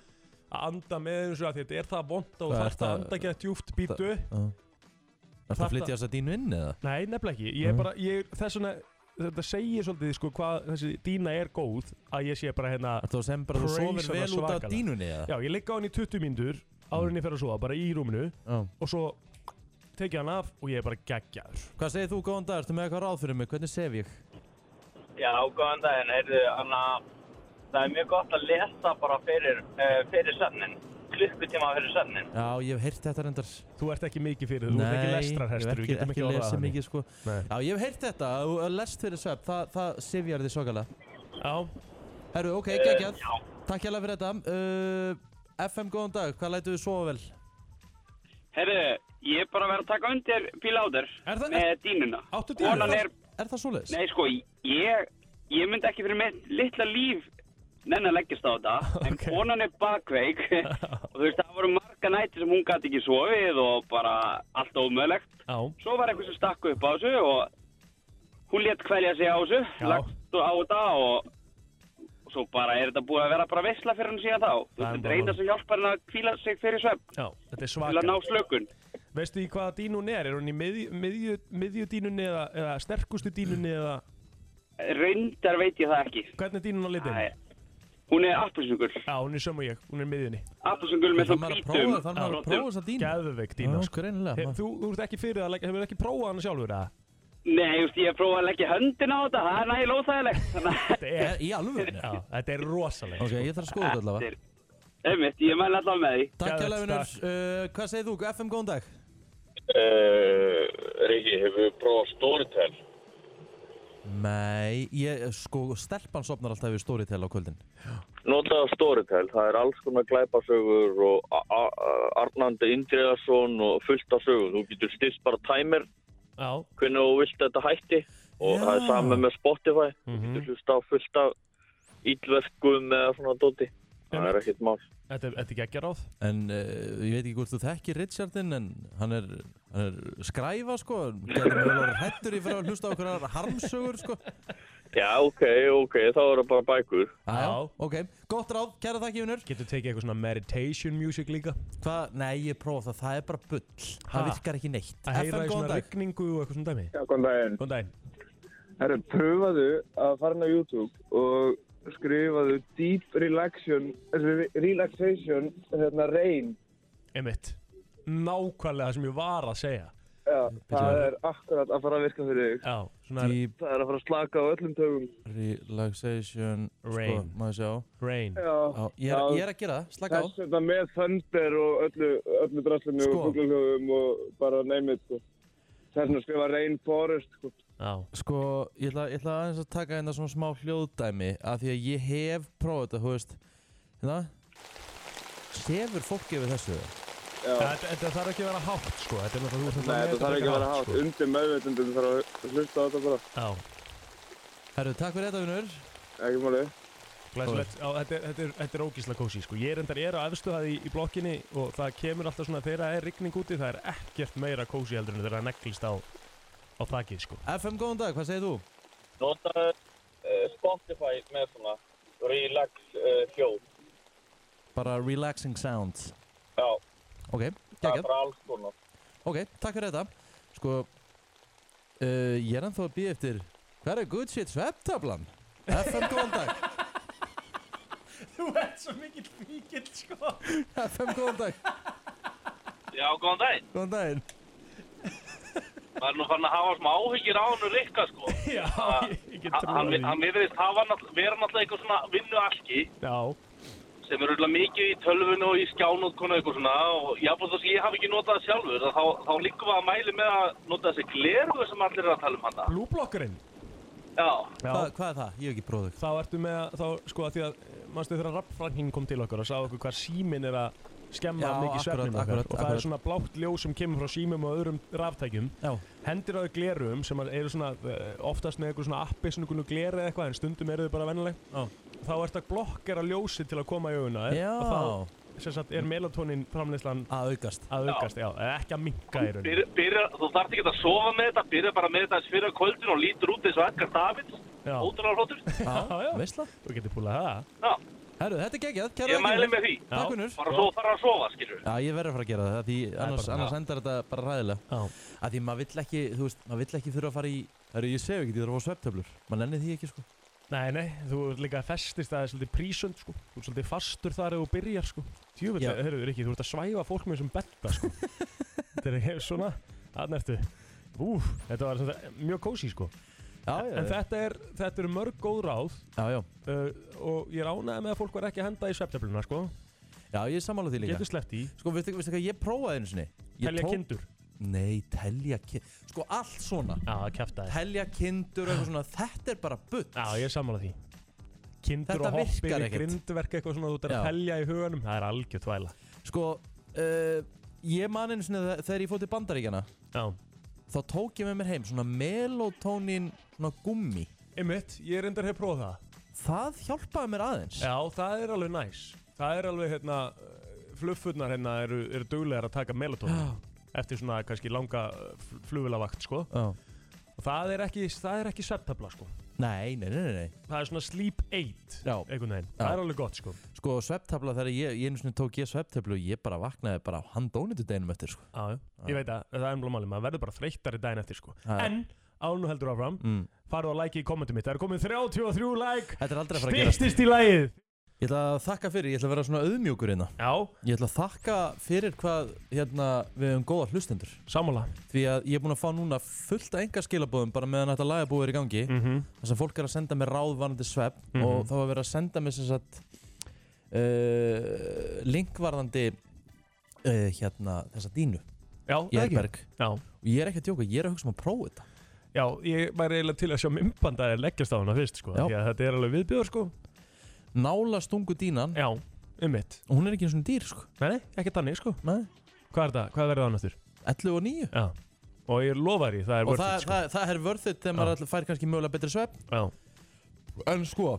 [SPEAKER 3] að anda með þessu að þetta er það vond og
[SPEAKER 2] Hvað
[SPEAKER 3] þarft
[SPEAKER 2] ert
[SPEAKER 3] að
[SPEAKER 2] að-
[SPEAKER 3] anda ekki að djúft býtu
[SPEAKER 2] Er það
[SPEAKER 3] Þetta-
[SPEAKER 2] að flytja þessa dínu inn eða? Mm.
[SPEAKER 3] Nei, nefnilega ekki, ég er
[SPEAKER 2] Nei.
[SPEAKER 3] bara, ég, þess vegna, þetta segir svolítið sko hvað þessi dína er góð að ég sé bara hérna
[SPEAKER 2] Er það sem bara þú
[SPEAKER 3] Praise
[SPEAKER 2] sofir
[SPEAKER 3] hana
[SPEAKER 2] vel út af
[SPEAKER 3] svakalega.
[SPEAKER 2] dínunni eða? Mm.
[SPEAKER 3] Já, ég ligg á henni í 20 mínútur áður en ég fer að sofa, bara í rúminu
[SPEAKER 2] Já.
[SPEAKER 3] og svo tek ég hann af og ég er bara geggjaður
[SPEAKER 2] Hvað segir þú góðan dag? Ertu með eitthvað ráð fyrir mig? Hvernig sef ég?
[SPEAKER 7] Já, góðan daginn, heyrðu, anna, það er mjög gott að lesa bara fyrir,
[SPEAKER 5] eh,
[SPEAKER 7] uh, fyrir söfnin, klukkutíma fyrir söfnin.
[SPEAKER 2] Já, ég hef heyrt þetta reyndar
[SPEAKER 3] Þú ert ekki mikið fyrir, þú ert ekki lestrarhestur, við
[SPEAKER 2] ég hef
[SPEAKER 3] getum ekki
[SPEAKER 2] ekki, ekki
[SPEAKER 3] orðað
[SPEAKER 2] lesið
[SPEAKER 3] það
[SPEAKER 2] mikið sko
[SPEAKER 3] Nei.
[SPEAKER 2] Já, ég hef heyrt þetta, að þú- að lest fyrir svepp, það, það sifjar þið svokalega
[SPEAKER 3] Já,
[SPEAKER 2] Herru, ok, geggjað, takk hérlega fyrir þetta uh, FM, góðan dag, hvað lætu þið sofa vel?
[SPEAKER 7] Heyrðu, ég er bara að vera að taka undir bíláður
[SPEAKER 3] Er það-
[SPEAKER 7] með dínuna.
[SPEAKER 3] Áttu dínu?
[SPEAKER 7] Konan er,
[SPEAKER 2] Er það svoleiðis?
[SPEAKER 7] nei sko, ég, ég myndi ekki fyrir mitt litla líf nenn að leggjast á þetta, en
[SPEAKER 3] Ok.
[SPEAKER 7] konan er bakveik og þú veist, það voru marga nættir sem hún gæti ekki sofið og bara allt ómöðlegt.
[SPEAKER 3] já,
[SPEAKER 7] svo var eitthvað sem stakk upp á þessu og hún létt kvelja sig á þessu,
[SPEAKER 3] Já.
[SPEAKER 7] lagst á þetta og og svo bara er þetta búið að vera bara veisla fyrir hann síðan þá. Þú
[SPEAKER 3] Það er
[SPEAKER 7] veist, þetta
[SPEAKER 3] bara
[SPEAKER 7] er eina
[SPEAKER 3] málið.
[SPEAKER 7] sem hjálpar hann að kvíla sig fyrir svepp
[SPEAKER 3] já, þetta er
[SPEAKER 7] til að ná
[SPEAKER 3] svaka
[SPEAKER 7] slökun.
[SPEAKER 3] Veistu í hvaða dínun er? Er hún í miðju, miðju, miðju dínunni eða, eða sterkustu dínunni eða
[SPEAKER 7] Reyndar veit ég það ekki.
[SPEAKER 3] Hvernig er dínun á litin?
[SPEAKER 7] Æ, Hún er appelsungul.
[SPEAKER 3] Já, hún er sömu og ég, hún er í miðjunni
[SPEAKER 7] Appelsungul með
[SPEAKER 2] Þannig
[SPEAKER 7] svona
[SPEAKER 2] maður að
[SPEAKER 7] hvítum.
[SPEAKER 2] prófa, þannig maður að prófa þessa dínu
[SPEAKER 3] Geðveik dína,
[SPEAKER 2] Já,
[SPEAKER 3] sko
[SPEAKER 2] greinilega,
[SPEAKER 3] He-
[SPEAKER 2] maður-
[SPEAKER 3] Þú, þú ert ekki fyrir að leggja, hefur ekki prófað hana sjálfur eða?
[SPEAKER 7] Nei, þú veist, ég hef prófað að leggja höndin á þetta, það er nægilega óþægilegt. Þannig að
[SPEAKER 3] Þetta er,
[SPEAKER 2] Er, í alveg?
[SPEAKER 3] já, þetta er sko. rosalegt
[SPEAKER 2] Ok, ég þarf að skoða þetta allavega
[SPEAKER 7] þetta er, einmitt, ég mæla allavega með því.
[SPEAKER 2] Takk
[SPEAKER 3] Geðvegt,
[SPEAKER 2] hérlega vinnur,
[SPEAKER 3] takk.
[SPEAKER 2] uh, hvað segir þú? FM, góðan dag
[SPEAKER 6] Eh. Riki, hefur við prófað Storytel?
[SPEAKER 2] Nei, ég, sko, stelpan sopnar alltaf við storytel á kvöldin
[SPEAKER 6] Notaða Storytel, það er alls konar glæpasögur og A- A- A- Arnandi Indriðarsson og fullt af sögum. Þú getur styrst bara tæmir
[SPEAKER 3] Já,
[SPEAKER 6] hvernig þú vilt þetta hætti og
[SPEAKER 2] Já.
[SPEAKER 6] það er sama með Spotify. Þú
[SPEAKER 3] Mhm.
[SPEAKER 6] getur hlusta á fullt af íllverkum eða svona dóti. Það er
[SPEAKER 3] Einmitt.
[SPEAKER 6] ekkert mál.
[SPEAKER 3] þetta er- þetta er geggjaráð
[SPEAKER 2] En uh, ég veit ekki hvort þú þekkir Richardin en hann er, hann er skræfa sko, getur mögulega hættur í fyrir að hlusta á okkur harmsögur sko.
[SPEAKER 6] Já, ok, ok, þá er það bara bækur.
[SPEAKER 2] Já, já,
[SPEAKER 3] Já.
[SPEAKER 2] ok. Gott ráð, kæra þakki vinnur.
[SPEAKER 3] Getur tekið eitthvað svona meditation music líka
[SPEAKER 2] Hvað, nei, ég prófa það, það er bara bull.
[SPEAKER 3] Ha?
[SPEAKER 2] Það virkar ekki neitt.
[SPEAKER 3] Að heyra
[SPEAKER 2] FM,
[SPEAKER 3] í
[SPEAKER 2] góðan
[SPEAKER 3] svona
[SPEAKER 2] dag.
[SPEAKER 3] rigningu og eitthvað svona dæmi
[SPEAKER 8] Já, góðan daginn.
[SPEAKER 3] Góðan daginn
[SPEAKER 8] Herru, pröfaðu að fara inn á YouTube og skrifaðu Deep Relaxation, eh, relaxation hérna, Rain.
[SPEAKER 3] Einmitt Nákvæmlega það sem ég var að segja
[SPEAKER 8] Já, það er akkurat að fara að virka fyrir þig.
[SPEAKER 3] Já, svona Deep
[SPEAKER 8] Það er að fara að slaka á öllum tögum.
[SPEAKER 2] Relaxation, sko,
[SPEAKER 3] Rain.
[SPEAKER 2] maður sjá.
[SPEAKER 3] rain
[SPEAKER 8] Já,
[SPEAKER 2] Já, ég, er, ég er að gera það, slaka á.
[SPEAKER 8] Þess vegna með Thunder og öllu, öllu draslinu
[SPEAKER 2] Sko.
[SPEAKER 8] og fuglalöfum og bara neymið, sko. Þess vegna skrifa Rain Forest, sko.
[SPEAKER 3] Já,
[SPEAKER 2] Sko, ég ætla, ég ætla aðeins að taka hérna svona smá hljóðdæmi af því að ég hef prófað þetta, þú veist, hérna, sefur fólk yfir þessu það?
[SPEAKER 3] þetta, þetta þarf ekki að vera hátt sko Þetta er náttúrulega þú ert
[SPEAKER 8] Nei,
[SPEAKER 3] náttúrulega
[SPEAKER 8] þetta þarf ekki að vera
[SPEAKER 3] með frekar
[SPEAKER 8] hátt. Undir meðvitundum þarf að hlusta á þetta bara.
[SPEAKER 3] sko. Já
[SPEAKER 2] Herru, takk fyrir þetta, vinnur.
[SPEAKER 8] Ekki máli.
[SPEAKER 3] Glæsilegt, á, þetta, er- þetta, er, þetta er ógísla kósi sko. Ég er endar er á efstuhaði í blokkinni og það kemur alltaf svona þegar það er rigning úti það er ekkert meira kósi heldur en þegar það neglist á, á þakið sko.
[SPEAKER 2] FM, góðan dag, hvað segir þú?
[SPEAKER 7] Notaðu uh,
[SPEAKER 6] eh,
[SPEAKER 7] Spotify með svona relax uh, hljóð.
[SPEAKER 2] Bara relaxing sounds.
[SPEAKER 7] Já,
[SPEAKER 2] Ok,
[SPEAKER 7] það er
[SPEAKER 2] geggjað.
[SPEAKER 7] bara alls konar.
[SPEAKER 2] Ok, takk fyrir þetta. Sko, uh, ég er ennþá að býja eftir, hver er good shit svepptablan? FM, góðan dag.
[SPEAKER 3] Þú ert svo mikill mikill sko.
[SPEAKER 2] FM, góðan dag.
[SPEAKER 7] Já, góðan daginn.
[SPEAKER 2] Góðan daginn.
[SPEAKER 7] Maður er nú fann að hafa smá áhyggjur á hannu Rikka, sko.
[SPEAKER 3] Já, ég, ég get
[SPEAKER 7] Hann-
[SPEAKER 3] trúið
[SPEAKER 7] Hann hann virðist hafa nátt- vera náttúrulega eitthvað svona vinnualki
[SPEAKER 3] Já,
[SPEAKER 7] sem er auðvitað mikið í tölvun og í skjánotkonu eitthvað svona og jáfnveg þess að ég hafi ekki notað það sjálfur þá, þá líkum við að mæli með að nota þessi glerugu sem allir er að tala um hana.
[SPEAKER 3] blúblokkurinn
[SPEAKER 7] Já,
[SPEAKER 3] Já,
[SPEAKER 2] Hva, hvað er það? Ég hef ekki prófið.
[SPEAKER 3] þá ertu með að, þá sko að því að mannstu þegar rappfrækning kom til okkar og sagði okkur hvað síminn er að skemma
[SPEAKER 2] Já,
[SPEAKER 3] mikið
[SPEAKER 2] akkurat,
[SPEAKER 3] svefnin okkar
[SPEAKER 2] akkurat,
[SPEAKER 3] og það
[SPEAKER 2] akkurat.
[SPEAKER 3] er svona blátt ljó sem kemur frá símum og öðrum raftækjum
[SPEAKER 2] Já.
[SPEAKER 3] hendir á þau glerum sem eru svona eh, oftast með eitthvað svona appi sem einhvern gleri eða eitthvað en stundum eru þau bara vennileg
[SPEAKER 2] Já.
[SPEAKER 3] þá ertu að blokkera ljósi til að koma í auguna þér og
[SPEAKER 2] Já,
[SPEAKER 3] þá sem sagt, er melatonin framleyslan
[SPEAKER 2] að aukast.
[SPEAKER 3] að aukast, já, eða ekki að minka í raun
[SPEAKER 7] byrja, byrja, þú þarft ekki að sofa með þetta, byrja bara með þetta eins fyrir að kvöldin og lítur út eins og Edgar Davids,
[SPEAKER 3] Já.
[SPEAKER 7] ótrúlega hróttur.
[SPEAKER 3] Já, já.
[SPEAKER 2] Veistla?
[SPEAKER 3] þú getur púlað það
[SPEAKER 7] Já,
[SPEAKER 2] Herru, þetta er geggjað. kæra
[SPEAKER 7] ég
[SPEAKER 2] þakkir,
[SPEAKER 7] mæli
[SPEAKER 2] Unnur.
[SPEAKER 7] með því.
[SPEAKER 2] Takk,
[SPEAKER 3] Já.
[SPEAKER 2] Unnur.
[SPEAKER 7] Bara svo fara að sofa, skilur
[SPEAKER 2] Já, ég verður að fara að gera það, því annars,
[SPEAKER 3] bara-
[SPEAKER 2] annars endar þetta bara ræðilega.
[SPEAKER 3] Já.
[SPEAKER 2] Af því maður vill ekki, þú veist, maður vill ekki þurfa að fara í, herru, ég segi ekki, ég þarf að fá svefntöflur. Maður nenni því ekki, sko.
[SPEAKER 3] Nei, nei, þú ert líka festist að það er svolítið prísönd, sko. Þú ert svolítið fastur þar eða þú byrjar, sko. Tjúfitt,
[SPEAKER 2] Já.
[SPEAKER 3] hörru, Rikki, þú ert að svæfa fólk með þessum betta, sko. þetta er hefur svona, þarna ertu. Úf, þetta var svona, mjög kósi, sko.
[SPEAKER 2] Já, já,
[SPEAKER 3] En
[SPEAKER 2] já.
[SPEAKER 3] þetta er, þetta eru mörg góð ráð
[SPEAKER 2] já, já.
[SPEAKER 3] uh, og ég ránaði með að fólk var ekki að henda í svefntöfluna, sko.
[SPEAKER 2] Já, ég er sammála því líka.
[SPEAKER 3] Getur sleppt í,
[SPEAKER 2] Sko, veistu, veistu hvað, ég prófaði einu sinni. Ég
[SPEAKER 3] telja
[SPEAKER 2] tók-
[SPEAKER 3] kindur.
[SPEAKER 2] Nei, telja kind... Sko, allt svona.
[SPEAKER 3] Já, kæft aðeins.
[SPEAKER 2] Telja kindur og eitthvað svona, þetta er bara butt.
[SPEAKER 3] Já, ég er sammála því. Kindur
[SPEAKER 2] Þetta
[SPEAKER 3] og hoppir
[SPEAKER 2] virkar
[SPEAKER 3] í
[SPEAKER 2] ekkert.
[SPEAKER 3] grindverk eitthvað svona, þú ert
[SPEAKER 2] Já.
[SPEAKER 3] að telja í huganum. Það er algjör þvæla.
[SPEAKER 2] Sko, uh, ég man einu sinni þe- þegar ég fótt í bandaríkjana,
[SPEAKER 3] Já.
[SPEAKER 2] þá tók ég með mér heim svona melatonin, svona gummi.
[SPEAKER 3] Einmitt, ég reyndar hef prófað það.
[SPEAKER 2] Það hjálpaði mér aðeins.
[SPEAKER 3] Já, það er alveg næs Það er alveg hérna uh, Fluffurnar hérna eru, eru duglegar að taka melatonin Eftir svona kannski langa flugulavakt sko
[SPEAKER 2] Já.
[SPEAKER 3] Og það er ekki, það er ekki svefntabla sko
[SPEAKER 2] Nei, nei, nei, nei, nei.
[SPEAKER 3] Það er svona sleep 8
[SPEAKER 2] Já.
[SPEAKER 3] Einhvern veginn,
[SPEAKER 2] Já.
[SPEAKER 3] það er alveg gott sko
[SPEAKER 2] Sko, svefntafla þegar ég, ég einu sinni tók ég svefntaflu og ég bara vaknaði bara á handónitu deginum eftir, sko.
[SPEAKER 3] Já, ég veit að það er ennblá máli Maður verður bara þreyttari daginn eftir sko
[SPEAKER 2] Já.
[SPEAKER 3] En ánu heldur áfram
[SPEAKER 2] Mm.
[SPEAKER 3] Farðu að like í kommentum mitt Það er komið 33 like
[SPEAKER 2] Þetta er aldrei að fara að gerast.
[SPEAKER 3] Styrstist í lagið
[SPEAKER 2] Ég ætla að þakka fyrir, ég ætla að vera svona auðmjúkur hérna.
[SPEAKER 3] Já,
[SPEAKER 2] Ég ætla að þakka fyrir hvað hérna, við hefum góða hlustendur.
[SPEAKER 3] sammála
[SPEAKER 2] Því að ég er búin að fá núna fullt af enga skilabóðum bara meðan þetta lagabúið er í gangi.
[SPEAKER 3] mm
[SPEAKER 2] Þess að fólk er að senda mér ráðvarandi svefn
[SPEAKER 3] Mhm.
[SPEAKER 2] og þá er verið að senda mér sem sagt uh, linkvarðandi uh, hérna þessa dínu
[SPEAKER 3] Já,
[SPEAKER 2] í
[SPEAKER 3] það ekki.
[SPEAKER 2] Erberg.
[SPEAKER 3] Já,
[SPEAKER 2] Og ég er ekki að djóka, ég er að hugsa um að prófa þetta.
[SPEAKER 3] Já, ég væri eiginlega til að sjá mymbanda að leggjast á hana fyrst sko
[SPEAKER 2] Já.
[SPEAKER 3] Því að þetta er alveg viðbjör sko
[SPEAKER 2] Nála stungu dínan,
[SPEAKER 3] Já, um mitt
[SPEAKER 2] hún er ekki eins og dýr, sko.
[SPEAKER 3] Nei, nei, ekki þannig sko
[SPEAKER 2] Nei.
[SPEAKER 3] Hvað er það? Hvað verður það náttúr?
[SPEAKER 2] 11 og 9
[SPEAKER 3] Já Og ég lofa því, það er
[SPEAKER 2] og
[SPEAKER 3] worth
[SPEAKER 2] það,
[SPEAKER 3] it sko
[SPEAKER 2] það, það er worth it þegar maður all- fær kannski mögulega betri svefn
[SPEAKER 3] Já
[SPEAKER 2] en sko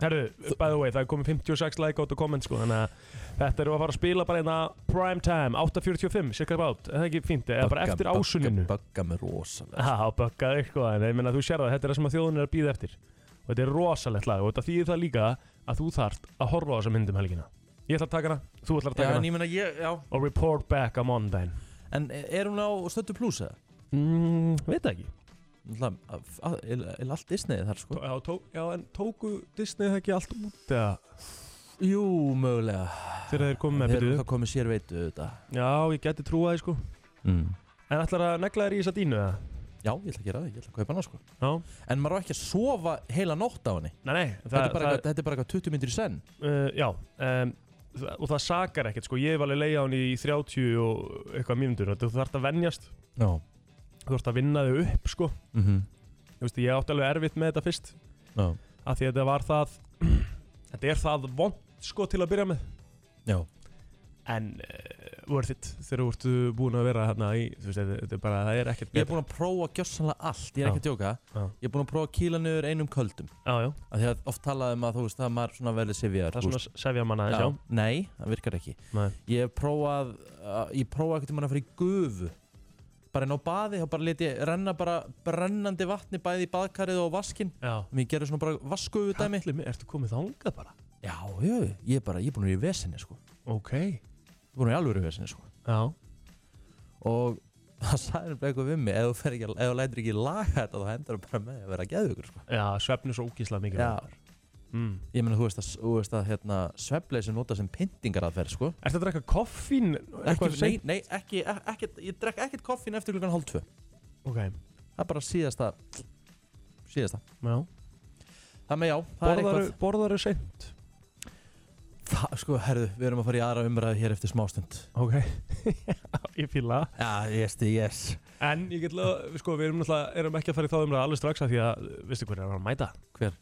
[SPEAKER 3] Herðu, by the way, það er komið 56 like át og komment sko Þannig að þetta eru að fara að spila bara einna prime time 8.45, cirka bát Það er ekki fínt, eða bara eftir ásuninu
[SPEAKER 2] bugga mig rosalega
[SPEAKER 3] Já, bökkaði sko En ég meina, þú sér það, þetta er það sem að þjóðun er að býða eftir Og þetta er rosalegt lag og þetta þýðir það líka að þú þarft að horfa á þessa myndum helgina Ég ætla að taka hana, þú ætlar að
[SPEAKER 2] já,
[SPEAKER 3] taka
[SPEAKER 2] en
[SPEAKER 3] hana
[SPEAKER 2] ég meina ég já.
[SPEAKER 3] og report back á mondaginn
[SPEAKER 2] en er hún á stöldu plus eða?
[SPEAKER 3] mm, veit það ekki
[SPEAKER 2] náttúrulega er er allt Disney þar sko
[SPEAKER 3] já, tó, já, en tóku Disney það ekki allt út eða
[SPEAKER 2] jú mögulega
[SPEAKER 3] þegar þeir komið með
[SPEAKER 2] þeir eru
[SPEAKER 3] byrju
[SPEAKER 2] það komið sér veitu þetta
[SPEAKER 3] já, ég geti trúa því sko
[SPEAKER 2] mm.
[SPEAKER 3] en ætlar að negla þér í þessa dínu eða
[SPEAKER 2] já ég ætla að gera það ég ætla að kaupa hana sko
[SPEAKER 3] já,
[SPEAKER 2] en maður á ekki að sofa heila nótt á henni
[SPEAKER 3] nei, nei
[SPEAKER 2] þetta er bara eitthvað- þetta er bara eitthvað 20 myndir í senn
[SPEAKER 3] uh, já, um, það- og það sakar ekkert sko ég hef alveg leiða hún í 30 og eitthvað mínútur og þú þarft að venjast
[SPEAKER 2] já
[SPEAKER 3] þú þarft að vinna þig upp sko
[SPEAKER 2] mhm
[SPEAKER 3] ég, veist, ég átti alveg erfitt með þetta fyrst
[SPEAKER 2] já
[SPEAKER 3] af því að þetta var það þetta er það vond sko til að byrja með
[SPEAKER 2] já
[SPEAKER 3] en uh, worth it þegar þú ertu búin að vera hérna í, þú veist, þetta- þetta er bara, það er ekkert
[SPEAKER 2] Ég er búin að prófa gjössanlega allt, ég er ekki að djóka
[SPEAKER 3] Já.
[SPEAKER 2] Ég er búin að prófa að kýla niður einum köldum
[SPEAKER 3] Já, já,
[SPEAKER 2] Af Því að oft talaði um að þú veist að maður svona verði sifjar
[SPEAKER 3] það er svona sefja manna aðeins, já.
[SPEAKER 2] Nei, það virkar ekki
[SPEAKER 3] Nei.
[SPEAKER 2] Ég hef prófað, að- ég prófaði ekkert um að fara í gufu Bara inn á baði, þá bara let ég renna bara brennandi vatni bæði í baðkarið og vaskinn
[SPEAKER 3] Já.
[SPEAKER 2] Mér gerir svona bara vaskuðu dæmi
[SPEAKER 3] Kallið mig, ertu komið þangað bara?
[SPEAKER 2] Já, já, já, ég er bara, ég er búin að vera í vesinni sko Ég
[SPEAKER 3] Ok.
[SPEAKER 2] er búin að vera í alvöru vesinni sko
[SPEAKER 3] Já.
[SPEAKER 2] og það sagði nefnilega eitthvað við mig ef þú, fer ekki, ef þú lætir ekki laga þetta þá hendur það bara með því að vera geðugur sko.
[SPEAKER 3] Já, svefn er svo ógíslega mikið. Mm.
[SPEAKER 2] ég meina þú veist að, þú veist að hérna, svefleysi nota sem pyntingar aðferð sko.
[SPEAKER 3] Ertu að drekka koffín?
[SPEAKER 2] ekki,
[SPEAKER 3] Eitthvað
[SPEAKER 2] nei,
[SPEAKER 3] seint?
[SPEAKER 2] nei, ekki, ek- ekkert, ég drekk ekkert koffín eftir klukkan hálf tvö
[SPEAKER 3] Ok.
[SPEAKER 2] það er bara síðasta síðasta
[SPEAKER 3] Já.
[SPEAKER 2] það með já, það er
[SPEAKER 3] Borðaru,
[SPEAKER 2] eitthvað
[SPEAKER 3] borðaru seint?
[SPEAKER 2] það, sko, herðu, við erum að fara í aðra umræðu hér eftir smástund
[SPEAKER 3] Ok. ég fýla það.
[SPEAKER 2] já, yes, yes
[SPEAKER 3] En ég get lofa, sko, við erum náttúrulega, erum ekki að fara í þá umræða alveg strax af því að, veistu hver er að mæta?
[SPEAKER 2] Hver?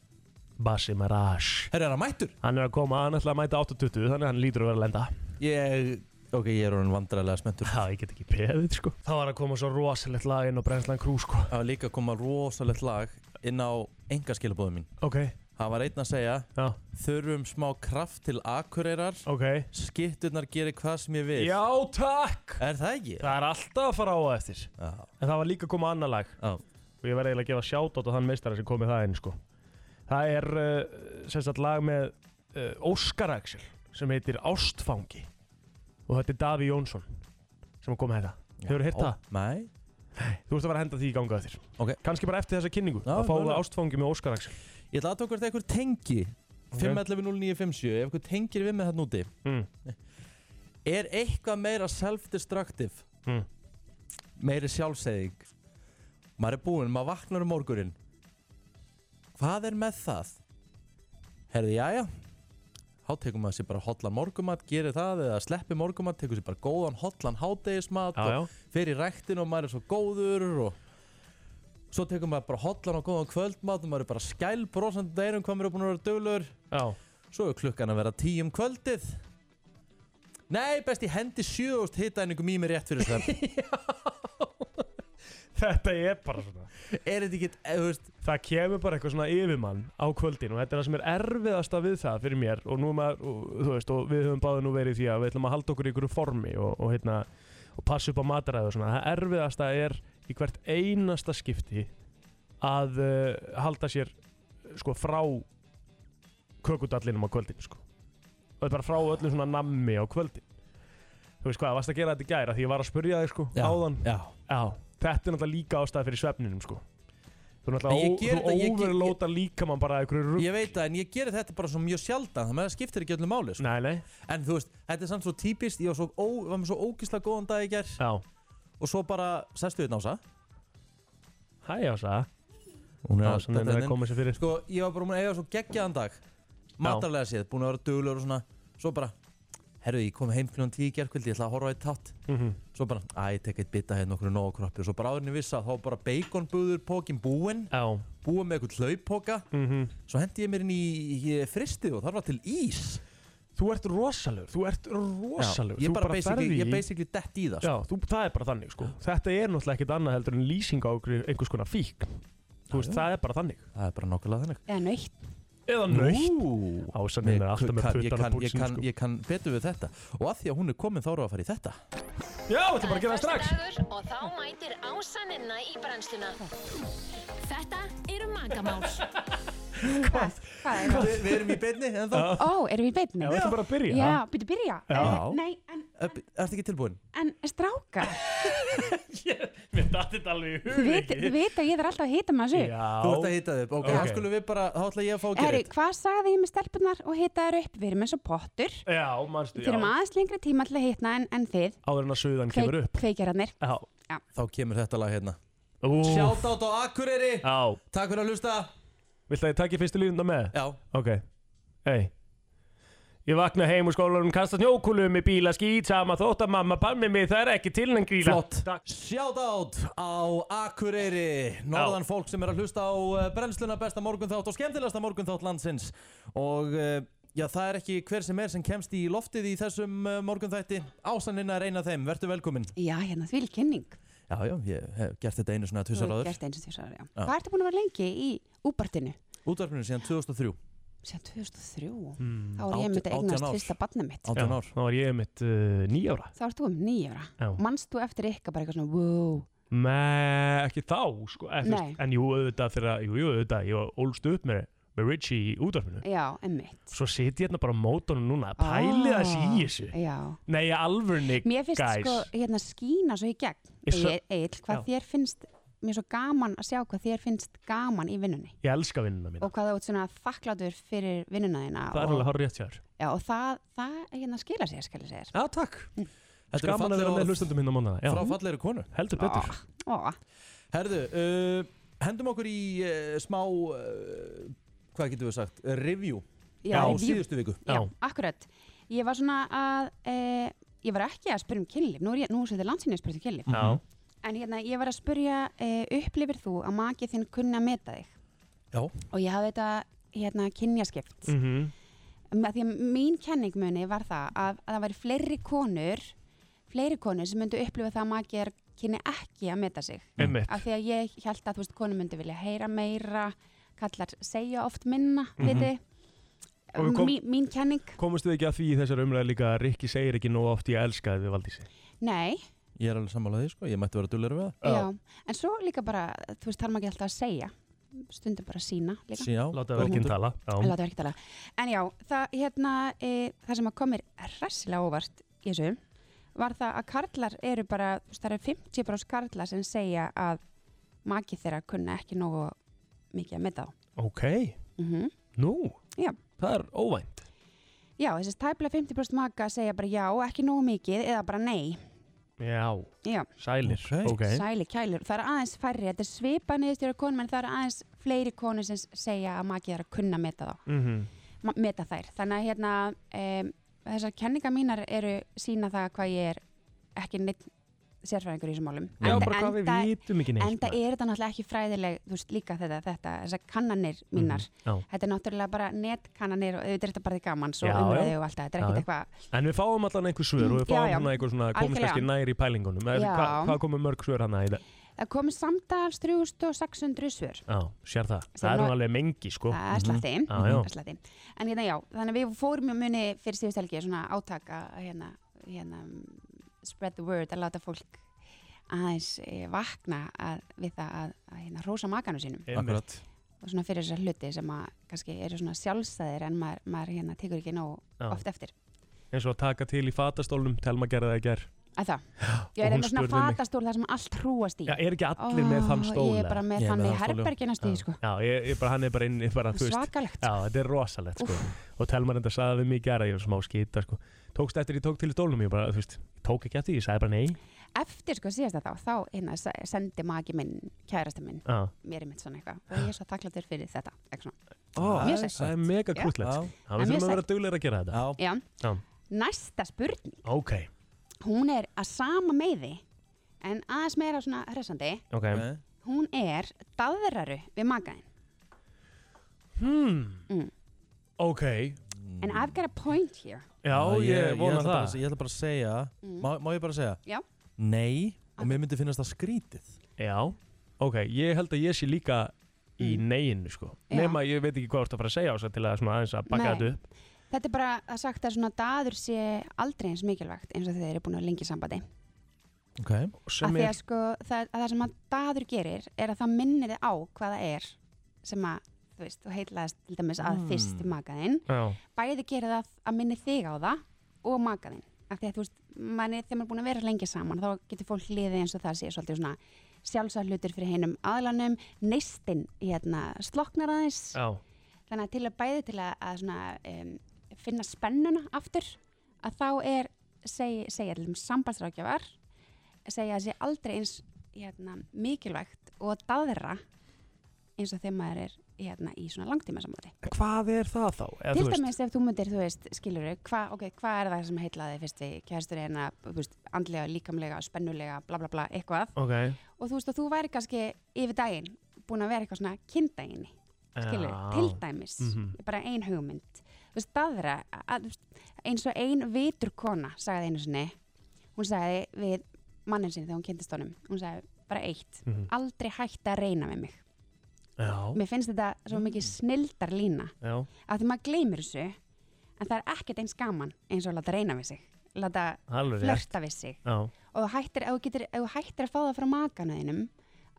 [SPEAKER 3] Basi Mirage.
[SPEAKER 2] herru, er það mættur?
[SPEAKER 3] Hann er að koma, hann ætla að mæta 8.20, þannig að hann lítur að vera að lenda.
[SPEAKER 2] ég, ok, ég er orðin vandræðilega smettur
[SPEAKER 3] Já, ég get ekki beðið, sko. Þá var að koma svo rosalegt lag inn á Brenslan Crew, sko.
[SPEAKER 2] það var líka að koma rosalegt lag inn á engaskilabóðum mín
[SPEAKER 3] Ok,
[SPEAKER 2] það var einn að segja
[SPEAKER 3] já,
[SPEAKER 2] Þurfum smá kraft til akureyrar
[SPEAKER 3] ok.
[SPEAKER 2] Skitturnar gerir hvað sem ég vil
[SPEAKER 3] Já, takk!
[SPEAKER 2] Er það ekki?
[SPEAKER 3] Það er alltaf að fara á það eftir.
[SPEAKER 2] Já,
[SPEAKER 3] En það var líka að koma annað lag.
[SPEAKER 2] já,
[SPEAKER 3] Og ég verði eiginlega að gefa sjátt á þann meistara sem komið það inn, sko. Það er, uh, sem sagt, lag með uh, Óskar Axel, sem heitir Ástfangi. Og þetta er Daví Jónsson, sem er komið þetta. Hefur þú heyrt það?
[SPEAKER 2] Nei
[SPEAKER 3] Þú ert að vera að henda því í ganga þér.
[SPEAKER 2] Ok.
[SPEAKER 3] Kannski bara eftir þessa kynningu.
[SPEAKER 2] Já,
[SPEAKER 3] að fá
[SPEAKER 2] mögulega.
[SPEAKER 3] ástfangi með Óskar Axel.
[SPEAKER 2] Ég ætla að okkur eitthvað tengi 511-0957 Ef eitthvað tengir við með þetta núti
[SPEAKER 3] Mm.
[SPEAKER 2] Er eitthvað meira self-destructive
[SPEAKER 3] Mm.
[SPEAKER 2] Meiri sjálfsæðing Maður er búinn, maður vaknar um morgunin Hvað er með það? Herði, jæja Há tekur maður sér bara hotlan morgumat Gerir það eða sleppi morgumat Tekur sér bara góðan hotlan hádegismat
[SPEAKER 3] Já,
[SPEAKER 2] og
[SPEAKER 3] já.
[SPEAKER 2] fer í ræktin og maður er svo góður og svo tekur maður bara hotlan og góðan kvöldmat og maður er bara skæl brosandi deirum hvað maður er búin að vera döglegur
[SPEAKER 3] Já.
[SPEAKER 2] svo er klukkan að vera tíum kvöldið Nei, best ég hendi sjöðust hitaðningum í mig rétt fyrir svefn
[SPEAKER 3] Þetta er bara svona.
[SPEAKER 2] Er þetta ekki, eða, þú veist
[SPEAKER 3] Það kemur bara eitthvað svona yfirmann á kvöldin og þetta er það sem er erfiðasta við það fyrir mér og nú er maður, og, þú veist, og við höfum báðið nú verið í því að við ætlum að halda okkur í ykkur formi og, og hérna, og passa upp á mataræðu og svona. Það erfiðasta er í hvert einasta skipti að uh, halda sér uh, sko frá kökudallinum á kvöldin, sko. Og þetta er bara frá öllum svona nammi á kvöldin. Þú veist hvað, varst að gera þetta í gæra því ég var að spurja þig, sko, áðan.
[SPEAKER 2] Já,
[SPEAKER 3] Já, þetta er náttúrulega líka ástæða fyrir svefninum sko Þú
[SPEAKER 2] En ég
[SPEAKER 3] náttúrulega
[SPEAKER 2] geri
[SPEAKER 3] ó-
[SPEAKER 2] þetta-
[SPEAKER 3] þú
[SPEAKER 2] ég-
[SPEAKER 3] overlóta líka mann bara einhverju rugg
[SPEAKER 2] ég veit það, en ég gerir þetta bara svo mjög sjaldan þannig að það skiptir ekki öllu máli sko.
[SPEAKER 3] Nei, nei,
[SPEAKER 2] En þú veist, þetta er samt svo típist ég var, svo ó, var með svo ógisla góðan dag í ger
[SPEAKER 3] já
[SPEAKER 2] og svo bara, sestu við nása
[SPEAKER 3] Hæ Ása,
[SPEAKER 2] Hún
[SPEAKER 3] Ása nefnir að koma sér fyrir
[SPEAKER 2] sko, ég var bara búin að eiga svo geggjaðan dag matarlega séð, búin að vera duglur og svona svo bara, herru, ég kom heim kljóðan tíu gerkvöldi, ég ætla að horfa á eitt þátt
[SPEAKER 3] Mhm.
[SPEAKER 2] svo bara, að ég tek eitt bita hérna okkur nóg kroppi og svo bara áðurinn ég vissi að þá var bara baconbúður pókin búin,
[SPEAKER 3] Já,
[SPEAKER 2] búin með eitthvað hlauppóka
[SPEAKER 3] mhm
[SPEAKER 2] svo hendi ég mér inn í, í fristið og þar var til ís
[SPEAKER 3] Þú ert rosalur, þú ert rosalur
[SPEAKER 2] ég
[SPEAKER 3] Þú
[SPEAKER 2] bara, basically,
[SPEAKER 3] ferð
[SPEAKER 2] ég
[SPEAKER 3] í-
[SPEAKER 2] basically dett í það sko.
[SPEAKER 3] Já, þú, það er bara þannig sko Þetta er náttúrulega ekkit annað heldur en lýsing á einhverju- einhvers konar fík Þú veist, það er bara þannig
[SPEAKER 2] það er bara nokkulega þannig
[SPEAKER 9] Eða nöytt.
[SPEAKER 3] Eða
[SPEAKER 2] Nú.
[SPEAKER 3] nöytt Ása
[SPEAKER 2] Ég
[SPEAKER 3] nefnir alltaf með
[SPEAKER 2] kann- ég
[SPEAKER 3] puttan á
[SPEAKER 2] kann- ég
[SPEAKER 3] púlsin
[SPEAKER 2] kann-
[SPEAKER 3] sko
[SPEAKER 2] ég kann betur við þetta og að því að hún er komin þá erum við að fara í þetta
[SPEAKER 7] sko.
[SPEAKER 3] Já, þetta er bara að gera það strax
[SPEAKER 10] Og þá mætir ásaninna í brennsluna. Þetta eru magamál.
[SPEAKER 9] Hvað? Hvað er það?
[SPEAKER 2] Vi, við erum í beinni en þá
[SPEAKER 9] Ó, erum við í beinni?
[SPEAKER 3] Já, þetta er bara að byrja
[SPEAKER 9] Já, byrju byrja.
[SPEAKER 3] Já.
[SPEAKER 9] Eh, Nei, en,
[SPEAKER 2] ertu ekki tilbúin?
[SPEAKER 9] en stráka,
[SPEAKER 3] Mér datt þetta alveg í
[SPEAKER 9] þið
[SPEAKER 3] hug
[SPEAKER 9] veit, þið veit að ég þarf alltaf að hita maður þessu.
[SPEAKER 2] Þú ert
[SPEAKER 3] Já,
[SPEAKER 2] að hita þau upp, ok,
[SPEAKER 3] Já.
[SPEAKER 2] þá skulum við bara, þá ætla ég að fá að gera
[SPEAKER 9] Herru,
[SPEAKER 2] eitt
[SPEAKER 9] hvað sagði ég með stelpunar og hita þær upp? Við erum eins og pottur.
[SPEAKER 3] já, manstu,
[SPEAKER 9] Við erum
[SPEAKER 3] já
[SPEAKER 9] aðeins lengri tíma til að hitna en, en þið.
[SPEAKER 3] Áður en að suðan
[SPEAKER 9] Kveik-
[SPEAKER 3] kemur upp
[SPEAKER 9] Kveikjararnir.
[SPEAKER 3] Já.
[SPEAKER 2] Þá kemur þetta lag hérna
[SPEAKER 3] Ú,
[SPEAKER 2] Shoutout á Akureyri,
[SPEAKER 3] Já.
[SPEAKER 2] takk fyrir að hlusta
[SPEAKER 3] Viltu að ég takki fyrstu línunda með?
[SPEAKER 2] Já,
[SPEAKER 3] Ok. Hei. Ég vakna heim úr skólanum, kasta snjókulum í bíla, skýt sama þótt að mamma panni mig, það er ekki til en gríla.
[SPEAKER 2] flott
[SPEAKER 3] Takk.
[SPEAKER 2] Shoutout á Akureyri Norðan fólk sem er að hlusta á eh, brennsluna besta morgunþátt og skemmtilegasta morgunþátt landsins Og uh, Já, það er ekki hver sem er sem kemst í loftið í þessum uh, morgunþætti. Ásanina er eina af þeim, vertu velkomin.
[SPEAKER 9] Já, hérna því vil kynning.
[SPEAKER 2] Já, já, ég hef gert þetta einu svona
[SPEAKER 9] Þú
[SPEAKER 2] tvisar
[SPEAKER 9] hefur
[SPEAKER 2] áður.
[SPEAKER 9] Gert eins og tvisar áður, já.
[SPEAKER 2] Já.
[SPEAKER 9] Hvað ertu búin að vera lengi í úbartinu?
[SPEAKER 2] Útvarpinu síðan 2003.
[SPEAKER 9] Sér 2003.
[SPEAKER 3] Mm.
[SPEAKER 9] Þá er ég myndi
[SPEAKER 3] Átján-
[SPEAKER 9] eignast
[SPEAKER 3] átján ár.
[SPEAKER 9] fyrsta barnið mitt.
[SPEAKER 3] Já, Þá var ég mitt uh, nýjára.
[SPEAKER 9] Þá ertu um nýjara.
[SPEAKER 3] Já.
[SPEAKER 9] Manst þú eftir ykkar bara eitthvað svona, wow.
[SPEAKER 3] Með, ekki þá, sko. Eð,
[SPEAKER 9] Nei.
[SPEAKER 3] en jú, auðvitað þegar, að- jú, jú, auðvitað, ég ólst upp með, með Richie í útvarpinu.
[SPEAKER 9] Já, emmitt.
[SPEAKER 3] Svo sit ég hérna bara á mótunum núna, pælið
[SPEAKER 9] Ah,
[SPEAKER 3] þessi í þessu.
[SPEAKER 9] Já.
[SPEAKER 3] Nei, ég alvörni,
[SPEAKER 9] Mér finnst
[SPEAKER 3] guys.
[SPEAKER 9] sko hérna skína svo í gegn.
[SPEAKER 3] Ég svo-
[SPEAKER 9] Egill, Egill, hvað
[SPEAKER 3] Já.
[SPEAKER 9] þér finnst, mér er svo gaman að sjá hvað þér finnst gaman í vinnunni.
[SPEAKER 3] Ég elska vinnuna mína.
[SPEAKER 9] Og hvað þú ert svona þakklátur fyrir vinnuna þína.
[SPEAKER 3] Það er
[SPEAKER 9] og-
[SPEAKER 3] alveg hár rétt hjá þér.
[SPEAKER 9] Já, og það, það hérna skila sér, skal ég segja.
[SPEAKER 3] Já, takk.
[SPEAKER 2] Þetta eru
[SPEAKER 3] Skaman að vera
[SPEAKER 2] falleg
[SPEAKER 3] með
[SPEAKER 2] orð.
[SPEAKER 3] hlustendum hérna á mánuða.
[SPEAKER 2] Frá fallegri konu.
[SPEAKER 3] Heldur betur.
[SPEAKER 9] Ó,
[SPEAKER 2] Herðu, uh, hendum okkur í uh, smá, uh, hvað getum við sagt, uh, review
[SPEAKER 9] Já,
[SPEAKER 2] á
[SPEAKER 9] review.
[SPEAKER 2] síðustu viku.
[SPEAKER 9] já, akkurat. Ég var svona að, e, ég var ekki að spyrja um kynlíf, nú er ég, nú er þetta landsinni að spyrja um kynlíf.
[SPEAKER 2] Já.
[SPEAKER 9] En hérna, ég var að spyrja, e, upplifir þú að makið þinn kunni að meta þig?
[SPEAKER 2] Já.
[SPEAKER 9] Og ég hafði þetta, hérna, kynjaskipt.
[SPEAKER 3] Mm -hmm.
[SPEAKER 9] Af Því að mín kenning muni var það að, að það væri fleiri konur, fleiri konur sem myndu upplifa það að makið er kynni ekki að meta sig.
[SPEAKER 3] Einmitt.
[SPEAKER 9] Af því að ég held að, þú veist, konur myndu vilja heyra meira, kallar segja oft minna, mm -hmm.
[SPEAKER 3] Mhm. Og við kom-
[SPEAKER 9] Mín, mín kenning
[SPEAKER 3] Komumst við ekki að því í þessar umræði líka að Rikki segir ekki nóg oft ég elska þið við Valdísi?
[SPEAKER 9] Nei,
[SPEAKER 2] Ég er alveg sammálað því, sko, ég mætti vera dulleri við það.
[SPEAKER 9] já, en svo líka bara, þú veist, þarf maður ekki alltaf að segja, stundum bara sína líka.
[SPEAKER 2] Sí, já,
[SPEAKER 3] Láta verkinn
[SPEAKER 2] Guðmundur.
[SPEAKER 3] tala. Já.
[SPEAKER 9] Láta verkinn tala. En já, það, hérna, e, það sem að komir ræsilega óvart í þessu var það að karlar eru bara, þú veist, það eru 50 brós karlar sem segja að maki þeirra kunna ekki nógu mikið að metta þá.
[SPEAKER 3] Ok,
[SPEAKER 9] Mm
[SPEAKER 3] nú,
[SPEAKER 9] Já.
[SPEAKER 3] það er óvænt.
[SPEAKER 9] Já, þessi tæpla 50% maka segja bara já, ekki nógu mikið eða bara nei.
[SPEAKER 3] Já,
[SPEAKER 9] Já.
[SPEAKER 3] sælir. Ok.
[SPEAKER 9] Sæli kælur, það er aðeins færri, þetta er svipa niðurstjóra konum en það er aðeins fleiri konur sem segja að makið er að kunna meta þá,
[SPEAKER 3] Mhm.
[SPEAKER 9] ma- meta þær. Þannig að hérna, um, þessar kenningar mínar eru sína það hvað ég er ekki neitt sérfræðingur í þessum málum.
[SPEAKER 3] Já, bara hvað við vitum ekki neitt, sko.
[SPEAKER 9] Enda er þetta náttúrulega ekki fræðileg, þú veist, líka þetta, þetta þessar kannanir
[SPEAKER 3] Mhm.
[SPEAKER 9] mínar.
[SPEAKER 3] Já.
[SPEAKER 9] Þetta er náttúrulega bara netkannanir og auðvitað er þetta bara því gaman, svo
[SPEAKER 3] Já, já.
[SPEAKER 9] umræðu og allt það, þetta er
[SPEAKER 3] Já,
[SPEAKER 9] ekkert
[SPEAKER 3] já.
[SPEAKER 9] eitthvað Mm,
[SPEAKER 3] En við fáum allan einhver svör og
[SPEAKER 9] Já,
[SPEAKER 3] við fáum
[SPEAKER 9] já.
[SPEAKER 3] hann einhver svona, komumst
[SPEAKER 9] Algjörlega.
[SPEAKER 3] kannski nær í pælingunum. Er,
[SPEAKER 9] Já.
[SPEAKER 3] hva, hvað komum mörg svör hann að í það?
[SPEAKER 9] Það komið samtals 3600 svör.
[SPEAKER 3] Já, sér það.
[SPEAKER 9] Sem
[SPEAKER 3] Það er
[SPEAKER 9] nú-
[SPEAKER 3] hún alveg mengi, sko.
[SPEAKER 9] Það er slatti,
[SPEAKER 3] Mhm. Já, já.
[SPEAKER 9] það er slatti. En hérna já, þannig að við fórum í muni fyrir síðust helgi svona átak að hérna, hérna mm, spread the word, að láta fólk aðeins eh, vakna að, við það að, að hérna hrósa makanu sínum
[SPEAKER 2] Akkurat.
[SPEAKER 9] og svona fyrir þessar hluti sem að kannski eru svona sjálfstæðir en maður, maður hérna tekur ekki nóg
[SPEAKER 3] Já.
[SPEAKER 9] oft eftir.
[SPEAKER 3] Eins og að taka til í fatastólnum, telma gerði það í gerð.
[SPEAKER 9] Að það,
[SPEAKER 3] og
[SPEAKER 9] ég er
[SPEAKER 3] hún
[SPEAKER 9] með svona
[SPEAKER 3] spurði mig-
[SPEAKER 9] fatastól þar sem allt hrúast í.
[SPEAKER 3] Já, er ekki allir með þann
[SPEAKER 9] Ó,
[SPEAKER 3] stól?
[SPEAKER 9] Ég er bara
[SPEAKER 3] eða?
[SPEAKER 9] með þann í herberginast í, sko.
[SPEAKER 3] Já, ég, ég bara, hann er bara inn í bara, þú veist.
[SPEAKER 9] Svakalegt.
[SPEAKER 3] Já, þetta er rosalegt sko. Og Telmar enda sagði við mig í gæra, ég var smá skita sko. Tókst eftir ég tók til í stólnum, ég bara, þú veist, ég tók ekki eftir, ég sagði bara nei.
[SPEAKER 9] Eftir sko síðast að þá, þá hérna, se- sendi magi minn, kærasta minn,
[SPEAKER 3] Já.
[SPEAKER 9] mér er mitt svona eitthvað og ég er svo þakkláttur fyrir þetta eitthvað svona.
[SPEAKER 3] Ó,
[SPEAKER 9] Mjög
[SPEAKER 3] það er-
[SPEAKER 9] sætt.
[SPEAKER 3] það er mega
[SPEAKER 9] Já.
[SPEAKER 3] krútlegt.
[SPEAKER 9] Já.
[SPEAKER 3] sko. Já,
[SPEAKER 9] Það er
[SPEAKER 3] við
[SPEAKER 9] mjög
[SPEAKER 3] þurfum að vera
[SPEAKER 9] sætt.
[SPEAKER 3] duglegar að gera þetta.
[SPEAKER 2] Já.
[SPEAKER 9] Já.
[SPEAKER 3] Já.
[SPEAKER 9] Næsta spurning,
[SPEAKER 3] Ok,
[SPEAKER 9] hún er að sama meiði en aðeins meira svona hressandi,
[SPEAKER 3] ok.
[SPEAKER 9] hún er daðraru við magaðin.
[SPEAKER 3] Hmm,
[SPEAKER 9] Mm.
[SPEAKER 3] ok. Mm.
[SPEAKER 9] And I've got a point here.
[SPEAKER 3] Já, ég vona
[SPEAKER 2] ætla bara
[SPEAKER 3] það.
[SPEAKER 2] að- Ah, Ég ætla bara að segja,
[SPEAKER 9] Mm.
[SPEAKER 2] má, má ég bara segja?
[SPEAKER 9] Já.
[SPEAKER 2] Nei, og mér myndi finnast það skrítið.
[SPEAKER 3] Já, ok. Ég held að ég sé líka í neginu sko.
[SPEAKER 9] Mm. Já.
[SPEAKER 3] Nefna, ég veit ekki hvað þú ert að fara að segja á þess að til að svona aðeins að baka
[SPEAKER 9] Nei.
[SPEAKER 3] þetta upp.
[SPEAKER 9] Þetta er bara að sagt að svona daður sé aldrei eins mikilvægt eins og þeir eru búin að vera lengi í sambandi.
[SPEAKER 2] Ok.
[SPEAKER 9] Af
[SPEAKER 3] Sem
[SPEAKER 9] því
[SPEAKER 3] er,
[SPEAKER 9] að sko það, að það sem að daður gerir er að það minnir þið á hvað það er sem að þú veist, þú heitlaðist til dæmis að
[SPEAKER 3] Mm.
[SPEAKER 9] fyrst makaðinn
[SPEAKER 3] já,
[SPEAKER 9] bæði gerir það að minni þig á það og makaðinn af því að þú veist, manni, þegar maður er búin að vera lengi saman þá getur fólk liðið eins og það sé svolítið svona sjálfsagt hlutir fyrir heinum aðlanum neistinn hérna sloknar aðeins
[SPEAKER 3] já.
[SPEAKER 9] þannig að til að bæði til að, að svona, um, finna spennuna aftur að þá er seg, segja til um sambandsrákjafar segja að sé aldrei eins hérna, mikilvægt og daðra eins og þegar maður er hérna, í svona langtíma samvæti.
[SPEAKER 3] Hvað er það þá? Eða,
[SPEAKER 9] Til
[SPEAKER 3] þú veist-
[SPEAKER 9] dæmis ef þú myndir, þú veist, skilur þau, hvað okay, hva er það sem heitlaði fyrst við kæristurinn að, hérna, þú veist, andlega, líkamlega, spennulega, bla bla bla, eitthvað
[SPEAKER 3] Ok.
[SPEAKER 9] og þú veist að þú væri kannski yfir daginn búin að vera eitthvað svona kindaginni skilur,
[SPEAKER 3] Já.
[SPEAKER 9] til dæmis
[SPEAKER 3] Mhm.
[SPEAKER 9] bara ein hugmynd þú veist, daðra að, þú veist, eins og ein vitur kona sagði einu sinni, hún sagði við mannin sinni þegar hún kynntist honum hún sagði bara eitt,
[SPEAKER 11] Mhm.
[SPEAKER 9] aldrei hægt að reyna með mig
[SPEAKER 3] Já. Mm.
[SPEAKER 9] mér finnst þetta svo mikið snildar lína
[SPEAKER 3] Já.
[SPEAKER 9] að því maður gleymir þessu en það er ekkert eins gaman eins og að láta reyna við sig láta
[SPEAKER 3] Alveg rétt.
[SPEAKER 9] flörta við sig
[SPEAKER 3] Já.
[SPEAKER 9] og þú hættir, ef þú getur, ef þú hættir að fá það frá makanöðinum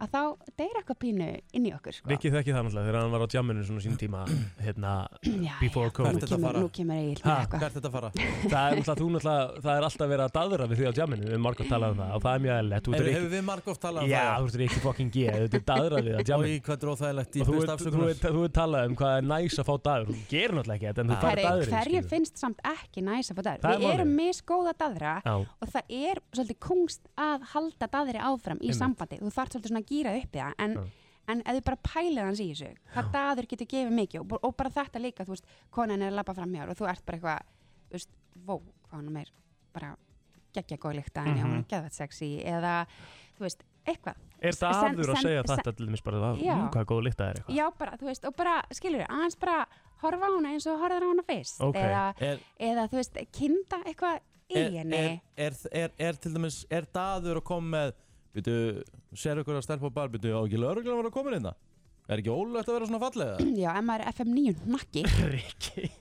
[SPEAKER 9] að þá deyr eitthvað pínu inn í okkur sko.
[SPEAKER 3] Rikki þekki það náttúrulega þegar hann var á jamminu svona sín tíma hérna,
[SPEAKER 9] Já,
[SPEAKER 3] before COVID
[SPEAKER 9] nú kemur, nú kemur Egil með
[SPEAKER 3] Ha,
[SPEAKER 9] eitthvað
[SPEAKER 2] hvert þetta fara?
[SPEAKER 3] Það er náttúrulega, þú náttúrulega, það er alltaf verið að daðra við því á jamminu, við erum margótt talað um það og það er mjög eðlilegt, þú
[SPEAKER 2] Hefur
[SPEAKER 3] ert
[SPEAKER 2] hefur við marg oft talað um
[SPEAKER 3] Já,
[SPEAKER 2] það?
[SPEAKER 3] þú ert ekki fucking G, þú ert daðrað við á jamminu
[SPEAKER 2] Í hvað er óþægilegt í
[SPEAKER 3] Og þú
[SPEAKER 2] byrst
[SPEAKER 3] ert- þú
[SPEAKER 2] afsökunar?
[SPEAKER 3] ert- þú ert talað um hvað er næs að fá daður, þú gerir náttúrulega ekki þetta en þú fær
[SPEAKER 9] Herri,
[SPEAKER 3] daðurinn
[SPEAKER 9] hverjum
[SPEAKER 3] skilurðu.
[SPEAKER 9] finnst samt ekki næs að fá daðra
[SPEAKER 3] Það er
[SPEAKER 9] við erum
[SPEAKER 3] málið.
[SPEAKER 9] misgóða daðra
[SPEAKER 3] Já.
[SPEAKER 9] og það er svolítið kungst að halda daðri áfram í
[SPEAKER 3] Einmitt.
[SPEAKER 9] sambandi þú þarf svolítið svona að gýra upp í það en,
[SPEAKER 3] Já.
[SPEAKER 9] en ef þú bara pælið hans í þessu hvað daður getur gefið mikið og, og bara þetta líka, þú veist, konan er að labba fram hjá þér og þú ert bara eitthvað, þú veist, vó hvað hann er bara geggja góð líkt að henni,
[SPEAKER 3] Mhm.
[SPEAKER 9] hún er geðvægt sexy eða, þú veist, eitthvað
[SPEAKER 3] Er
[SPEAKER 9] Sen-
[SPEAKER 3] daður að
[SPEAKER 9] sen-
[SPEAKER 3] segja
[SPEAKER 9] sen-
[SPEAKER 3] þetta til þess bara,
[SPEAKER 9] Já.
[SPEAKER 3] "Mm, hvað góð lykt það er eitthvað?
[SPEAKER 9] Já, bara, þú veist, og bara, skilur, aðeins bara horfa á hana eins og horfa á hana fyrst
[SPEAKER 2] Ok.
[SPEAKER 9] eða,
[SPEAKER 2] Er-
[SPEAKER 9] eða, þú veist, kynda eitthvað í
[SPEAKER 2] er,
[SPEAKER 9] henni
[SPEAKER 2] er, er, er, er til dæmis, er daður að koma með Býtu, sér ykkur að stelpa á bar Býtu, á ekki lögreglan að vera að koma hérna Er ekki ólögt að vera svona fallega?
[SPEAKER 9] Já, ef maður er FM 9 nakki
[SPEAKER 3] Rikki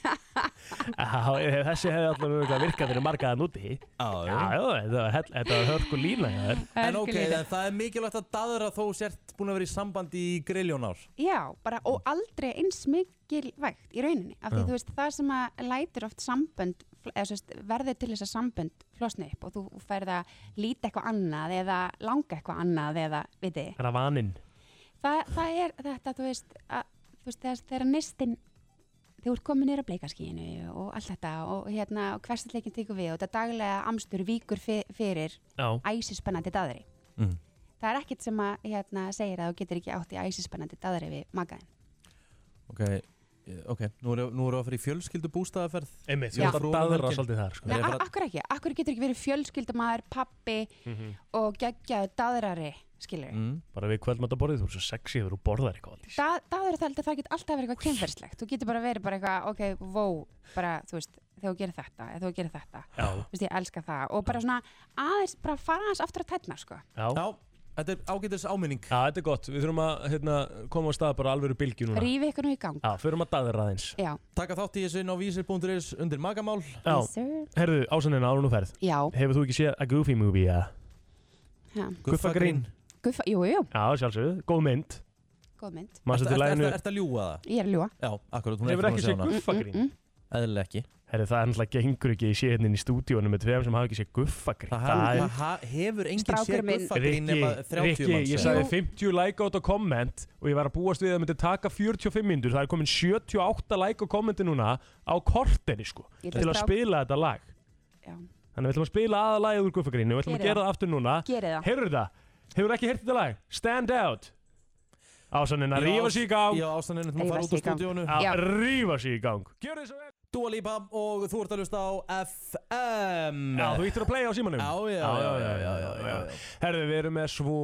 [SPEAKER 3] Já, ef þessi hefði allavega örugglega virkað fyrir marga að núti
[SPEAKER 2] Já,
[SPEAKER 3] já, þetta var hell- þetta var hörku lína hjá þér
[SPEAKER 2] En ok, en það er mikilvægt að daðra þó sért búin að vera í sambandi í grilljón ár
[SPEAKER 9] Já, bara, og aldrei eins mikil vægt í rauninni, af því
[SPEAKER 2] Já.
[SPEAKER 9] þú veist, það sem að lætur oft sambönd, fl- eða þú veist, verður til þess að sambönd flosna upp og þú færð að líta eitthvað annað eða langa eitthvað annað eða, viti,
[SPEAKER 3] Þannig að vaninn
[SPEAKER 9] það, það er þetta, þú veist, að, þú veist þegar, þegar nistinn, þú ert komin nýra bleikaskíinu og allt þetta og hérna, og hversatleikin tekur við og þetta daglega amstur víkur fe- fyrir
[SPEAKER 3] Já.
[SPEAKER 9] æsispennandi daðri.
[SPEAKER 2] Mm.
[SPEAKER 9] Það er ekkert sem að, hérna, segir að þú getur ekki átt í æsispennandi daðri við magaðin.
[SPEAKER 2] Ok, eh, ok, nú erum nú erum við að fara í fjölskyldu bústæðaferð
[SPEAKER 3] Einmitt, þú ert að daðra svolítið þar, sko.
[SPEAKER 9] Nei, a- akkur ekki, akkur getur ekki verið fjölskyldamaður, pappi
[SPEAKER 3] Mhm.
[SPEAKER 9] og geggjaðu daðrari, skilur mm.
[SPEAKER 3] Bara við kvöldmátt að borðið, þú er svo sexy þegar þú borðar eitthvað
[SPEAKER 9] da, Daður það, það getur alltaf verið eitthvað kynferðslegt Þú getur bara verið bara eitthvað, ok, vó bara, þú veist, þegar þú gerir þetta eða þú gerir þetta,
[SPEAKER 3] Já.
[SPEAKER 9] þú veist, ég elska það og bara svona, aðeins, bara fara aðeins aftur að tætna, sko
[SPEAKER 3] Já.
[SPEAKER 2] já, þetta er ágætis áminning
[SPEAKER 3] Já, þetta er gott, við þurfum að hérna, koma á stað bara alvöru bylgju núna
[SPEAKER 9] Rífi ykkur nú í gang
[SPEAKER 3] Já, förum að daðra aðeins
[SPEAKER 9] Já,
[SPEAKER 2] Taka þátt í þessu inn á vísir.is undir magamál
[SPEAKER 3] Já,
[SPEAKER 9] Yes, sir.
[SPEAKER 3] herðu, ásannina árun og ferð
[SPEAKER 9] Já.
[SPEAKER 3] Hefur þú ekki séð að Goofy movie, ja?
[SPEAKER 9] já.
[SPEAKER 3] Guffa Grín
[SPEAKER 9] Guffa, jú, jú,
[SPEAKER 3] Já, sjálfsögðu, góð mynd
[SPEAKER 9] góð mynd
[SPEAKER 3] Manstu eftir laginu-
[SPEAKER 2] Ertu að ljúga það?
[SPEAKER 9] Ég er að ljúga.
[SPEAKER 2] Já, akkurat, hún
[SPEAKER 3] Hefur
[SPEAKER 2] er
[SPEAKER 3] ekki séð guffagrín? Mm,
[SPEAKER 2] Eðlilega ekki
[SPEAKER 3] Herri, það er náttúrulega gengur ekki, ég sé hérna inn í stúdíónu með tveim sem hafa ekki séð guffagrín
[SPEAKER 2] Það ha- ha- hefur enginn séð
[SPEAKER 9] Strákur minn.
[SPEAKER 2] guffagrín nema 30 manns
[SPEAKER 3] ég
[SPEAKER 2] eða?
[SPEAKER 3] sagði 50 like out og comment og ég var að búast við að það myndi taka 45 myndur það er komin 78 like og commenti núna á korteri sko
[SPEAKER 9] Ég
[SPEAKER 3] til
[SPEAKER 9] ætla
[SPEAKER 3] að
[SPEAKER 9] strák-
[SPEAKER 3] spila þetta lag
[SPEAKER 9] Já.
[SPEAKER 3] þannig við ætlum að spila aða lagið úr guffagrínu við ætlum að
[SPEAKER 9] Gerið
[SPEAKER 3] gera
[SPEAKER 9] það.
[SPEAKER 3] það aftur núna
[SPEAKER 9] Gerið það.
[SPEAKER 3] heyrðu það, hefur ekki heyrt þetta lag Stand Out ásannin
[SPEAKER 2] Já,
[SPEAKER 3] að rífa sig í gang
[SPEAKER 2] já, ástæðan er að maður fara út úr stúdíónu.
[SPEAKER 3] Já, rífa sig í gang Gjör þið svo vel
[SPEAKER 2] Dua Lipa og þú ert að hlusta á FM
[SPEAKER 3] Já, þú íttir að playa á símanum
[SPEAKER 2] Já, já, já, já, já, já, já, já.
[SPEAKER 3] Herðu, við erum með svo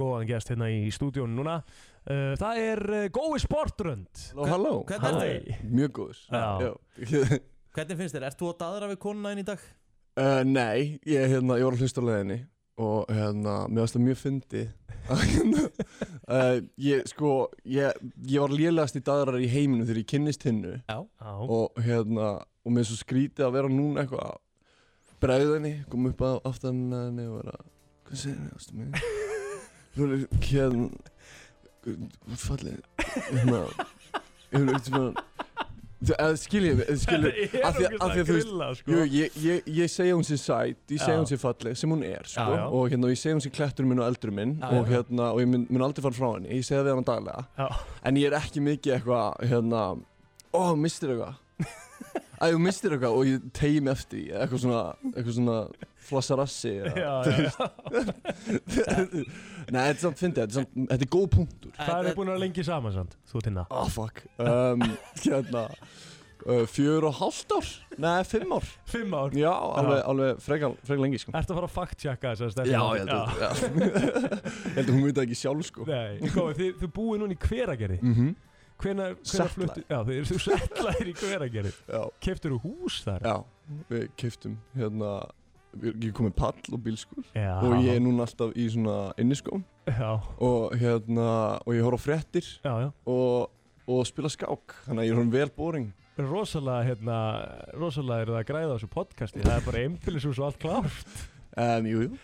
[SPEAKER 3] góðan gest hérna í stúdíónu núna uh, Það er uh, Gói Sportrönd
[SPEAKER 12] Halló, halló.
[SPEAKER 2] Hvernig
[SPEAKER 12] Hæ.
[SPEAKER 2] er þetta?
[SPEAKER 12] Mjög góður
[SPEAKER 3] Já.
[SPEAKER 12] Já.
[SPEAKER 2] Hvernig finnst þér? Ert þú að daðra við konuna einn í dag?
[SPEAKER 12] Uh, Nei, ég, hérna, ég var að hlusta á leiðinni og hérna, mér varst það mjög fyndið uh, Ég, sko, ég, ég var lélegast í daðrar í heiminum þegar ég kynnist hinnu
[SPEAKER 2] Já
[SPEAKER 12] Og hérna, og mér er svo skrítið að vera núna eitthvað að bregða henni, koma upp að aftan með henni og vera Hvað segir henni, ástu mig? Þú er hérna, hvað er fallið? Hérna, hérna, hérna, eða skiljið mig, eða skiljið
[SPEAKER 3] Þetta er
[SPEAKER 12] af því-
[SPEAKER 3] ógeðslega
[SPEAKER 12] af því að þú veist-
[SPEAKER 3] grillað, sko.
[SPEAKER 12] jú, ég, ég, ég segja hún sér sæt, ég segja
[SPEAKER 3] Já.
[SPEAKER 12] hún sér falleg sem hún er sko,
[SPEAKER 3] Já, já.
[SPEAKER 12] og hérna, og ég segja hún sér klættur minn og eldur minn
[SPEAKER 3] Já,
[SPEAKER 12] og,
[SPEAKER 3] já.
[SPEAKER 12] hérna, og ég mun, mun aldrei fara frá henni, ég segja við hann daglega
[SPEAKER 3] Já.
[SPEAKER 12] en ég er ekki mikið eitthvað hérna, ó, hún mistir eitthvað Æ, hún mistir eitthvað og ég tegi mig eftir því, eða eitthvað svona, eitthvað svona flassarassi eða-
[SPEAKER 3] Já,
[SPEAKER 12] þú
[SPEAKER 3] já,
[SPEAKER 12] veist. Nei, þetta er samt fyndið, þetta er samt, þetta er góð punktur
[SPEAKER 3] Hvað er búin að vera lengi saman samt, þú hérna. tinna?
[SPEAKER 12] Ah, fuck um, Hérna uh, Fjör og hálft ár? Nei, fimm ár
[SPEAKER 3] Fimm ár?
[SPEAKER 12] Já, alveg, alveg frekar, frekar lengi sko
[SPEAKER 3] Ertu að fara að fact-checka þess að
[SPEAKER 12] Já, ég held að já. Ég held að hún veit það ekki sjálf sko
[SPEAKER 3] Nei, komið, þið, þið búið núna í hveragerði
[SPEAKER 12] Mhm.
[SPEAKER 3] Hvenær, hvenær
[SPEAKER 12] Settlaðir.
[SPEAKER 3] fluttu? Já, þeir eru settlaðir í hveragerði.
[SPEAKER 12] Já.
[SPEAKER 3] Keftur þú hús þar?
[SPEAKER 12] Já, við keftum hérna, við- ég kom með pall og bílskur
[SPEAKER 3] Já.
[SPEAKER 12] og ég er núna alltaf í svona inniskóm
[SPEAKER 3] Já.
[SPEAKER 12] og hérna, og ég horf á fréttir
[SPEAKER 3] já, já.
[SPEAKER 12] Og, og spila skák, þannig að ég er hún vel boring
[SPEAKER 3] Rosalega, hérna, rosalega eru það að græða á þessu podcasti. Það er bara einbýlisús og allt klárt. Sko,
[SPEAKER 12] Um, jú, jú.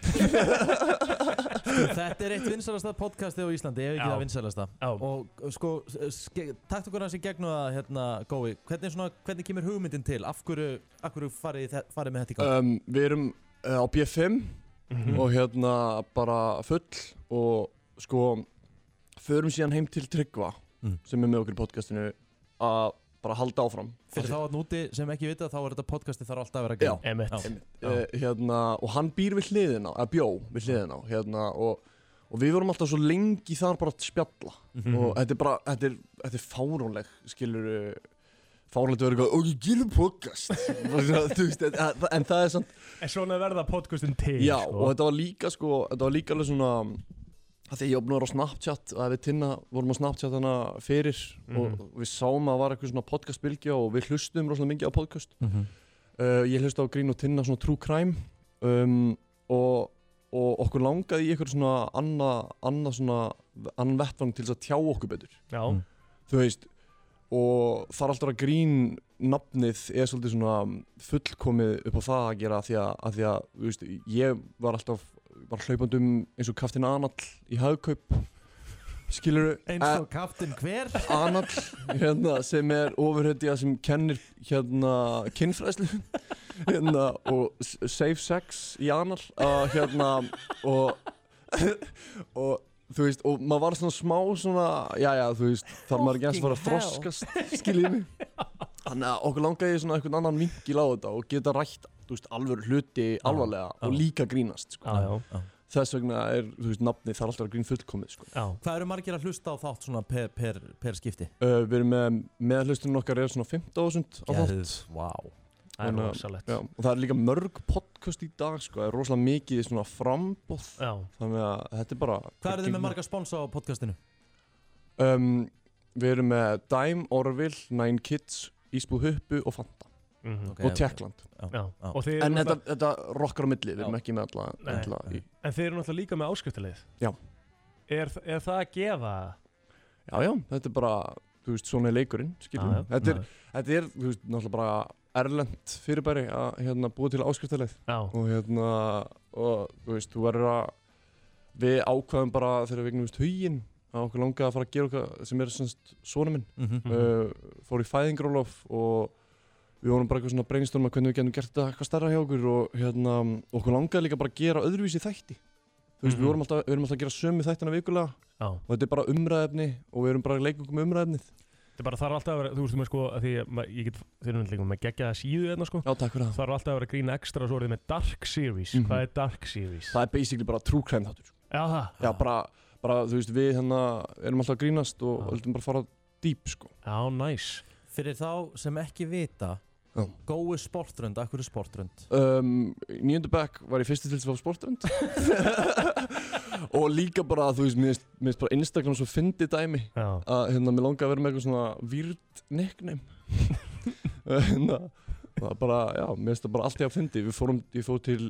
[SPEAKER 2] Sko, Þetta er eitt vinsælasta podcasti á Íslandi, ef ekki
[SPEAKER 3] Já.
[SPEAKER 2] það vinsælasta
[SPEAKER 3] Já.
[SPEAKER 2] Og uh, sko, ske, takt okkur hans í gegnum það, hérna, Gói hvernig, svona, hvernig kemur hugmyndin til? Af hverju, af hverju farið, þið- farið með þetta í gang?
[SPEAKER 12] um, Við erum uh, á B5
[SPEAKER 2] Mhm.
[SPEAKER 12] og hérna bara full og sko förum síðan heim til Tryggva
[SPEAKER 2] Mhm.
[SPEAKER 12] sem er með okkur í podcastinu að bara halda áfram
[SPEAKER 2] Fyrir þá að núti sem ekki vita, þá er þetta podcasti þarf alltaf að vera að
[SPEAKER 12] Já, uh, hérna, og hann býr við hliðina eða bjó við hliðina hérna, og, og við vorum alltaf svo lengi þar bara að spjalla
[SPEAKER 2] Mhm.
[SPEAKER 12] og þetta er bara þetta er, þetta er fárónleg skilur fáránlegt að vera eitthvað og ég gerum podcast Bara svona, þú veist, en, en það er samt
[SPEAKER 3] En svona verða podcastin til,
[SPEAKER 12] Já,
[SPEAKER 3] sko.
[SPEAKER 12] og þetta var líka sko, þetta var líka alveg svona að því ég opnaði á Snapchat að við tinna vorum á Snapchat hana fyrir
[SPEAKER 3] Mhm.
[SPEAKER 12] og við sáum að það var eitthvað svona podcastbylgja og við hlustum rosalega mikið á podcast
[SPEAKER 2] Mhm.
[SPEAKER 12] uh, ég hlusta á Grín og Tinna svona true crime um, og, og okkur langaði í eitthvað svona annað anna svona annan vettvang til þess að tjá okkur betur
[SPEAKER 3] Já. Mhm.
[SPEAKER 12] þú veist og þar alltaf að grín nafnið er svolítið svona fullkomið upp á það að gera af því að, að, því að þú veist, ég var alltaf var hlaupandi um eins og kaftin Anall í hagkaup Eh, skilur
[SPEAKER 2] Eins og kaftin hver?
[SPEAKER 12] Anall hérna, sem er ofurhetja sem kennir hérna kynfræðslu hérna, og s- safe sex í Anall uh, hérna og og þú veist og maður var svona smá svona já já þú veist þar maður ekki eins að fara að
[SPEAKER 2] Fucking hell.
[SPEAKER 12] þroskast skiljið mig þannig að okkur langaði í svona einhvern annan vinkil á þetta og geta rætt þú veist alvöru hluti alvarlega og líka grínast sko.
[SPEAKER 3] já,
[SPEAKER 2] já.
[SPEAKER 12] þess vegna er þú veist nafni þar alltaf að grín fullkomið sko.
[SPEAKER 3] já.
[SPEAKER 2] Hvað eru margir að hlusta á þátt svona per, per, per skipti?
[SPEAKER 12] Uh, við erum með, meðhlustunum okkar er svona 15.000 á þátt
[SPEAKER 2] Geðs, vá.
[SPEAKER 3] Það er
[SPEAKER 12] Þannig að-
[SPEAKER 3] rosalegt.
[SPEAKER 12] já, Og það er líka mörg podcast í dag sko, það er rosalega mikið svona frambóð
[SPEAKER 3] Já.
[SPEAKER 12] Þannig að þetta er bara
[SPEAKER 2] Hvað eru þið með marga sponsa á podcastinu?
[SPEAKER 12] Um, Við erum með Dime, Orville, Nine Kids, Ísbú Huppu og Fanta
[SPEAKER 3] Mhm. Ok,
[SPEAKER 12] Og Tjekkland
[SPEAKER 2] já,
[SPEAKER 3] já. Já. Og þið eru
[SPEAKER 12] En þetta,
[SPEAKER 3] náttúrulega-
[SPEAKER 12] þetta rockar á milli, við erum
[SPEAKER 3] Já.
[SPEAKER 12] ekki með alla,
[SPEAKER 3] Nei.
[SPEAKER 12] alla í,
[SPEAKER 3] En þeir eru náttúrulega líka með áskriftilegð.
[SPEAKER 12] Já.
[SPEAKER 3] Er, er það að gefa?
[SPEAKER 12] Já, já, þetta er bara, þú veist, svona er leikurinn, skiljum
[SPEAKER 3] Já, já.
[SPEAKER 12] við. Þetta er,
[SPEAKER 3] Já.
[SPEAKER 12] þetta er, þú veist, náttúrulega bara erlend fyrirbæri að hérna, búa til áskriftaleið.
[SPEAKER 3] Já.
[SPEAKER 12] Og hérna, og þú veist, þú verður að, við ákvaðum bara þegar við eignumist huginn að okkur langaði að fara að gera okkar sem er semst svona minn,
[SPEAKER 2] Mhm.
[SPEAKER 12] uh, fór í fæðingrólof og við vorum bara eitthvað svona breynstorma hvernig við getum gert þetta eitthvað stærra hjá okkur og hérna, okkur langaði líka bara að gera öðruvísi þætti. Þú veist, við,
[SPEAKER 3] Mhm.
[SPEAKER 12] vorum alltaf, við erum alltaf að gera sömu þættina vikulega
[SPEAKER 3] Já.
[SPEAKER 12] og þetta er bara umræðefni og við erum bara að leika okkur með umræðefnið
[SPEAKER 3] Þetta er bara þarf alltaf að vera, þú veist, þú maður sko, að því að ma- ég get, þeir eru náttúrulega með geggjaða síðu hérna sko.
[SPEAKER 12] Já, takk fyrir það.
[SPEAKER 3] Þarf alltaf að vera að grína ekstra og svo er þið með Dark Series.
[SPEAKER 12] Mhm.
[SPEAKER 3] Hvað er Dark Series?
[SPEAKER 12] Það er basically bara true crime þáttur sko.
[SPEAKER 3] Já, það.
[SPEAKER 12] Já, bara, bara, þú veist, við hérna erum alltaf að grínast og höldum bara að fara dýp, sko
[SPEAKER 3] Já, næs.
[SPEAKER 2] Fyrir þá sem ekki vita,
[SPEAKER 12] Já.
[SPEAKER 2] gói sportrönd, akkur er sportrönd?
[SPEAKER 12] um, í Níundu bekk var ég fyrsti til þess að fá sportrönd Og líka bara, þú veist, mér finnst- mér finnst bara Instagram svo fyndi dæmi
[SPEAKER 3] Já.
[SPEAKER 12] Að, hérna, mér langaði að vera með eitthvað svona výrt nickname Hérna, það er bara, já, mér finnst það bara allt í að fyndi Við fórum, ég fór til,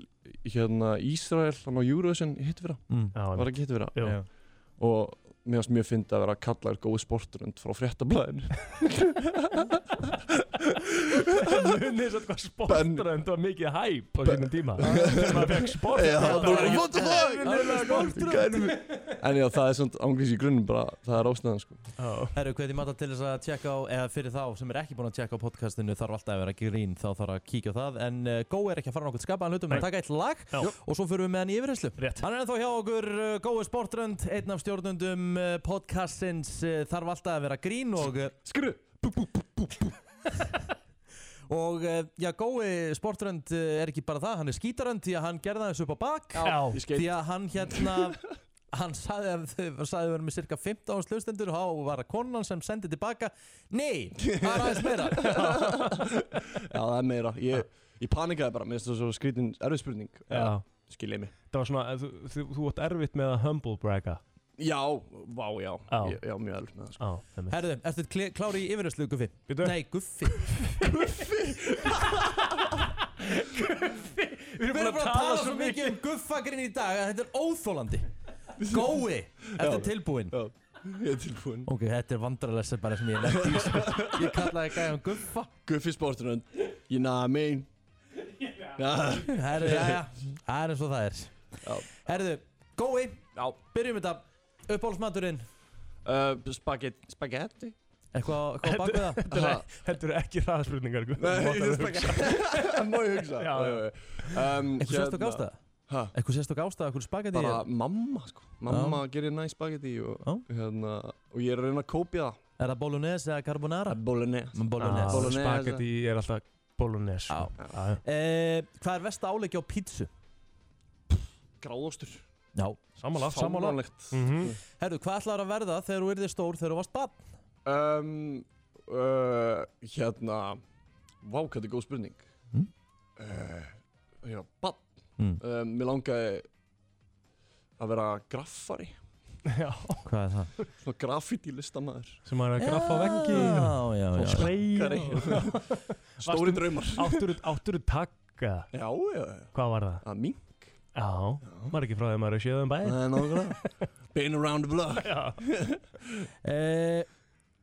[SPEAKER 12] hérna, Ísrael, hann á Eurovision, hitt vera
[SPEAKER 2] Mm.
[SPEAKER 3] Já,
[SPEAKER 12] Var ekki hitt vera
[SPEAKER 3] Jú.
[SPEAKER 2] Já.
[SPEAKER 12] Og mér finnst mjög fyndi að vera að kalla þér góði sportrönd frá fréttablaðinu
[SPEAKER 3] Munið þess að hvað sportrönd var mikið hæp á sínum tíma. Þegar maður fekk sportrönd.
[SPEAKER 12] Já,
[SPEAKER 3] það var
[SPEAKER 12] what the fuck?
[SPEAKER 3] Eðlilega sportrönd.
[SPEAKER 12] En já, það er svona ángriðs í grunnum bara, það er ástæðan sko
[SPEAKER 2] Herru, hvað er því matta til þess að tjekka á, eða fyrir þá sem er ekki búin að tjekka á podcastinu þarf alltaf að vera grín, þá þarf að kíkja á það en uh, Gói er ekki að fara nokkuð skapaðan hlutum
[SPEAKER 3] Nei.
[SPEAKER 2] að taka eitt lag
[SPEAKER 3] Já.
[SPEAKER 2] og svo fyrir við með hann í yfirherslu Hann er ennþá hjá okkur uh, Gói Sportrönd, einn af stjórnundum uh, podcastins uh, þarf alltaf að vera grín og uh,
[SPEAKER 12] Skru
[SPEAKER 2] Og uh, já, gói sportrönd uh, er ekki bara það, hann er skítarönd því að hann gerða þessu upp á bak
[SPEAKER 3] Já, ég skil.
[SPEAKER 2] Því að hann hérna, hann sagði að þau sagði að vera með cirka 15 áns hlustendur og þá var það konan sem sendi tilbaka Nei, það er aðeins meira
[SPEAKER 12] Já, það er meira Ég, ég panikaði bara, mér finnst það svo skrítin erfið spurning
[SPEAKER 3] Já.
[SPEAKER 12] Skil ég mig
[SPEAKER 3] Það var svona, þú, þú, þú átt erfitt með að humble bragga.
[SPEAKER 12] Já, vá, já,
[SPEAKER 3] Já.
[SPEAKER 12] Ég, já mjög alveg með það
[SPEAKER 3] sko. já,
[SPEAKER 2] Herðu, ertu klí- klári í yfirherslu, Guffi? Bitu? Nei, Guffi Við erum bara að tala svo mikið um guffagrin í dag að þetta er óþólandi Gói, ertu
[SPEAKER 12] Já.
[SPEAKER 2] tilbúinn?
[SPEAKER 12] Já, ég er tilbúinn
[SPEAKER 2] Ok, þetta er vandrarlesa bara sem ég er lefnt í sko. Ég kallaði gæðan Guffa
[SPEAKER 12] Guffi sportrönd You know what I mean Já.
[SPEAKER 2] Herðu, já, já, það er eins og það er Herðu, gói, já. byrjum þetta Uppáhaldsmaturinn
[SPEAKER 12] uh, Spagetti Spagetti
[SPEAKER 2] Eitthvað eitthvað á bak við það?
[SPEAKER 3] Þetta er- Þetta eru ekki sko. hraðspurningar
[SPEAKER 12] Það má ég hugsa
[SPEAKER 3] Já, já. Ah,
[SPEAKER 12] um,
[SPEAKER 2] Eitthvað sérstök ástæða? Eitthvað sérstök ástæða, eitthvað spagetti
[SPEAKER 12] Bara mamma sko Mamma gerir næ spagetti og, hérna, og ég er að reyna að kópja það
[SPEAKER 2] Er það bolognese eða carbonara?
[SPEAKER 12] Bolognese
[SPEAKER 2] Bolognese.
[SPEAKER 12] Bolognese.
[SPEAKER 3] Spagetti er alltaf bolognese sko. Já, já.
[SPEAKER 2] Eh, Hvað er versta áleiki á pítsu?
[SPEAKER 12] Gráðostur
[SPEAKER 2] Já
[SPEAKER 3] Sammála.
[SPEAKER 12] Sammálanlegt
[SPEAKER 3] Mhm.
[SPEAKER 2] Herru, hvað ætlar að verða þegar þú yrðir stór þegar þú varst bann?
[SPEAKER 12] um, uh, Hérna Vá, hvað þetta er góð spurning
[SPEAKER 2] Mm.
[SPEAKER 12] uh, Já, bann
[SPEAKER 2] Mm.
[SPEAKER 12] um, Mér langaði að vera graffari
[SPEAKER 2] Hvað er það?
[SPEAKER 12] Svona graffiti listamæður
[SPEAKER 3] Sem maður er að graffa á veggi
[SPEAKER 2] Já, já, já.
[SPEAKER 12] Sprayar. Stóri draumar
[SPEAKER 3] Átturu, átturu takka
[SPEAKER 12] Já, já, já
[SPEAKER 3] Hvað var það?
[SPEAKER 12] Að mink
[SPEAKER 3] Já, maður er ekki frá því að maður um er að sjöðum bæði
[SPEAKER 12] Það er nákvæmlega Been around the block
[SPEAKER 2] Eh,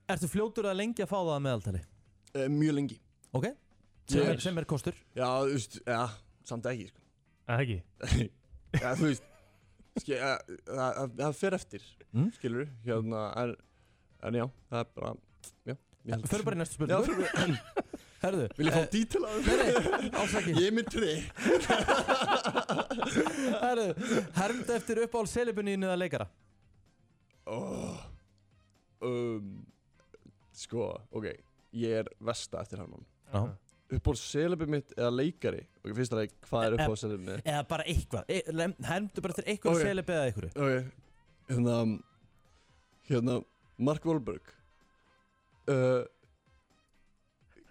[SPEAKER 2] Ertu fljótur að lengi að fá það að meðaltali?
[SPEAKER 12] uh, Mjög lengi
[SPEAKER 2] Ok Sem er, sem er kostur
[SPEAKER 12] Já, þú veist, já, samt ekki sko.
[SPEAKER 3] Það ekki
[SPEAKER 12] Já, þú veist ske, að, að, að, Það fer eftir
[SPEAKER 2] Mm.
[SPEAKER 12] Skilur, hérna en, en já, það er bara Já, ég held-
[SPEAKER 2] Föru bara í næstu
[SPEAKER 12] Já,
[SPEAKER 2] spurningu
[SPEAKER 12] förum bara-
[SPEAKER 2] Herðu
[SPEAKER 12] Vil ég fá
[SPEAKER 2] eh,
[SPEAKER 12] dítil að
[SPEAKER 2] Nei, nei, ásaki
[SPEAKER 12] Ég er minn tri
[SPEAKER 2] Herðu, hermd eftir uppáhald selibuninu eða leikara
[SPEAKER 12] oh, um, Sko, ok Ég er vesta eftir hann
[SPEAKER 2] Já.
[SPEAKER 12] Uppból selebi mitt eða leikari Ok, fyrsta leik, hvað er uppból selebi mitt?
[SPEAKER 2] Eða bara eitthvað e, lem- Hermdu bara eftir eitthvað
[SPEAKER 12] Ok.
[SPEAKER 2] okay. selibu eða eitthvað
[SPEAKER 12] Ok, hérna Hérna, Mark Wahlberg uh,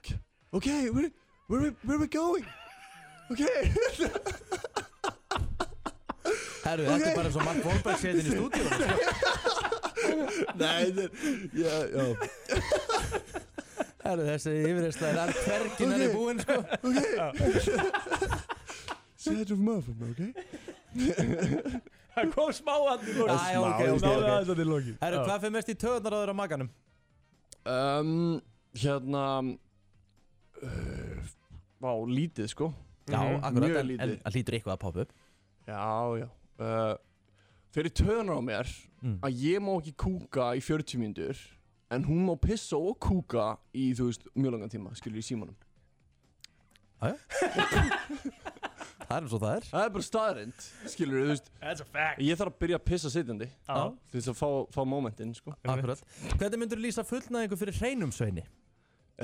[SPEAKER 12] k- Ok, where, where, we- where we going? Ok
[SPEAKER 2] Herru, þetta er bara eins og Mark Wahlberg setin í stúdíu
[SPEAKER 12] Nei, þetta er Já, já
[SPEAKER 2] Herru, þessi yfirreysla er að hvergi okay. er búinn sko
[SPEAKER 12] Set of muffin, ok
[SPEAKER 3] Það kom smá að því
[SPEAKER 2] Æ, ok, ok,
[SPEAKER 3] Náðu
[SPEAKER 2] ok
[SPEAKER 3] aðeins að því loki
[SPEAKER 2] Herru, hvað fyrir mest í töðunar á þeirra maganum?
[SPEAKER 12] um, Hérna uh, Vá, lítið sko
[SPEAKER 2] Já,
[SPEAKER 12] Mhm.
[SPEAKER 2] akkurat,
[SPEAKER 12] Mjög
[SPEAKER 2] en, en
[SPEAKER 12] lítið
[SPEAKER 2] það hlýtur eitthvað að poppa upp
[SPEAKER 12] Já, já uh, Fyrir töðunar á mér
[SPEAKER 2] Mm.
[SPEAKER 12] að ég má ekki kúka í 40 mínútur en hún má pissa og kúka í, þú veist, mjög langan tíma skilur í símanum
[SPEAKER 2] Það er eins og það er
[SPEAKER 12] Það er bara staðarind, skilur þú veist
[SPEAKER 3] That's a fact
[SPEAKER 12] Ég þarf að byrja að pissa sitjandi
[SPEAKER 3] Já.
[SPEAKER 12] til þess að fá, fá momentinn, sko
[SPEAKER 2] Akkurat Hvernig myndur þú lýsa fullnæðingu fyrir hreinum sveini?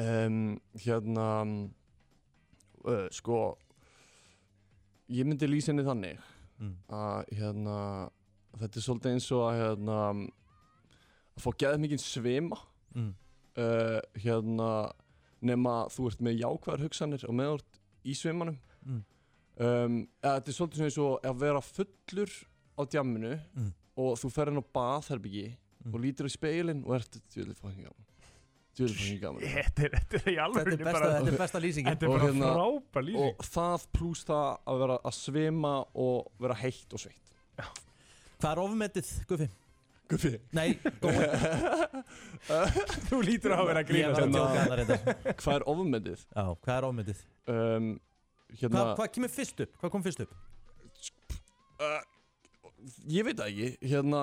[SPEAKER 12] um, Hérna uh, Sko Ég myndi lýsa henni þannig
[SPEAKER 2] Mm.
[SPEAKER 12] að hérna þetta er svolítið eins og að hérna að fá geðið mikið svima
[SPEAKER 2] Mm.
[SPEAKER 12] uh, hérna nema þú ert með jákvæðar hugsanir og með þú ert í svimanum
[SPEAKER 2] Mm.
[SPEAKER 12] um, eða þetta er svolítið svona eins og að vera fullur á djamminu
[SPEAKER 2] Mm.
[SPEAKER 12] og þú fer inn á baðherbyggi
[SPEAKER 3] Mm.
[SPEAKER 12] og lítir á speilin og ert djúðlega fókin gaman djúðlega fókin gaman
[SPEAKER 3] Þetta er- þetta er í
[SPEAKER 2] Þetta
[SPEAKER 3] alveg
[SPEAKER 2] er besta, þetta er besta lýsingin
[SPEAKER 3] Þetta er bara frábær lýsing.
[SPEAKER 12] hérna- og það pluss það að vera að svima og vera heitt og sveitt
[SPEAKER 2] Hvað er ofmetið, Guffi?
[SPEAKER 12] Guffi
[SPEAKER 2] Nei, gói
[SPEAKER 3] Þú lítur á að vera að
[SPEAKER 2] Ég var að
[SPEAKER 12] hérna.
[SPEAKER 2] tjóka það reyndar
[SPEAKER 12] hvað er ofmyndið?
[SPEAKER 2] Já, hvað er ofmetið?
[SPEAKER 12] Um, hérna,
[SPEAKER 2] Hvað, hvað kemur fyrst upp? Hvað kom fyrst upp?
[SPEAKER 12] uh, ég veit það ekki hérna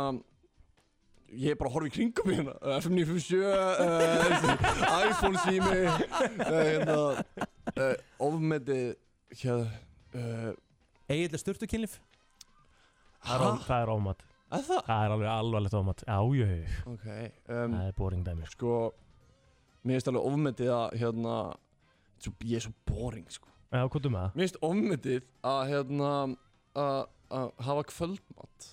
[SPEAKER 12] ég er bara að horfa í kringum mig hérna uh, FM 957 uh, iPhone sími uh, hérna uh, ofmetið hérna uh,
[SPEAKER 2] Egil er styrtu kynlif?
[SPEAKER 3] Það er ó- Það er ómat
[SPEAKER 12] er það?
[SPEAKER 3] Það er alveg alvarlegt ómat Ájöðu
[SPEAKER 12] ok um,
[SPEAKER 3] Það er boring dæmi sko.
[SPEAKER 12] sko mér finnst alveg ofmetið að hérna svo, ég er svo boring sko
[SPEAKER 3] Já, hvað þú með það?
[SPEAKER 12] mér finnst ofmetið að hérna að að hafa kvöldmatt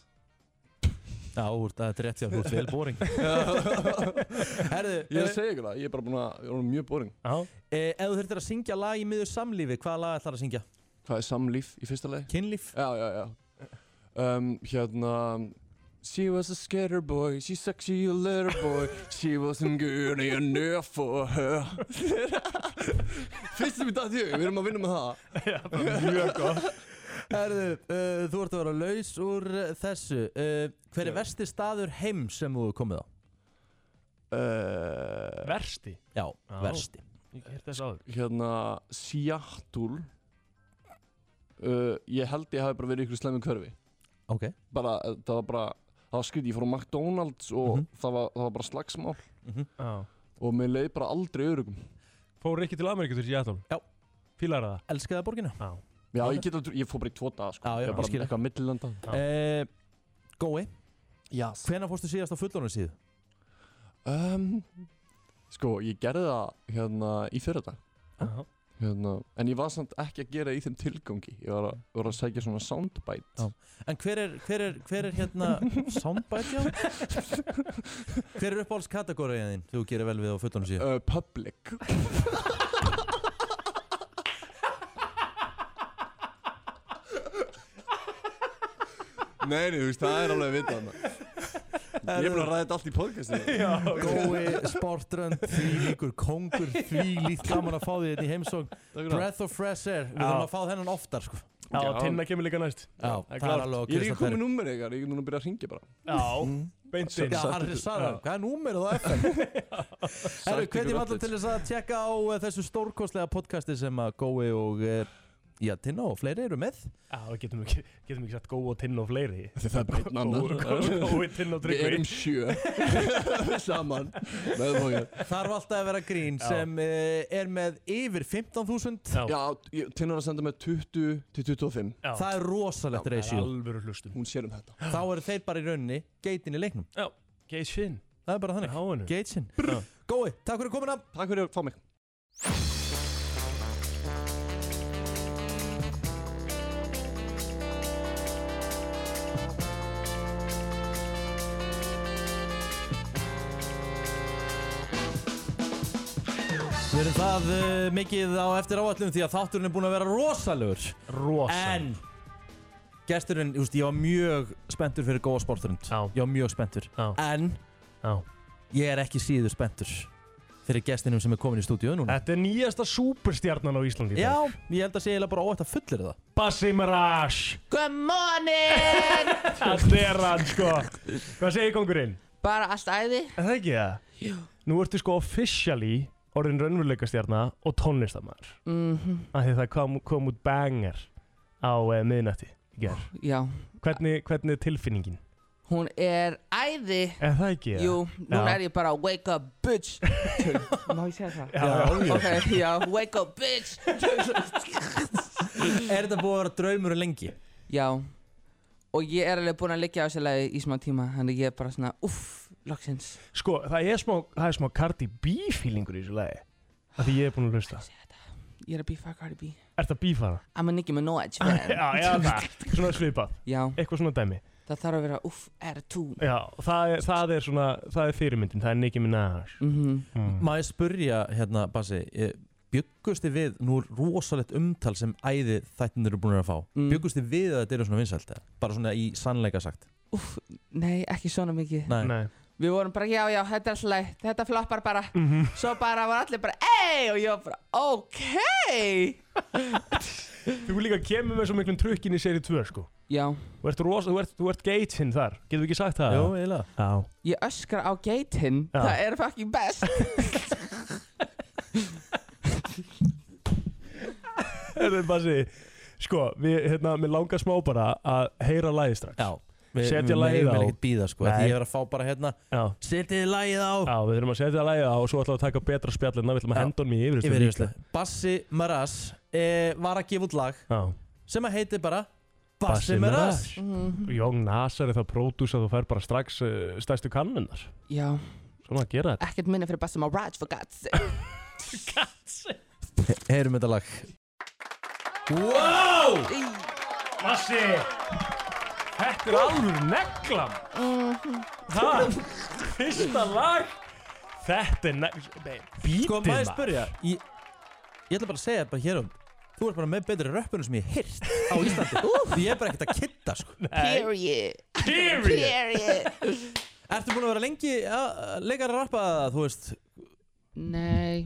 [SPEAKER 2] Já, úr, þetta er rétt því að þú ert vel boring Herðu,
[SPEAKER 12] ég er
[SPEAKER 2] eh,
[SPEAKER 12] að segja ykkur það ég er bara búin að ég er orðinn mjög boring
[SPEAKER 3] Já,
[SPEAKER 2] eh, ef þú þurftir að syngja lag í miður samlífi, hvaða lag ætlar að syngja?
[SPEAKER 12] hvað er samlíf í fyrsta lagi?
[SPEAKER 2] Kynlíf?
[SPEAKER 12] Já, já, já um, Hérna She was a scatter boy, she sucks you a little boy She wasn't good enough for her Fyrst sem við datt í hug, við erum að vinna með það Já,
[SPEAKER 3] mjög gott
[SPEAKER 2] Herðu, uh, þú ert að vera laus úr uh, þessu uh, Hver er
[SPEAKER 12] Já.
[SPEAKER 2] versti staður heim sem þú hefur komið á?
[SPEAKER 12] Eh,
[SPEAKER 2] Uh,
[SPEAKER 3] Versti?
[SPEAKER 2] Já, versti
[SPEAKER 3] Ég hef þess áður
[SPEAKER 12] Hérna, Seattle uh, Ég held ég hafi bara verið í ykkur slemmi hverfi
[SPEAKER 2] Ok
[SPEAKER 12] Bara, eh, það var bara, það var skrítið, ég fór á McDonalds og
[SPEAKER 2] Mhm.
[SPEAKER 12] það, var, það var bara slagsmál
[SPEAKER 3] Já.
[SPEAKER 12] Og mér leið bara aldrei örugum
[SPEAKER 3] Fór ekki til Ameríku til Seattle?
[SPEAKER 2] Já
[SPEAKER 3] Fílar það?
[SPEAKER 2] Elskar það borgina?
[SPEAKER 3] Já
[SPEAKER 12] Já, ég get aldrei, ég fór bara í tvo daga sko
[SPEAKER 2] Já, já,
[SPEAKER 12] Ég bara
[SPEAKER 2] ég skil.
[SPEAKER 12] eitthvað millilanda
[SPEAKER 2] uh, Gói
[SPEAKER 12] yes.
[SPEAKER 2] Hvenær fórstu síðast á fullónu síðu?
[SPEAKER 12] Um, sko, ég gerði það hérna í fyrradag
[SPEAKER 3] Já.
[SPEAKER 12] hérna, En ég var samt ekki að gera það í þeim tilgangi Ég var að, var að segja svona soundbite
[SPEAKER 2] Já. En hver er, hver er, hver er hérna Soundbite, já Hver er uppáhalds kategóriðin þín? Þú gerir vel við á fullónu síðu
[SPEAKER 12] uh, Public Nei, nei, þú veist, það er alveg að vita hana Ég er búin að ræða þetta allt í podcastinu
[SPEAKER 2] Já, Gói, sportrönd, því líkur kongur, því líkt gaman að fá því hérna í heimsókn
[SPEAKER 12] fyrir það.
[SPEAKER 2] Breath of fresh air, við
[SPEAKER 12] Já.
[SPEAKER 2] þurfum að fá þennan oftar sko
[SPEAKER 3] Já, Tinna kemur líka næst
[SPEAKER 2] Já, það er
[SPEAKER 12] Ég er
[SPEAKER 2] alveg á
[SPEAKER 12] ekki
[SPEAKER 2] Kristall
[SPEAKER 12] komið nummer eitthvað, ég er núna að byrja að ringja bara
[SPEAKER 3] Já, beint inn.
[SPEAKER 2] Já, hann er sagður, hvað er númerið á FM? Herru,
[SPEAKER 12] Sagt ykkur
[SPEAKER 2] hvernig var það
[SPEAKER 12] öllu.
[SPEAKER 2] til þess að tjekka á eh, þessu stórkostlega podcasti sem að Gói og eh, Já, Tinna og fleiri eru með
[SPEAKER 3] Já, við getum ekki, getum ekki sagt góð og tinn og fleiri
[SPEAKER 12] Það er bara einn annar
[SPEAKER 3] Góð og tinn og tryggvi
[SPEAKER 12] Við erum sjö Saman Með fókja
[SPEAKER 2] Þarf alltaf að vera grín
[SPEAKER 12] Já.
[SPEAKER 2] sem eh, er með yfir 15.000
[SPEAKER 12] Já, ég- Tinna var að senda með 20 til 25
[SPEAKER 2] Já. Það er rosalegt Já, ratio. það er
[SPEAKER 3] alvöru hlustum
[SPEAKER 12] Hún sér um þetta
[SPEAKER 2] Þá eru þeir bara í rauninni geitin í leiknum
[SPEAKER 3] Já, geitin
[SPEAKER 2] Það er bara þannig, geitin Gói, takk fyrir komuna
[SPEAKER 12] Takk fyrir að fá mig
[SPEAKER 2] Við erum það uh, mikið á eftir áallum því að þátturinn er búin að vera rosalegur
[SPEAKER 3] Rosalegur
[SPEAKER 2] En gesturinn, þú veist, ég var mjög spenntur fyrir góða sporturund Já Ég var mjög spenntur Já En
[SPEAKER 3] Já
[SPEAKER 2] Ég er ekki síður spenntur fyrir gestinum sem er komin í stúdíu núna
[SPEAKER 3] Þetta er nýjasta superstjarnan á Íslandi í
[SPEAKER 2] Já,
[SPEAKER 3] dag.
[SPEAKER 2] ég held að segja eiginlega bara óætt að fullir það
[SPEAKER 3] Bassi Mirage
[SPEAKER 11] Good morning
[SPEAKER 3] Þetta er hann sko Hvað segir kongurinn?
[SPEAKER 11] Bara allt æði
[SPEAKER 3] Er það ekki það? Jú Nú ertu sko officially orðin raunveruleikastjarna og tónlistamæður
[SPEAKER 11] Mhm.
[SPEAKER 3] Af því það kom, kom út banger á uh, miðnætti í gerð
[SPEAKER 11] Já
[SPEAKER 3] hvernig, hvernig er tilfinningin?
[SPEAKER 11] Hún er æði
[SPEAKER 3] Er það ekki það?
[SPEAKER 11] Jú, núna
[SPEAKER 3] Já.
[SPEAKER 11] er ég bara wake up bitch Má ég segja það?
[SPEAKER 3] Já, já, já.
[SPEAKER 11] Ok, já, wake up bitch
[SPEAKER 2] Er þetta búið að vera draumur lengi?
[SPEAKER 11] Já Og ég er alveg búin að liggja á þessu lagi í smá tíma Þannig ég er bara svona, uff, loksins
[SPEAKER 3] Sko, það er smá, það er smá Cardi B feelingur í þessu lagi Af því ég er búin að hlusta
[SPEAKER 11] Ég er að bífa Cardi B
[SPEAKER 3] Er það bífara?
[SPEAKER 11] I'm a Nicki Minaj fan
[SPEAKER 3] Já, já, það Svona svipað
[SPEAKER 11] Já
[SPEAKER 3] Eitthvað svona dæmi
[SPEAKER 11] Það þarf að vera, uff, R2
[SPEAKER 3] Já, það er, það er svona, það er fyrirmyndin, það er Nicki Minaj
[SPEAKER 11] Mhm.
[SPEAKER 3] mm.
[SPEAKER 2] Má ég spurja, hérna, Basi Bjöggusti við, nú er rosalegt umtal sem æði þættin eru búin að fá mm. Bjöggusti við að þetta eru svona vinsælt eða? Bara svona í sannleika sagt
[SPEAKER 11] Nei, ekki svona mikið
[SPEAKER 2] Nei. Nei.
[SPEAKER 11] Við vorum bara, já, já, þetta er alltaf Þetta floppar bara Svo bara var allir bara, ei Og ég var bara, ok
[SPEAKER 3] Þú líka kemur með svo miklum trukkin í seri 2 sko
[SPEAKER 11] Já
[SPEAKER 3] Þú ert, rosa, þú ert, þú ert geitinn þar, getum við ekki sagt það?
[SPEAKER 2] Jú, eiginlega.
[SPEAKER 3] Já
[SPEAKER 11] Ég öskra á geitinn
[SPEAKER 3] Já.
[SPEAKER 11] Það er fucking best
[SPEAKER 3] Þetta er bara sig Sko, við, hérna, mér langar smá bara að heyra lagið strax Já,
[SPEAKER 2] Við-
[SPEAKER 3] Setja lagið
[SPEAKER 2] við megum
[SPEAKER 3] á
[SPEAKER 2] eiginlega ekkert bíða, sko,
[SPEAKER 3] Nei.
[SPEAKER 2] því ég er að fá bara hérna
[SPEAKER 3] Já
[SPEAKER 2] Setið lagið á
[SPEAKER 3] Já, við þurfum að setja lagið á og svo ætlum við að taka betra spjallina Við ætlum að henda honum í yfirherslu
[SPEAKER 2] Yfir yfirheyrslu. Bassi Maras e, var að gefa út lag
[SPEAKER 3] Já
[SPEAKER 2] sem að heiti bara Bassi Maras
[SPEAKER 11] Mhm.
[SPEAKER 3] Jón Nasar er það pródús að þú fær bara strax uh, stærstu kannunar
[SPEAKER 11] Já
[SPEAKER 3] Svona að gera þetta
[SPEAKER 11] Ekkert minna fyrir Bassa Maraj for God's sake
[SPEAKER 2] He- Heyrum þetta lag Wow!
[SPEAKER 3] Massi Þetta er alveg neglam
[SPEAKER 11] Mm.
[SPEAKER 3] Það, fyrsta lag Þetta er neglam Bítið
[SPEAKER 2] Sko, maður spyrja Ég, ég ætla bara að segja bara hér um Þú ert bara með betri röppunum sem ég hef hýrt á Íslandi Því ég er bara ekkert að kidda sko
[SPEAKER 11] Period Period
[SPEAKER 2] Ertu búin að vera lengi að leika að rappa þú veist
[SPEAKER 11] Nei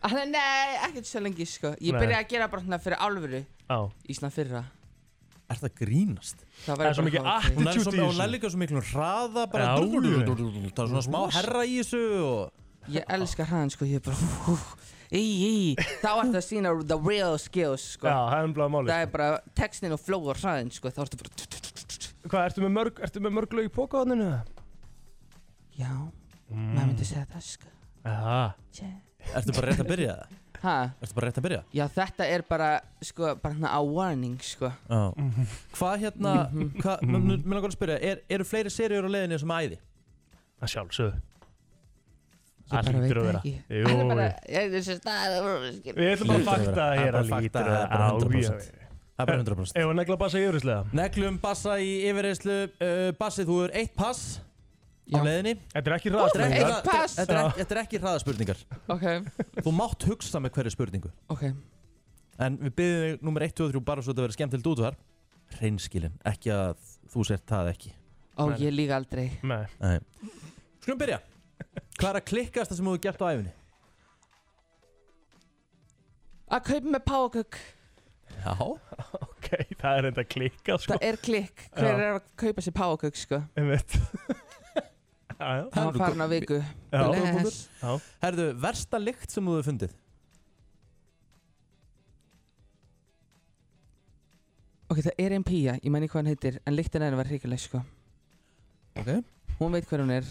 [SPEAKER 11] Ah, Nei, ekkert svo lengi sko Ég
[SPEAKER 2] Nei.
[SPEAKER 11] byrjaði að gera bara svona fyrir alvöru
[SPEAKER 3] Á
[SPEAKER 11] Í svona fyrra
[SPEAKER 2] Er það grínast?
[SPEAKER 11] Það væri Það er svo bara mikið hátíð.
[SPEAKER 2] Hún er
[SPEAKER 11] attitude
[SPEAKER 2] svo,
[SPEAKER 11] í þessu.
[SPEAKER 2] hún er líka svo miklum hraða bara
[SPEAKER 11] Já.
[SPEAKER 2] Það er svona smá herra í þessu og...
[SPEAKER 11] Ég elska hraðan sko, ég er bara hú, Í, í, þá ertu að sína the real skills sko
[SPEAKER 3] Já, það er umbláð máli
[SPEAKER 11] Það er bara textin og flow og hraðin sko Þá ertu bara tut, tut, tut, tut.
[SPEAKER 3] Hvað, ertu með mörg, ertu með mörg lög í pókáðaninu?
[SPEAKER 11] Já,
[SPEAKER 3] Mm.
[SPEAKER 11] maður myndi segja það sko
[SPEAKER 3] Aha.
[SPEAKER 2] Ertu bara rétt að byrja það?
[SPEAKER 11] Ha?
[SPEAKER 2] Ertu bara rétt að byrja?
[SPEAKER 11] Já, þetta er bara, sko, bara hérna a warning sko
[SPEAKER 2] Já. Hvað hérna,
[SPEAKER 11] Mhm.
[SPEAKER 2] hvað, mér mér langar að spyrja, er, eru fleiri seriur á leiðinni sem æði?
[SPEAKER 3] Að sjálfsögðu.
[SPEAKER 11] Ég bara
[SPEAKER 3] hlýtur
[SPEAKER 11] veit
[SPEAKER 3] að
[SPEAKER 11] það
[SPEAKER 3] vera.
[SPEAKER 11] ekki.
[SPEAKER 3] Jú,
[SPEAKER 11] Það er bara,
[SPEAKER 3] jú.
[SPEAKER 11] ég er þessi stað
[SPEAKER 3] Við ætlum bara að
[SPEAKER 2] Hlýtur að
[SPEAKER 3] fakta
[SPEAKER 2] vera.
[SPEAKER 3] hér
[SPEAKER 2] Það er
[SPEAKER 3] að
[SPEAKER 2] bara
[SPEAKER 3] lítur
[SPEAKER 2] fakta, það er bara 100%. Það er bara 100%.
[SPEAKER 3] Ef að negla bassa í yfirherslega
[SPEAKER 2] Neglum bassa í yfirreyslu uh, Bassi, þú er eitt pass á leiðinni
[SPEAKER 3] Þetta er ekki
[SPEAKER 11] hraðaspurningar. Eitt pass.
[SPEAKER 2] Þetta er, ekki- þetta er ekki hraðaspurningar
[SPEAKER 11] Ok
[SPEAKER 2] Þú mátt hugsa með hverju spurningu
[SPEAKER 11] Ok
[SPEAKER 2] En við byrjum þig nummer 1, 2 og 3 bara svo þetta verður skemmtilegt út þar Reynskilin, ekki að þú sért það ekki
[SPEAKER 11] Ó, ég líka aldrei
[SPEAKER 3] Nei
[SPEAKER 2] Nei. Skulum byrja Hvað er að klikkast það sem þú hefur gert á æfinni?
[SPEAKER 11] Að kaupa með pákök
[SPEAKER 2] Já
[SPEAKER 3] Ok, það er enda klikka sko
[SPEAKER 11] Það er klikk Hver
[SPEAKER 3] Já.
[SPEAKER 11] er að kaupa sér pákök, sko
[SPEAKER 3] Einmitt
[SPEAKER 11] Það var farin á viku.
[SPEAKER 2] Já.
[SPEAKER 11] Bless.
[SPEAKER 3] Já.
[SPEAKER 2] Herðu, versta lykt sem þú hefur fundið?
[SPEAKER 11] Ok, það er einn pía, ég menni hvað hann heitir En lyktin henni var hrikuleg, sko
[SPEAKER 2] Ok
[SPEAKER 11] Hún veit hver hún er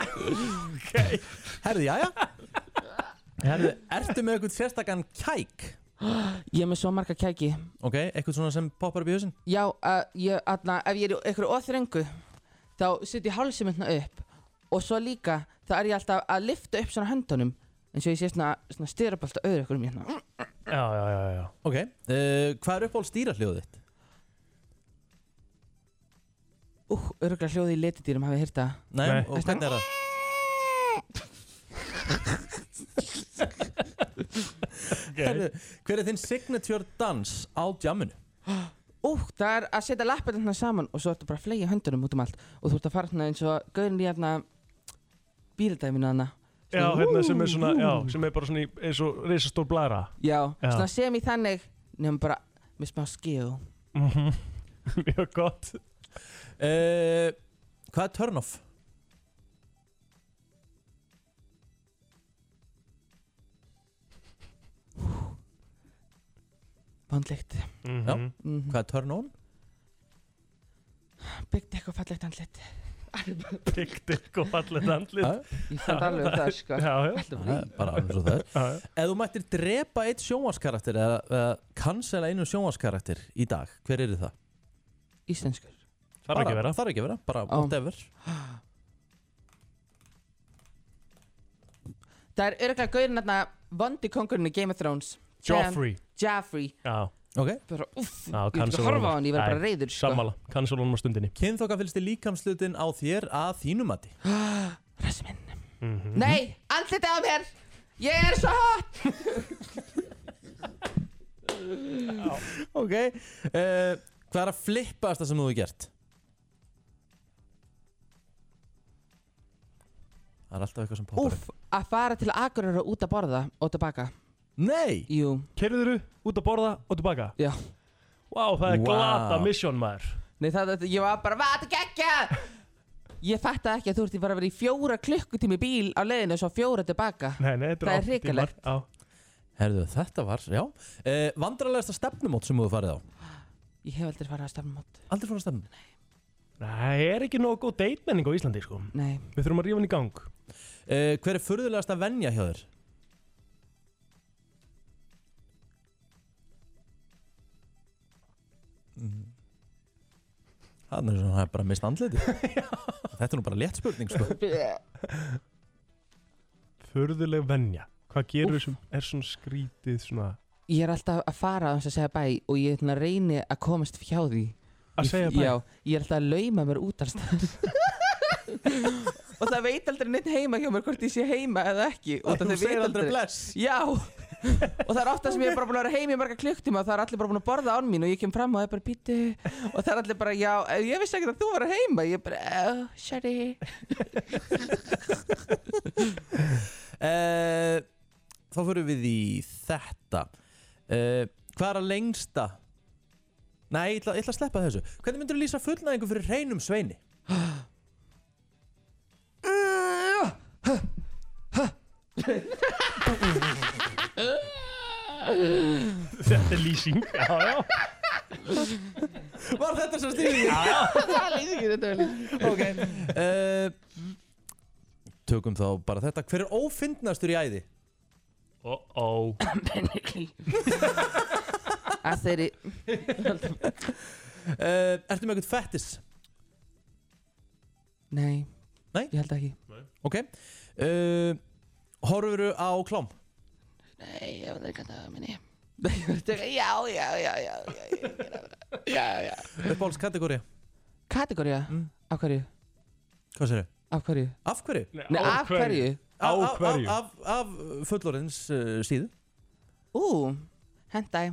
[SPEAKER 2] Ok Herðu, jæja Herðu, ertu með eitthvað sérstakann kæk?
[SPEAKER 11] Ég er með svo marga kæki
[SPEAKER 2] Ok, eitthvað svona sem poppar upp í hausinn?
[SPEAKER 11] Já, uh, ég, atna, ef ég er í einhverju óþrengu Þá set ég hálsum hérna upp Og svo líka, þá er ég alltaf að lifta upp svona höndunum eins og ég sé svona, svona styrabalt á öðru ykkur um hérna
[SPEAKER 3] Já, já, já, já
[SPEAKER 2] Ok, uh, hvað er uppáhald stýrahljóðið þitt?
[SPEAKER 11] Úh, öruglega hljóði í letidýrum hafi hýrt það
[SPEAKER 2] Nei, og hvernig er það? Herðu, hver er þinn signature dans á djamminu?
[SPEAKER 11] Úh, það er að setja lappir hérna saman og svo ertu bara að fleygja höndunum út um allt og þú ert að fara hérna eins og gaurin í hérna bíldæminu hérna
[SPEAKER 3] Já, hérna sem er svona, já, sem er bara svona í- eins og risastór blæra
[SPEAKER 11] Já,
[SPEAKER 3] Já.
[SPEAKER 11] svona sem í þannig nefnum bara með smá skíu
[SPEAKER 3] Mhm. Mjög gott
[SPEAKER 2] uh, Hvað er turn off?
[SPEAKER 11] Vandlegt
[SPEAKER 3] mm
[SPEAKER 11] Mhm. Mhm.
[SPEAKER 2] Hvað er turn on?
[SPEAKER 11] Byggt eitthvað fallegt andlit
[SPEAKER 3] Byggt eitthvað fallegt andlit
[SPEAKER 11] Ég fann alveg um það sko
[SPEAKER 3] Já, já
[SPEAKER 11] Alltaf
[SPEAKER 2] Það er bara alveg svo það
[SPEAKER 3] er
[SPEAKER 2] Ef þú mættir drepa eitt sjónvarskarakter eða, eða cancela einu sjónvarskarakter í dag, hver er það?
[SPEAKER 11] Íslenskur
[SPEAKER 2] Bara-
[SPEAKER 3] Þarf ekki að vera
[SPEAKER 2] Þarf ekki að vera, bara
[SPEAKER 11] Á.
[SPEAKER 2] whatever
[SPEAKER 11] Það er öruglega gaurin hérna vondi kongurinn í Game of Thrones
[SPEAKER 3] Joffrey.
[SPEAKER 11] Joffrey
[SPEAKER 3] Já
[SPEAKER 2] Ok
[SPEAKER 11] Bara uff Ég
[SPEAKER 3] Já,
[SPEAKER 11] vil ekki
[SPEAKER 3] cancel
[SPEAKER 11] horfa á
[SPEAKER 3] honum.
[SPEAKER 11] hann, ég verð bara
[SPEAKER 3] Nei,
[SPEAKER 11] reyður sko
[SPEAKER 3] Sammála, cancel honum á stundinni
[SPEAKER 2] Kynþóka fylgst í líkamslutin á þér að þínumati
[SPEAKER 11] Rasminn
[SPEAKER 3] Mhm.
[SPEAKER 11] Nei, andlitið á mér Ég er svo hot
[SPEAKER 2] Ok uh, Hvað er að flippast það sem þú hefur gert? Það er alltaf eitthvað sem poppar
[SPEAKER 11] Úff, að fara til Akureyra út að borða og tilbaka
[SPEAKER 2] Nei
[SPEAKER 11] Jú
[SPEAKER 3] Kerður þú út að borða og tilbaka?
[SPEAKER 11] Já
[SPEAKER 3] Vá, það er
[SPEAKER 11] Vá.
[SPEAKER 3] glata mission maður
[SPEAKER 11] Nei, það, það, ég var bara, hvað, þetta gekkja Ég fatta ekki að þú ert bara að vera í fjóra klukkutími í bíl á leiðinu og svo fjóra tilbaka
[SPEAKER 3] Nei, nei,
[SPEAKER 11] Það er hrikalegt
[SPEAKER 2] Herðu, þetta var, já uh, Vandralegasta stefnumót sem þú hefur farið á
[SPEAKER 11] Ég hef aldrei farið að stafnumót
[SPEAKER 2] Aldrei farið að stefnum?
[SPEAKER 3] Það er ekki nógu góð deitmenning á Íslandi sko
[SPEAKER 11] Nei
[SPEAKER 3] Við þurfum að rífa hann í gang
[SPEAKER 2] uh, Hver er furðulegasta venja hjá þér?
[SPEAKER 3] Mhm.
[SPEAKER 2] Það er svona, það er bara mist andliti Þetta er nú bara létt spurning sko.
[SPEAKER 3] Förðuleg venja Hvað gerur sem er svona skrítið svona
[SPEAKER 11] Ég er alltaf að fara á þess að segja bæ og ég hérna, reyni að komast hjá því
[SPEAKER 3] Að
[SPEAKER 11] Ég-
[SPEAKER 3] segja bæ?
[SPEAKER 11] Já, ég er alltaf að lauma mér út alls staðar. og það veit aldrei neitt heima hjá mér hvort ég sé heima eða ekki út af
[SPEAKER 2] Þú
[SPEAKER 11] þau veit
[SPEAKER 2] segir aldrei bless.
[SPEAKER 11] Já og það er ofta sem ég er bara búin að vera heima í marga klukktíma og það er allir bara búin að borða án mín og ég kem fram og það er bara býtu og það er allir bara já, eh, ég vissi ekkert að þú var heima ég er bara, oh, sorry
[SPEAKER 2] Eh, Þá fyrir við í þetta uh, Hvað er að lengsta? Nei, ég ætla, ég ætla að sleppa þessu Hvernig myndur þú lýsa fullnæðingu fyrir reynum sveini?
[SPEAKER 3] Þetta er lýsing Já, já
[SPEAKER 2] Var þetta sem stýrði?
[SPEAKER 11] Já, já. Það er lýsingin, þetta er lýsingin.
[SPEAKER 2] Ok uh, Tökum þá bara þetta Hver er ófindnastur í æði?
[SPEAKER 3] Uh-oh
[SPEAKER 11] að þeirri
[SPEAKER 2] uh, Ertu með eitthvað fettis?
[SPEAKER 11] Nei
[SPEAKER 2] Nei?
[SPEAKER 11] Ég held ekki
[SPEAKER 3] Nei.
[SPEAKER 2] Ok uh, Horfuru á klám?
[SPEAKER 11] Nei, ég vil ekki að það minni Já, já, já, já, já, já, já, já.
[SPEAKER 2] Uppáhaldskategóri?
[SPEAKER 11] Kategória? Af hverju?
[SPEAKER 2] Mm. Hvað sér
[SPEAKER 11] Af hverju?
[SPEAKER 2] Af hverju?
[SPEAKER 11] Nei, af hverju?
[SPEAKER 2] Á hverju? Af, af, af, af fullorðins uh, síðu
[SPEAKER 11] Ú, hentai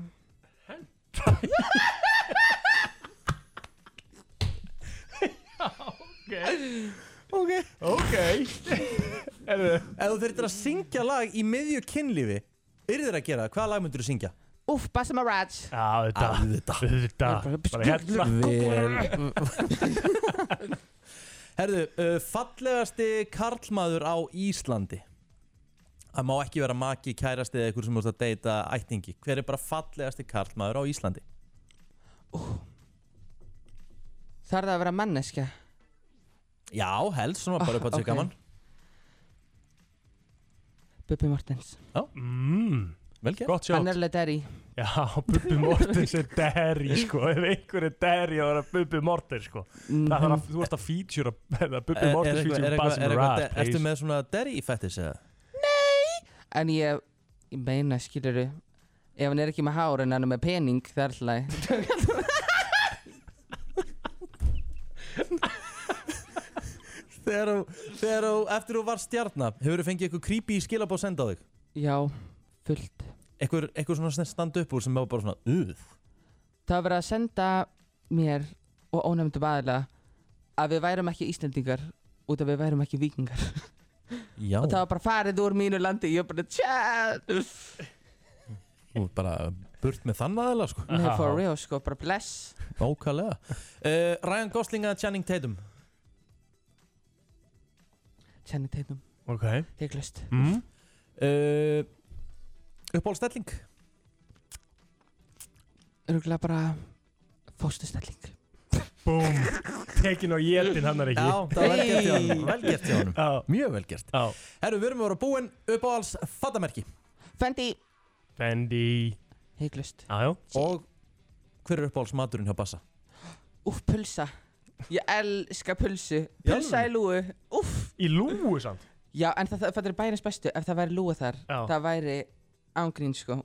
[SPEAKER 2] Ok
[SPEAKER 3] Ok
[SPEAKER 2] Ef þú þurftir að syngja lag í miðju kynlífi Yrðir að gera, það, hvaða lag myndir þú syngja?
[SPEAKER 11] Úf, Basma Raj
[SPEAKER 3] Já, þetta
[SPEAKER 2] Auðvitað
[SPEAKER 3] Auðvitað Bara hérna
[SPEAKER 2] Herðu, uh, fallegasti karlmaður á Íslandi Það má ekki vera maki, kærasti eða einhver sem múst að deyta ætningi Hver er bara fallegasti karlmaður á Íslandi?
[SPEAKER 11] Þarf það að vera manneskja?
[SPEAKER 2] Já, helst, svona bara upp
[SPEAKER 11] ok.
[SPEAKER 2] að segja gaman
[SPEAKER 11] Bubbi Mortens
[SPEAKER 2] Já
[SPEAKER 3] mm.
[SPEAKER 2] Vel gert
[SPEAKER 3] Gott sjátt
[SPEAKER 11] Hann er alveg deri
[SPEAKER 3] Já, Bubbi Mortens er derri sko Ef einhver er derri þá er það Bubbi Mortens sko Það þarf að, þú ert að feature
[SPEAKER 2] Eh,
[SPEAKER 3] Bubbi Mortens feaure Basim Rad
[SPEAKER 2] Ertu með svona derry fettis eða?
[SPEAKER 11] En ég, ég meina, skilur Ef hann er ekki með hár en hann er með pening Það er alltaf
[SPEAKER 2] Þegar þú, þegar þú, eftir þú var stjarnar Hefur þú fengið eitthvað creepy skilabóð senda á þig?
[SPEAKER 11] Já, fullt
[SPEAKER 2] Eitthvað, eitthvað svona stand upp úr sem var bara svona Uð
[SPEAKER 11] Það var verið að senda mér og ónefndum aðila að við værum ekki Íslendingar út af við værum ekki vikingar
[SPEAKER 2] Já,
[SPEAKER 11] og það var bara farið úr mínu landi ég var bara tjá
[SPEAKER 2] þú ert bara burt með þann aðeila sko
[SPEAKER 11] Nei, for real sko, bara bless
[SPEAKER 2] Ókvæðlega uh, Ryan Gosling að Channing Tatum
[SPEAKER 11] Channing Tatum,
[SPEAKER 3] Ok
[SPEAKER 11] heiklust
[SPEAKER 3] mm.
[SPEAKER 2] uh, Uppáhaldstelling
[SPEAKER 11] Örgulega bara fóstustelling
[SPEAKER 3] Búm Tekin á jétin hann er ekki
[SPEAKER 2] eh, Já, það var vel gert hjá honum,
[SPEAKER 3] Hey.
[SPEAKER 2] vel gert hjá honum
[SPEAKER 3] Já
[SPEAKER 2] Mjög vel gert
[SPEAKER 3] Já
[SPEAKER 2] Herru, við erum að vera búin uppáhalds fattamerki
[SPEAKER 11] Fendi,
[SPEAKER 3] Fendi
[SPEAKER 11] heiklust
[SPEAKER 3] Jájá
[SPEAKER 2] Og hver er uppáhalds maturinn hjá Bassa?
[SPEAKER 11] Úf, pulsa Ég elska pulsu, pulsa í lúu Úf,
[SPEAKER 3] Í lúu samt
[SPEAKER 11] já en það, það, það er bærins bestu ef það væri lúa þar
[SPEAKER 3] Já.
[SPEAKER 11] það væri ángrín sko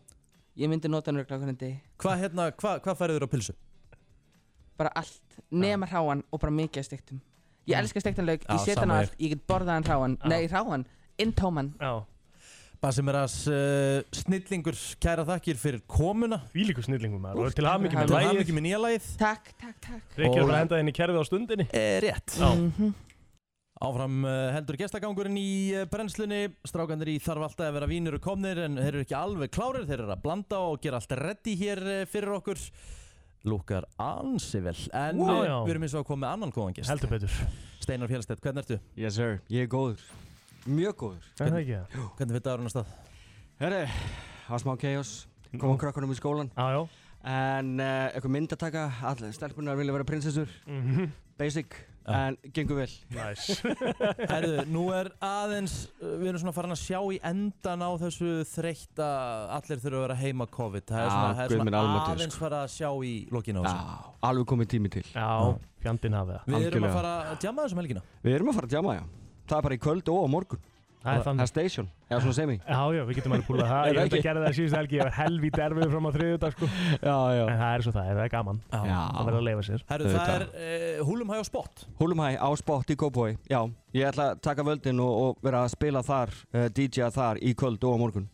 [SPEAKER 11] ég myndi nota hann örgulega hvernig degi
[SPEAKER 2] Hvað hérna, hva, hva færið þurr á pilsu?
[SPEAKER 11] bara allt, nema hráan og bara mikið af steiktum ég elska steiktan lauk,
[SPEAKER 2] Já,
[SPEAKER 11] ég set hann
[SPEAKER 2] sama
[SPEAKER 11] á
[SPEAKER 2] hér.
[SPEAKER 11] allt, ég get borðað hann hráan
[SPEAKER 3] Já.
[SPEAKER 11] nei hráan, intóman
[SPEAKER 3] Já
[SPEAKER 2] Basimeras uh, snillingur kæra þakkir fyrir komuna
[SPEAKER 3] Vílíku snillingum maður Og til hamingi
[SPEAKER 2] Til
[SPEAKER 3] með lægið
[SPEAKER 2] hamingi með nýja lagið
[SPEAKER 11] takk, takk, takk
[SPEAKER 3] Rikki er
[SPEAKER 2] Og-
[SPEAKER 3] bara að henda henni kerfið á stundinni
[SPEAKER 2] Eh, Rétt
[SPEAKER 3] Já
[SPEAKER 2] Áfram eh, heldur gestagangurinn í eh, brennslunni Strákanir í þarf alltaf að vera vínir og komnir En þeir eru ekki alveg klárir Þeir eru að blanda og gera allt reddi hér eh, fyrir okkur Lúkar ansi vel En
[SPEAKER 3] Wow. Já,
[SPEAKER 2] eh,
[SPEAKER 3] já.
[SPEAKER 2] við erum eins og að koma með annan góðan gest
[SPEAKER 3] Heldur betur
[SPEAKER 2] Steinar Fjellstedt, hvernig ertu?
[SPEAKER 13] Yes sir, ég er góður Mjög góður
[SPEAKER 3] Er það ekki það?
[SPEAKER 2] Hvernig fyrir dagurinn að stað?
[SPEAKER 13] Herri, það var smá chaos Komum krökkunum um í skólan
[SPEAKER 3] Já, já
[SPEAKER 13] En uh, eitthvað mynd að taka Allir stelpunar vilja vera prinsessur
[SPEAKER 3] Mhm.
[SPEAKER 13] Basic, en gengur vel
[SPEAKER 3] Nice
[SPEAKER 2] Herðu, nú er aðeins eh, Við erum svona farin að sjá í endan á þessu þreytta Allir þurfa að vera heima COVID Það er
[SPEAKER 13] Já,
[SPEAKER 2] svona,
[SPEAKER 13] Ah,
[SPEAKER 2] það er
[SPEAKER 13] guð minn
[SPEAKER 2] svona
[SPEAKER 13] almáttugur,
[SPEAKER 2] aðeins
[SPEAKER 13] sko.
[SPEAKER 2] farið að sjá í lokinu á þessu
[SPEAKER 13] Já, alveg komið tími til
[SPEAKER 3] Já, fjandinn hafið það
[SPEAKER 2] Við erum
[SPEAKER 13] algjörlega.
[SPEAKER 2] að fara að djama þessum helgina
[SPEAKER 13] Við erum að fara að djama, já Það er bara í kvöld og á morgun
[SPEAKER 3] Það er þannig.
[SPEAKER 13] Það er station, eða svona semi
[SPEAKER 3] Já, já, við getum alveg púlað það. Ég veit að gera það síðust helgi, ég var helvítið erfið fram á þriðjudag, sko.
[SPEAKER 13] Já, já.
[SPEAKER 3] En það er svo það, það er gaman.
[SPEAKER 2] Já.
[SPEAKER 3] Það verður að leifa sér.
[SPEAKER 2] Herru, það er uh, húlumhæ á spott
[SPEAKER 13] Húlumhæ á spott í Kópói, já Ég ætla að taka völdin og, og vera að spila þar, uh, DJ-a þar í kvöld og á morgun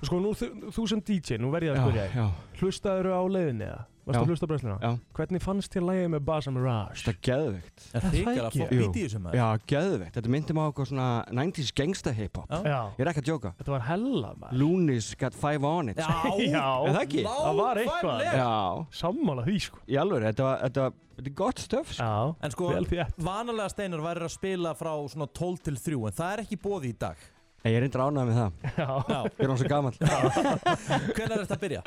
[SPEAKER 3] Sko, nú, þú, þú sem DJ, nú verð ég að
[SPEAKER 13] Já,
[SPEAKER 3] spyrja
[SPEAKER 13] já.
[SPEAKER 3] þig. Hlustaður á leiðinni eða? Varst
[SPEAKER 13] Já.
[SPEAKER 3] að hlusta á brennsluna?
[SPEAKER 13] Já.
[SPEAKER 3] Hvernig fannst þér lægið með Baza Mirage?
[SPEAKER 13] Það er geðveikt.
[SPEAKER 2] Er
[SPEAKER 3] það
[SPEAKER 2] hrikalega
[SPEAKER 3] ekki?
[SPEAKER 2] flott beat í þessu, maður.
[SPEAKER 13] Já, geðveikt. Þetta myndi mig á eitthvað svona 90s gangsta hip-hop.
[SPEAKER 3] Já. Já.
[SPEAKER 13] Ég er ekki að djóka.
[SPEAKER 3] Þetta var hella maður.
[SPEAKER 13] Lunis got five on it. sko.
[SPEAKER 3] já.
[SPEAKER 13] Er það ekki?
[SPEAKER 3] Það var eitthvað.
[SPEAKER 13] Já.
[SPEAKER 3] Sammála því sko.
[SPEAKER 13] Í alveg, þetta var, þetta var, þetta er gott stöf
[SPEAKER 3] sko. Já.
[SPEAKER 2] En sko,
[SPEAKER 13] Vel
[SPEAKER 2] vanalega steinar væri að spila frá svona 12 til 3 En það er ekki bóði í dag
[SPEAKER 13] Nei, ég er reyndar ánægð með það.
[SPEAKER 3] Já.
[SPEAKER 13] Ég er hans og gamall.
[SPEAKER 2] Hvernig er þetta að byrja?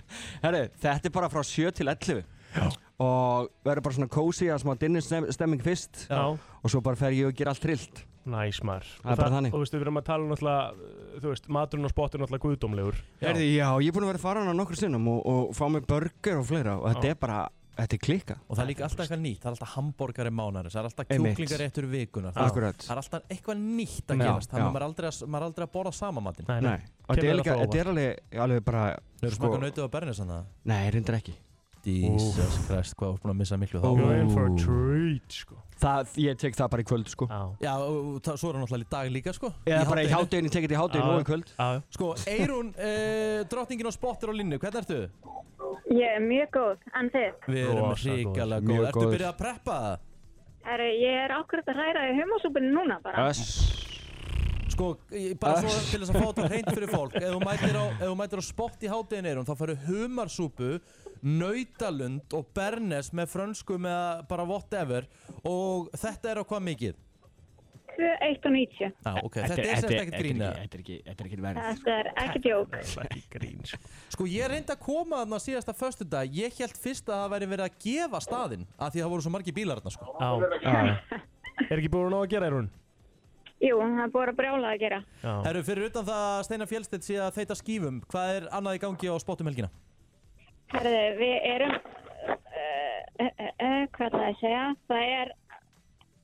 [SPEAKER 13] Herri, þetta er bara frá 7 til 11. Já. Og verður bara svona cozy að smá dinner stem- stemming fyrst.
[SPEAKER 3] Já.
[SPEAKER 13] Og svo bara fer ég og gera allt trillt.
[SPEAKER 3] Næs maður.
[SPEAKER 13] Það er bara þannig.
[SPEAKER 3] Og þú veist, við erum að tala um náttúrulega, þú veist, maturinn og spottinn er náttúrulega guðdómlegur.
[SPEAKER 13] Herði, já, ég er búinn að vera að fara hana nokkur sinnum og, og fá mig burger og fleira og þetta
[SPEAKER 2] Já.
[SPEAKER 13] er bara, þetta er klika.
[SPEAKER 2] Og það er líka alltaf eitthvað nýtt, það er alltaf hambúrgari mánarins, það er alltaf
[SPEAKER 13] Einmitt.
[SPEAKER 2] kjúklingaréttur vikunar
[SPEAKER 13] Akkurat.
[SPEAKER 2] Það er alltaf eitthvað nýtt að
[SPEAKER 13] Já,
[SPEAKER 2] gerast, þannig
[SPEAKER 13] já.
[SPEAKER 2] að maður er aldrei að, maður er aldrei að borða sama matinn
[SPEAKER 13] Nei, og þetta er, líka, þetta er sko- alveg, alveg bara
[SPEAKER 2] Þau eru smakað nautið á bernis hann það?
[SPEAKER 13] Nei, reyndar ekki
[SPEAKER 2] Jesus Christ, hvað þú ert búin að missa miklu þá
[SPEAKER 13] You're in for a
[SPEAKER 3] treat, sko
[SPEAKER 13] það, Ég tek það bara í kvöld, sko
[SPEAKER 3] Já,
[SPEAKER 2] Já, og það- svo er hann náttúrulega í dag líka sko
[SPEAKER 13] Eða bara í hádeginu, ég tek þetta í hádeginu
[SPEAKER 2] Já,
[SPEAKER 13] og í kvöld
[SPEAKER 3] já.
[SPEAKER 2] Sko, Eirún, uh, drottningin og spottir á línu, hvernig ertu?
[SPEAKER 14] Ég er mjög góð, en þið?
[SPEAKER 2] Við erum
[SPEAKER 3] Rosa
[SPEAKER 2] hrikalega
[SPEAKER 3] góð.
[SPEAKER 2] góð
[SPEAKER 3] Mjög
[SPEAKER 2] Ertu
[SPEAKER 3] góð.
[SPEAKER 2] byrjað að preppa það?
[SPEAKER 14] Herru, ég er akkurat að hræra í humasúpinu núna bara.
[SPEAKER 2] Sko, ég- bara svo
[SPEAKER 3] Öss.
[SPEAKER 2] til þess að fá þetta hreint fyrir fólk Ef þú mætir á, ef þú mætir á spott í hátæðin Eirún þá færðu humarsúpu, nautalund og bernes með frönsku með bara whatever og þetta er á hvað mikið?
[SPEAKER 14] 2190.
[SPEAKER 2] Já, ok, þetta er semst ekkert grín eða?
[SPEAKER 13] Þetta er ekki, þetta er ekki verið
[SPEAKER 14] Þetta er ekki djók.
[SPEAKER 3] grín
[SPEAKER 2] Sko ég reyndi að koma þarna síðasta föstu dag Ég held fyrst að það væri verið að gefa staðinn af því það voru svo margi bílar þarna sko
[SPEAKER 3] já. Er ekki búin að gera, Eirun?
[SPEAKER 14] Jú, það er bara brjálað að gera.
[SPEAKER 2] Herru, fyrir utan það að Steinar Fjellstedt sé að þeita skífum Hvað er annað í gangi á spottum helgina?
[SPEAKER 14] Herru, við erum, uh, uh, uh, hvað það að segja, það er,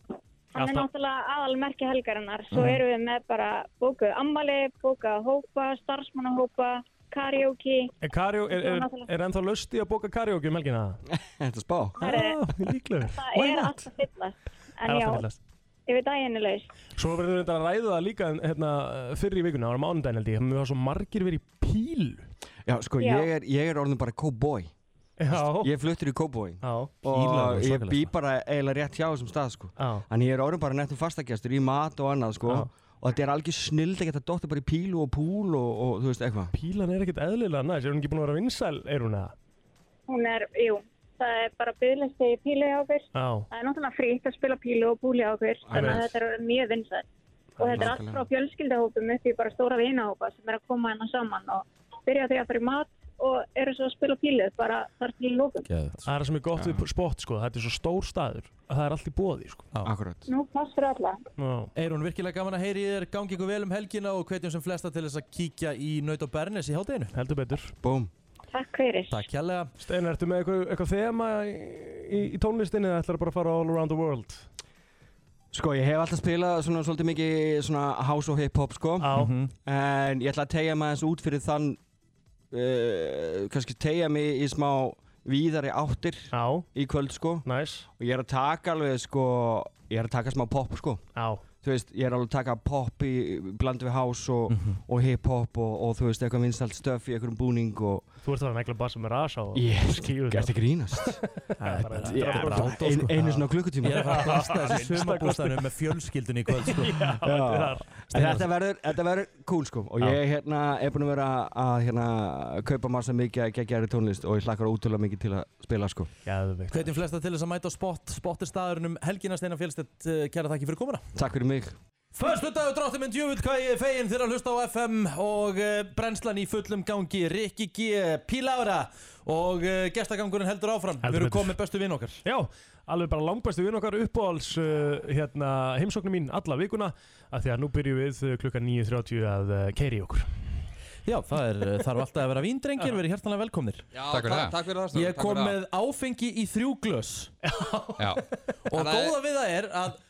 [SPEAKER 14] hann er
[SPEAKER 2] Alltaf.
[SPEAKER 14] náttúrulega aðalmerki helgarinnar. Svo
[SPEAKER 2] Mhm.
[SPEAKER 14] erum við með bara bókuð ammali, bókað hópa, starfsmannahópa, karaoke.
[SPEAKER 3] Er, karió, er, er, er ennþá löst í að bóka karaoke um helgina?
[SPEAKER 13] Þetta spá.
[SPEAKER 3] Já, líklegur.
[SPEAKER 14] Það er allt að fyllast.
[SPEAKER 3] Það er
[SPEAKER 14] En
[SPEAKER 3] alltaf
[SPEAKER 14] já,
[SPEAKER 3] fyllast.
[SPEAKER 14] yfir daginn er laust.
[SPEAKER 3] Svo verður við reyndar að ræða það líka hérna, fyrir í vikuna, það var mánudaginn held ég, þannig að við varum svo margir verið í píl.
[SPEAKER 13] Já, sko,
[SPEAKER 3] Já.
[SPEAKER 13] Ég, er, ég er orðin bara cowboy
[SPEAKER 3] Já.
[SPEAKER 13] Ég er fluttur í cowboy
[SPEAKER 3] Já.
[SPEAKER 13] Og ég bý bara eiginlega rétt hjá þessum stað, sko
[SPEAKER 3] Já.
[SPEAKER 13] En ég er orðin bara nettum fastagestur í mat og annað, sko
[SPEAKER 3] Já.
[SPEAKER 13] Og þetta er algjör snild að geta dóttir bara í pílu og púl og, og þú veist, eitthvað
[SPEAKER 3] Pílan er ekkert eðlilega næst, er hún ekki búin að vera vinsæl, er hún eða?
[SPEAKER 14] Hún er, jú, það er bara byggðlisti í pílu hjá okkur.
[SPEAKER 3] Já.
[SPEAKER 14] Það er náttúrulega frítt að spila pílu og búli á okkur, þannig að
[SPEAKER 3] Einmitt.
[SPEAKER 14] þetta er mjög vinsætt. Og þetta er allt
[SPEAKER 3] nákvæmlega.
[SPEAKER 14] frá fjölskyldahópum upp í bara stóra vinahópa sem er að koma hennar saman og byrja á því að fara í mat og eru svo að spila pílu bara þar til lókum.
[SPEAKER 2] sko.
[SPEAKER 3] Það er það sem er gott við spott sko, þetta er svo stór staður að það er allt í bóði sko.
[SPEAKER 13] Akkurat.
[SPEAKER 14] Nú pass fyrir alla.
[SPEAKER 2] Eirún, virkilega gaman að heyri þér gangi ykkur vel um helgina og hvetjum sem flesta til þess að kíkja í Naut og Bernes í hátteginu
[SPEAKER 3] Heldur betur
[SPEAKER 13] Búm
[SPEAKER 14] Takk fyrir.
[SPEAKER 2] Takk hérlega
[SPEAKER 3] Steinar, ertu með eitthvað, eitthvað þema í, í, í tónlistinni eða ætlar bara að fara all around the world?
[SPEAKER 13] Sko, ég hef alltaf spilað svona svolítið mikið svona house og hip-hop, sko.
[SPEAKER 3] Já.
[SPEAKER 13] En ég ætla að tegja mig aðeins út fyrir þann, uh, kannski tegja mig í smá víðari áttir
[SPEAKER 3] Já.
[SPEAKER 13] í kvöld, sko.
[SPEAKER 3] Nice.
[SPEAKER 13] Og ég er að taka alveg, sko, ég er að taka smá pop, sko.
[SPEAKER 3] Já.
[SPEAKER 13] Þú veist, ég er alveg að taka pop í bland við house og, og hip-hop og, og þú veist, eitthvað vinsalt stöf í einhverjum búning og...
[SPEAKER 3] Þú ert að vera negla bara sem er rasa og
[SPEAKER 13] Ég
[SPEAKER 3] skíu
[SPEAKER 13] gert ekki rínast.
[SPEAKER 2] Ég er bara að-
[SPEAKER 13] ein, einu svona klukkutíma.
[SPEAKER 2] Ég er að fara að blasta þessi sumabústæðinu með fjölskyldunni í kvöld sko.
[SPEAKER 13] Já. En
[SPEAKER 2] Steinar.
[SPEAKER 13] þetta verður, þetta verður cool sko og ég hérna er búinn að vera að hérna kaupa massa mikið að geggjæri tónlist og ég hlakkar ótrúlega mikið til að spila sko
[SPEAKER 3] Jæðvikt
[SPEAKER 2] Hvetjum flesta til þess að mæta á spott Spottir staðurinn um helgina Steinar Fjellstedt eh, Kæra þakki fyrir komuna
[SPEAKER 13] Takk fyrir mig
[SPEAKER 2] Föstu dagur dráttum en djúvill hvað ég er fegin þegar að hlusta á FM og uh, brennslan í fullum gangi, Rikki G, Pílára og uh, gestagangurinn heldur áfram. Við erum
[SPEAKER 3] betur.
[SPEAKER 2] komið bestu vinn okkar.
[SPEAKER 3] Já, alveg bara langbæstu vinn okkar uppáhalds uh, hérna, heimsóknum mín alla vikuna af því að nú byrjum við uh, klukkan 9.30 að uh, keiri okkur
[SPEAKER 2] Já, það er, eh, þarf alltaf að vera víndrengir, verið hjartanlega velkomnir.
[SPEAKER 15] Já, Takk fyrir takk- það. takk fyrir það, Stefán,
[SPEAKER 2] Ég
[SPEAKER 15] takk
[SPEAKER 2] kom
[SPEAKER 15] fyrir það.
[SPEAKER 2] með áfengi í þrjú glös
[SPEAKER 15] Já.
[SPEAKER 2] og
[SPEAKER 15] það er-
[SPEAKER 2] góða við það er að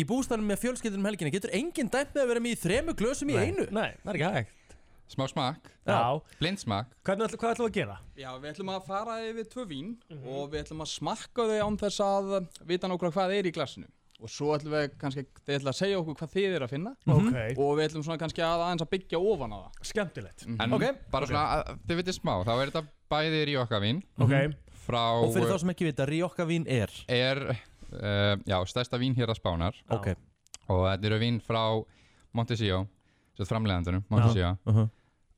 [SPEAKER 2] í bústæðanum með fjölskyldunum um helgina getur enginn dæmt með að vera með í þremu glösum í einu
[SPEAKER 15] Nei, það er ekki hægt Smá smak
[SPEAKER 2] Já.
[SPEAKER 15] Blind smak Hvað ætlum við að gera?
[SPEAKER 16] Já, við ætlum að fara yfir tvö vín og við ætlum að smakka þau án þess að vita nokkra hvað er í glasinu og svo ætlum við kannski, þið ætlum að segja okkur hvað þið eru að finna
[SPEAKER 15] Mhm. Ok.
[SPEAKER 16] og við ætlum svona kannski að aðeins að byggja ofan á það Mhm.
[SPEAKER 3] Skemmtilegt
[SPEAKER 15] En bara svona, að, þið vitið smá, þá er þetta bæði Ríokkavín okay. frá,
[SPEAKER 2] og fyrir þá sem ekki vita, Ríokkavín er
[SPEAKER 15] er, uh, já, stærsta vín hér að spánar
[SPEAKER 2] Ok.
[SPEAKER 15] og þetta eru vín frá Montesíó, sem er framleiðandunum Montesíó,
[SPEAKER 2] Mhm.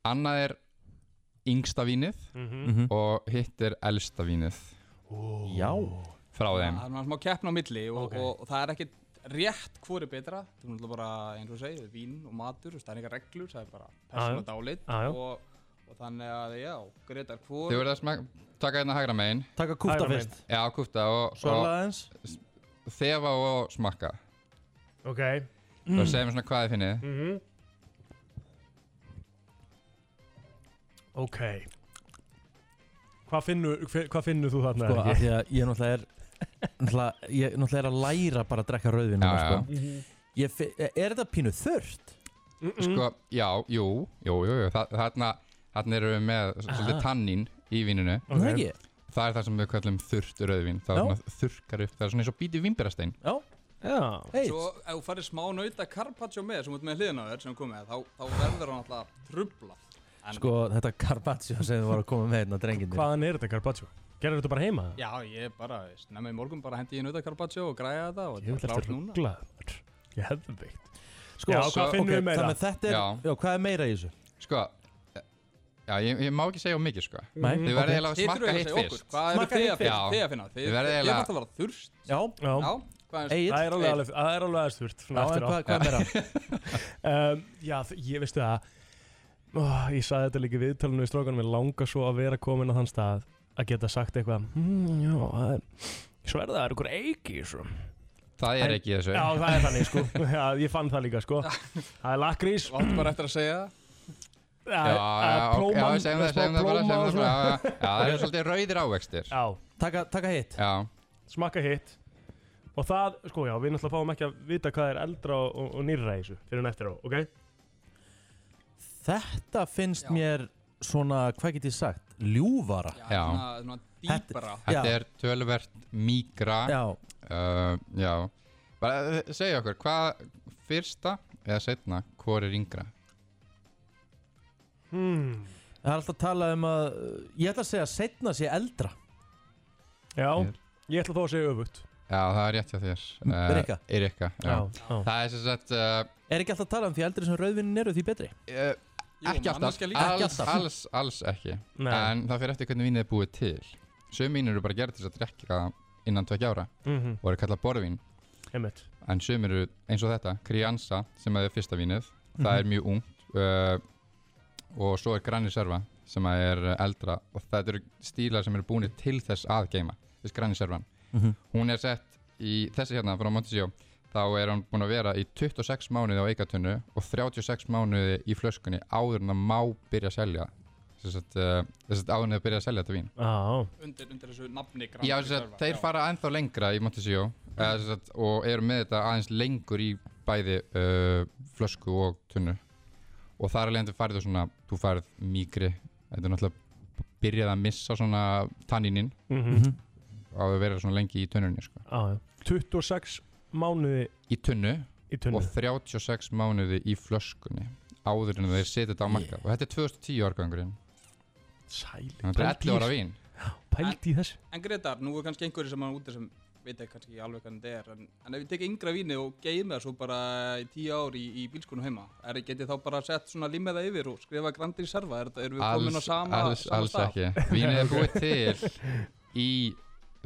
[SPEAKER 15] annað er yngsta vínið
[SPEAKER 16] Mhm.
[SPEAKER 15] og hitt er elsta vínið
[SPEAKER 2] Já
[SPEAKER 15] frá þeim
[SPEAKER 16] Það er svona smá keppn á milli og, og, og það er ekkit rétt hvori betra það er náttúrulega bara, eins og þú segir, vín og matur þú veist, það er eitthvað reglur, það er bara persóna dálit
[SPEAKER 15] Já, já.
[SPEAKER 16] og, og þannig að, já, Gretar hvor
[SPEAKER 15] Þið verða að smak- taka hérna hægra megin
[SPEAKER 2] Taka kúpta Hægra megin. fyrst.
[SPEAKER 15] Já, kúfta og
[SPEAKER 2] Svala
[SPEAKER 15] og
[SPEAKER 2] aðeins.
[SPEAKER 15] s- Þefa og smakka
[SPEAKER 3] Ok
[SPEAKER 15] mm. Og segjum svona hvað þið finnið
[SPEAKER 3] Mhm. Ok Hvað finnur, hve- hvað finnur þú þarna?
[SPEAKER 2] sko,
[SPEAKER 3] Helgi?
[SPEAKER 2] af því að ég náttúrulega er náttúrulega, ég náttúrulega er að læra bara að drekka rauðvinn
[SPEAKER 15] Já, já.
[SPEAKER 2] sko.
[SPEAKER 3] Mhm.
[SPEAKER 2] Ég fi- er þetta pínu þurrt?
[SPEAKER 15] Sko, já, jú, jú, jú, jú þa- Þarna, þarna erum við með s-
[SPEAKER 2] Aha.
[SPEAKER 15] svolítið tannín í víninu
[SPEAKER 2] Ok. Nú ekki?
[SPEAKER 15] Það er það sem við kallum þurrt rauðvín Það
[SPEAKER 2] Já.
[SPEAKER 15] er svona þurrkar upp, það er svona eins og bítið vínberastein
[SPEAKER 2] Já,
[SPEAKER 15] já
[SPEAKER 16] Svo ef þú farir smá nauta carpaccio með sem út með hliðina á þér sem komið þá, þá verður hann alltaf trubla
[SPEAKER 2] Sko, þetta Carpaccio sem við varum að koma með hérna drengin
[SPEAKER 3] Hvaðan er þetta Carpaccio? Gerður þetta bara heima?
[SPEAKER 16] Já, ég bara, nefnum í morgun bara hendi ég nauta carpaccio og græja þetta og
[SPEAKER 3] Ég vil
[SPEAKER 16] þetta er
[SPEAKER 3] eftir
[SPEAKER 16] klárt núna
[SPEAKER 3] rugglaður Ég hefði veikt
[SPEAKER 16] Sko,
[SPEAKER 3] Já,
[SPEAKER 16] svo-
[SPEAKER 3] hvað finnum
[SPEAKER 16] ok,
[SPEAKER 3] við meira?
[SPEAKER 16] þannig að þetta er-
[SPEAKER 2] já, hvað er meira í þessu?
[SPEAKER 15] Sko, já, ég, ég má ekki segja of mikið, sko
[SPEAKER 2] Nei,
[SPEAKER 15] Þið verðið
[SPEAKER 2] ok.
[SPEAKER 15] eiginlega að
[SPEAKER 16] Þið
[SPEAKER 15] smakka
[SPEAKER 16] þurfið að
[SPEAKER 15] hitt
[SPEAKER 16] segja
[SPEAKER 15] fyrst
[SPEAKER 16] okkur, hvað eru þið að finna?
[SPEAKER 15] Já.
[SPEAKER 16] Þið að finna, þið-
[SPEAKER 15] Þið verðið
[SPEAKER 16] þið
[SPEAKER 15] eiginlega
[SPEAKER 16] verðið að vera þurst
[SPEAKER 2] Já,
[SPEAKER 16] Já, hvað er-
[SPEAKER 3] Það er alveg
[SPEAKER 16] Egill.
[SPEAKER 3] alveg, það er alveg aðeins þurft
[SPEAKER 16] Já, en hvað- hvað
[SPEAKER 3] meira? um, já, þ- ég veistu það ó, Ég saði þetta líka í viðtalinu við strókanum Ég langa svo að vera komin á þann stað Að geta sagt eitthvað "Hmm, Já, það er Svo er það er ykkur eiki í þessu
[SPEAKER 15] Það er ekki í þessu
[SPEAKER 3] Já, það er þannig sko Já, ég fann það líka sko Það er lakrís
[SPEAKER 16] Þú átti bara eftir að segja það
[SPEAKER 3] Já,
[SPEAKER 15] Já,
[SPEAKER 3] það er
[SPEAKER 15] já, ok, já,
[SPEAKER 3] plóman-
[SPEAKER 15] segjum það,
[SPEAKER 3] smá
[SPEAKER 15] segjum það bara,
[SPEAKER 3] plóma
[SPEAKER 15] segjum það bara,
[SPEAKER 3] og svona.
[SPEAKER 15] já, já, já, það eru svolítið rauðir ávextir.
[SPEAKER 3] Já.
[SPEAKER 2] Taka, taka hitt.
[SPEAKER 15] Já.
[SPEAKER 3] Smakka hitt. Og það, sko já, við náttúrulega fáum ekki að vita hvað er eldra og, og, og nýrra í þessu fyrir en eftir á, ok?
[SPEAKER 2] Þetta finnst mér svona, hvað get ég sagt? Ljúfara
[SPEAKER 15] Já.
[SPEAKER 16] Svona dýbra
[SPEAKER 15] Þetta er tölvert mígra.
[SPEAKER 2] Já.
[SPEAKER 15] Uh, já. Bara eh, segja okkur, hvað fyrsta eða setna, hvor er yngra?
[SPEAKER 3] hmm.
[SPEAKER 2] Það er alltaf að tala um að Ég ætla að segja að setna sé eldra
[SPEAKER 3] Já, ég ætla þó að segja öfugt.
[SPEAKER 15] Já, það er rétt hjá þér. Uh,
[SPEAKER 2] Erika?
[SPEAKER 15] Erika, já.
[SPEAKER 2] Já, já.
[SPEAKER 15] Það er sem sagt... Uh,
[SPEAKER 2] Er ekki alltaf að tala um því eldri sem rauðvinnin eru því betri?
[SPEAKER 15] Uh, ekki alltaf,
[SPEAKER 2] Ekki
[SPEAKER 15] alls,
[SPEAKER 2] alltaf
[SPEAKER 15] alls, alls ekki
[SPEAKER 2] Nei.
[SPEAKER 15] En það fyrir eftir hvernig vínið er búið til Sum vín eru bara gerð til þess að drekka innan tvekja ára
[SPEAKER 3] Mhm.
[SPEAKER 15] og eru kallað borðvín
[SPEAKER 3] Einmitt.
[SPEAKER 15] En sum eru eins og þetta, Crianza sem er fyrsta vínið, það er
[SPEAKER 3] Mhm.
[SPEAKER 15] mjög ungt uh, og svo er Granny Serva sem að er uh, eldra og þetta eru stílar sem eru búinir til þess að geima, þess Granny Servan
[SPEAKER 2] Mhm.
[SPEAKER 15] Hún er sett í þessi hérna frá Montesíó þá er hann búin að vera í 26 mánuði á eikatunnu og 36 mánuði í flöskunni áður en það má byrja að selja þess að, uh, þess að áður en það byrja að selja þetta vín
[SPEAKER 3] Já
[SPEAKER 16] Undir, undir þessu nafni Grand
[SPEAKER 15] Já,
[SPEAKER 16] Prix
[SPEAKER 15] þess að
[SPEAKER 16] Serva,
[SPEAKER 15] þeir
[SPEAKER 16] já.
[SPEAKER 15] fara ennþá lengra í Montesíó mm. og eru með þetta aðeins lengur í bæði uh, flösku og tunnu og þar alveg endur farið þú svona, þú farið mýkri þetta er náttúrulega byrjað að missa svona tanninin
[SPEAKER 3] Mhm.
[SPEAKER 15] á að vera svona lengi í tunnunni sko.
[SPEAKER 3] Já, já. 26 mánuði
[SPEAKER 15] í tunnu,
[SPEAKER 3] Í tunnu.
[SPEAKER 15] og 36 mánuði í flöskunni áður en þeir setja þetta á marka og þetta er 2010 árgangurinn
[SPEAKER 3] Sæli
[SPEAKER 15] Þetta er 11 ára vín
[SPEAKER 3] Pælt í þessu
[SPEAKER 16] En Gretar, nú er kannski einhverju sem er úti sem veit ekki kannski ekki alveg hvernig þetta er en, en ef ég tek yngra víni og geimi það svo bara í tíu ár í, í bílskonu heima er, get ég þá bara sett svona limmeða yfir og skrifa Grandi í serva, er, þetta- erum við komin á sama,
[SPEAKER 15] alls,
[SPEAKER 16] sama
[SPEAKER 15] alls
[SPEAKER 16] stað?
[SPEAKER 15] ekki Vínið er búið til í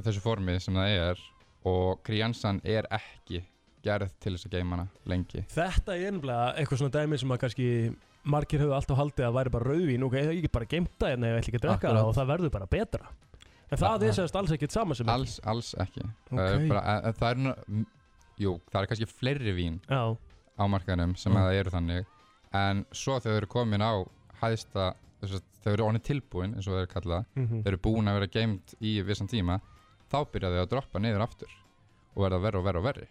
[SPEAKER 15] þessu formi sem það er og kríansan er ekki gerð til þess að geima hana lengi
[SPEAKER 3] Þetta er einhverlega eitthvað svona dæmi sem að kannski margir höfðu alltaf haldið að væri bara rauðvín og ég get bara geimta hérna ef ég ætla ekki að drekka
[SPEAKER 15] Akkurat.
[SPEAKER 3] það og það verður bara betra En það er sérst alls ekkert sama sem
[SPEAKER 15] alls, alls ekki það
[SPEAKER 3] Ok.
[SPEAKER 15] er bara, að- að það er nú- jú, það er kannski fleiri vín
[SPEAKER 3] Já.
[SPEAKER 15] á markanum sem
[SPEAKER 3] Já.
[SPEAKER 15] að það eru þannig en svo þegar þau eru komin á hæðsta, þess að þau eru onni tilbúin eins og þau eru kallað,
[SPEAKER 3] Mhm.
[SPEAKER 15] þau eru búin að vera geimt í vissan tíma, þá byrja þau að droppa niður aftur og verða verri og verri og verri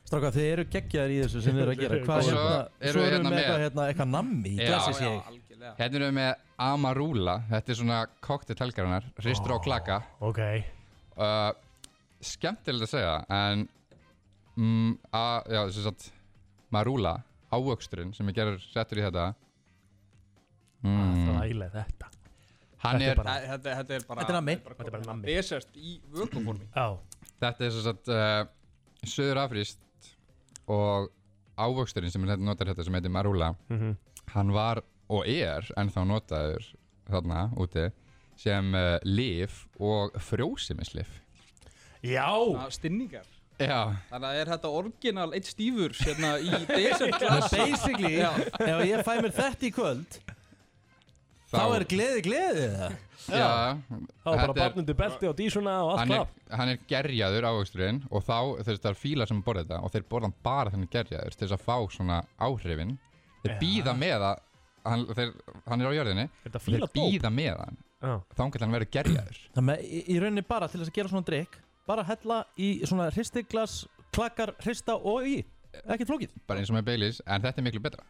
[SPEAKER 2] Stráka, þið eru geggjaðir í þessu sem þið eru að gera Hvað
[SPEAKER 15] Og svo
[SPEAKER 2] hérna,
[SPEAKER 15] eru
[SPEAKER 2] svo
[SPEAKER 15] við
[SPEAKER 2] erum
[SPEAKER 15] hérna
[SPEAKER 2] við
[SPEAKER 15] með-
[SPEAKER 2] eitthvað, hérna, eitthvað nammi í glasi sig
[SPEAKER 15] Hérna erum við með Amarula Þetta er svona koktel helgarinnar Ristur á klaka
[SPEAKER 3] Ok
[SPEAKER 15] uh, Skemmtilegt að segja En mm, a, Já, sem sagt Marula, ávöxturinn sem er gerður settur í þetta
[SPEAKER 3] Ah,
[SPEAKER 15] mm,
[SPEAKER 3] Þræla þetta
[SPEAKER 15] Hann
[SPEAKER 16] Þetta
[SPEAKER 15] er
[SPEAKER 16] bara- Þetta þetta er bara
[SPEAKER 2] Þetta er nammi.
[SPEAKER 16] Þetta er bara nammi Desert í vökuformi
[SPEAKER 3] Já
[SPEAKER 15] Þetta er sem sagt uh, Söður afríst Og ávöxturinn sem er hérna- notar þetta sem heitir Marula
[SPEAKER 3] Mhm.
[SPEAKER 15] Hann var og er ennþá notaður þarna úti sem uh, lif og frjósimislif
[SPEAKER 3] Já
[SPEAKER 16] Stinningar
[SPEAKER 15] Já
[SPEAKER 16] Þannig að er þetta orginal eitt stífur hérna í desert glass
[SPEAKER 2] Basically,
[SPEAKER 16] Já.
[SPEAKER 2] ef ég fæ mér þetta í kvöld Þá, er gleði gleði það
[SPEAKER 15] Já.
[SPEAKER 3] Það var bara
[SPEAKER 15] Þetta er-
[SPEAKER 3] barnundi belti og dísuna og allt
[SPEAKER 15] hann er,
[SPEAKER 3] klap
[SPEAKER 15] hann er gerjaður ávöxturinn og þá þeir það er fílar sem borða þetta og þeir borða hann bara þannig gerjaður til þess að fá svona áhrifin þeir
[SPEAKER 3] Já.
[SPEAKER 15] býða með að hann, þeir, hann er á jörðinni
[SPEAKER 3] þetta
[SPEAKER 15] þeir
[SPEAKER 2] fíladóp?
[SPEAKER 15] býða með hann
[SPEAKER 3] Já.
[SPEAKER 15] þá getur hann verið gerjaður
[SPEAKER 2] Þannig að í- í rauninni bara til þess að gera svona drikk Bara hella í svona hristiglas, klakkar, hrista og í Ekki flókið
[SPEAKER 15] bara eins og með Baileys en þetta er miklu betra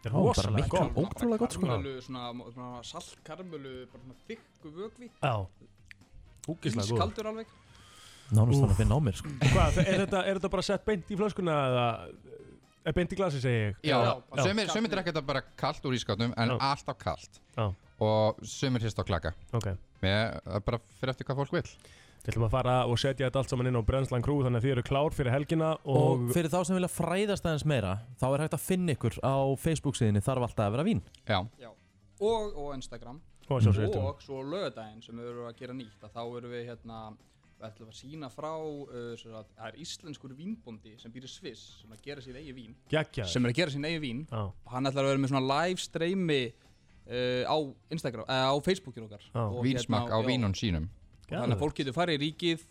[SPEAKER 3] Þetta
[SPEAKER 2] Ótrúlega gott sko
[SPEAKER 16] Karmölu, svona, svona saltkarmölu, bara svona þykku vökvi
[SPEAKER 3] Já Ógeðslega góður.
[SPEAKER 16] Ískaldur alveg
[SPEAKER 2] Nánast þannig að finna á mér sko
[SPEAKER 3] Hvað, er þetta, er þetta bara sett beint í flöskuna eða er beint í glasi segi ég?
[SPEAKER 15] Já, sumir, sumir drekka þetta bara kalt úr ískapnum en alltaf kalt
[SPEAKER 3] Já.
[SPEAKER 15] og sumir hrist á klaka
[SPEAKER 3] Ok.
[SPEAKER 15] með, það er bara fyrir eftir hvað fólk vil
[SPEAKER 3] Við ætlum að fara og setja þetta allt saman inn á Brennslan Crew þannig að þið eru klár fyrir helgina
[SPEAKER 2] Og
[SPEAKER 3] og,
[SPEAKER 2] fyrir þá sem vilja fræðast aðeins meira Þá er hægt að finna ykkur á Facebook síðinni Þarf alltaf að vera vín
[SPEAKER 15] Já
[SPEAKER 16] Já. og, og Instagram
[SPEAKER 2] Og svo sérstum.
[SPEAKER 16] og svo lögadaginn sem við erum að gera nýtt að þá erum við hérna við ætlum að sína frá uh, sem sagt, það er íslenskur vínbóndi sem býr í Sviss sem að gera sín eigi vín
[SPEAKER 3] Geggjaður.
[SPEAKER 16] sem er að gera sín eigi vín
[SPEAKER 3] Já.
[SPEAKER 16] og hann ætlar að vera með svona live streymi uh, á Instagram, uh, á Facebookin okkar
[SPEAKER 15] Já.
[SPEAKER 16] Og hérna
[SPEAKER 15] Vínsmakk á
[SPEAKER 16] já.
[SPEAKER 15] vínum sínum.
[SPEAKER 16] Og þannig að fólk getur farið í ríkið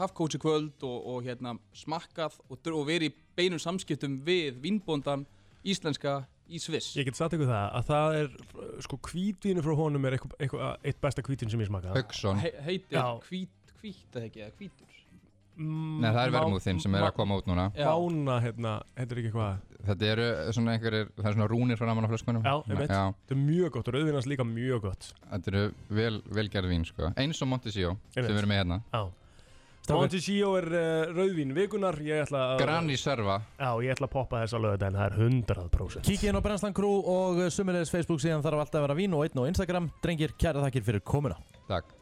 [SPEAKER 16] haft kósi kvöld og, og hérna smakkað og, dr- og verið í beinum samskiptum við vínbóndan íslenska í Sviss
[SPEAKER 3] Ég get sagt ykkur það að það er uh, sko hvítvínu frá honum er eitthvað, eitthvað eitt besta hvítvín sem ég smakaði.
[SPEAKER 16] He heitir
[SPEAKER 3] Já. Mm,
[SPEAKER 16] hvít, hvít eða ekki, eða hvítur
[SPEAKER 3] Nei,
[SPEAKER 15] Nei, það er vermúðinn sem er að koma út núna
[SPEAKER 3] Mána, hérna, heitir ekki hvað
[SPEAKER 15] Þetta eru svona einhverjir, það eru svona rúnir frá naman á flöskunum
[SPEAKER 3] Já, einmitt. Þetta er mjög gott og rauðvinans líka mjög gott
[SPEAKER 15] Þetta eru vel, velgerð vín sko Eins og Montesio sem
[SPEAKER 3] Einmitt.
[SPEAKER 15] við erum með hérna
[SPEAKER 3] Já Montecillo er uh, rauðvín vikunar Ég ætla að
[SPEAKER 15] Granny Serva
[SPEAKER 3] Já, ég ætla að poppa þess að löða en það er 100%
[SPEAKER 2] Kíkið inn á Brennslan Crew og sumulegis Facebook síðan þarf alltaf að vera vín og einn á Instagram Drengir, kæra þakkir fyrir komuna
[SPEAKER 15] Takk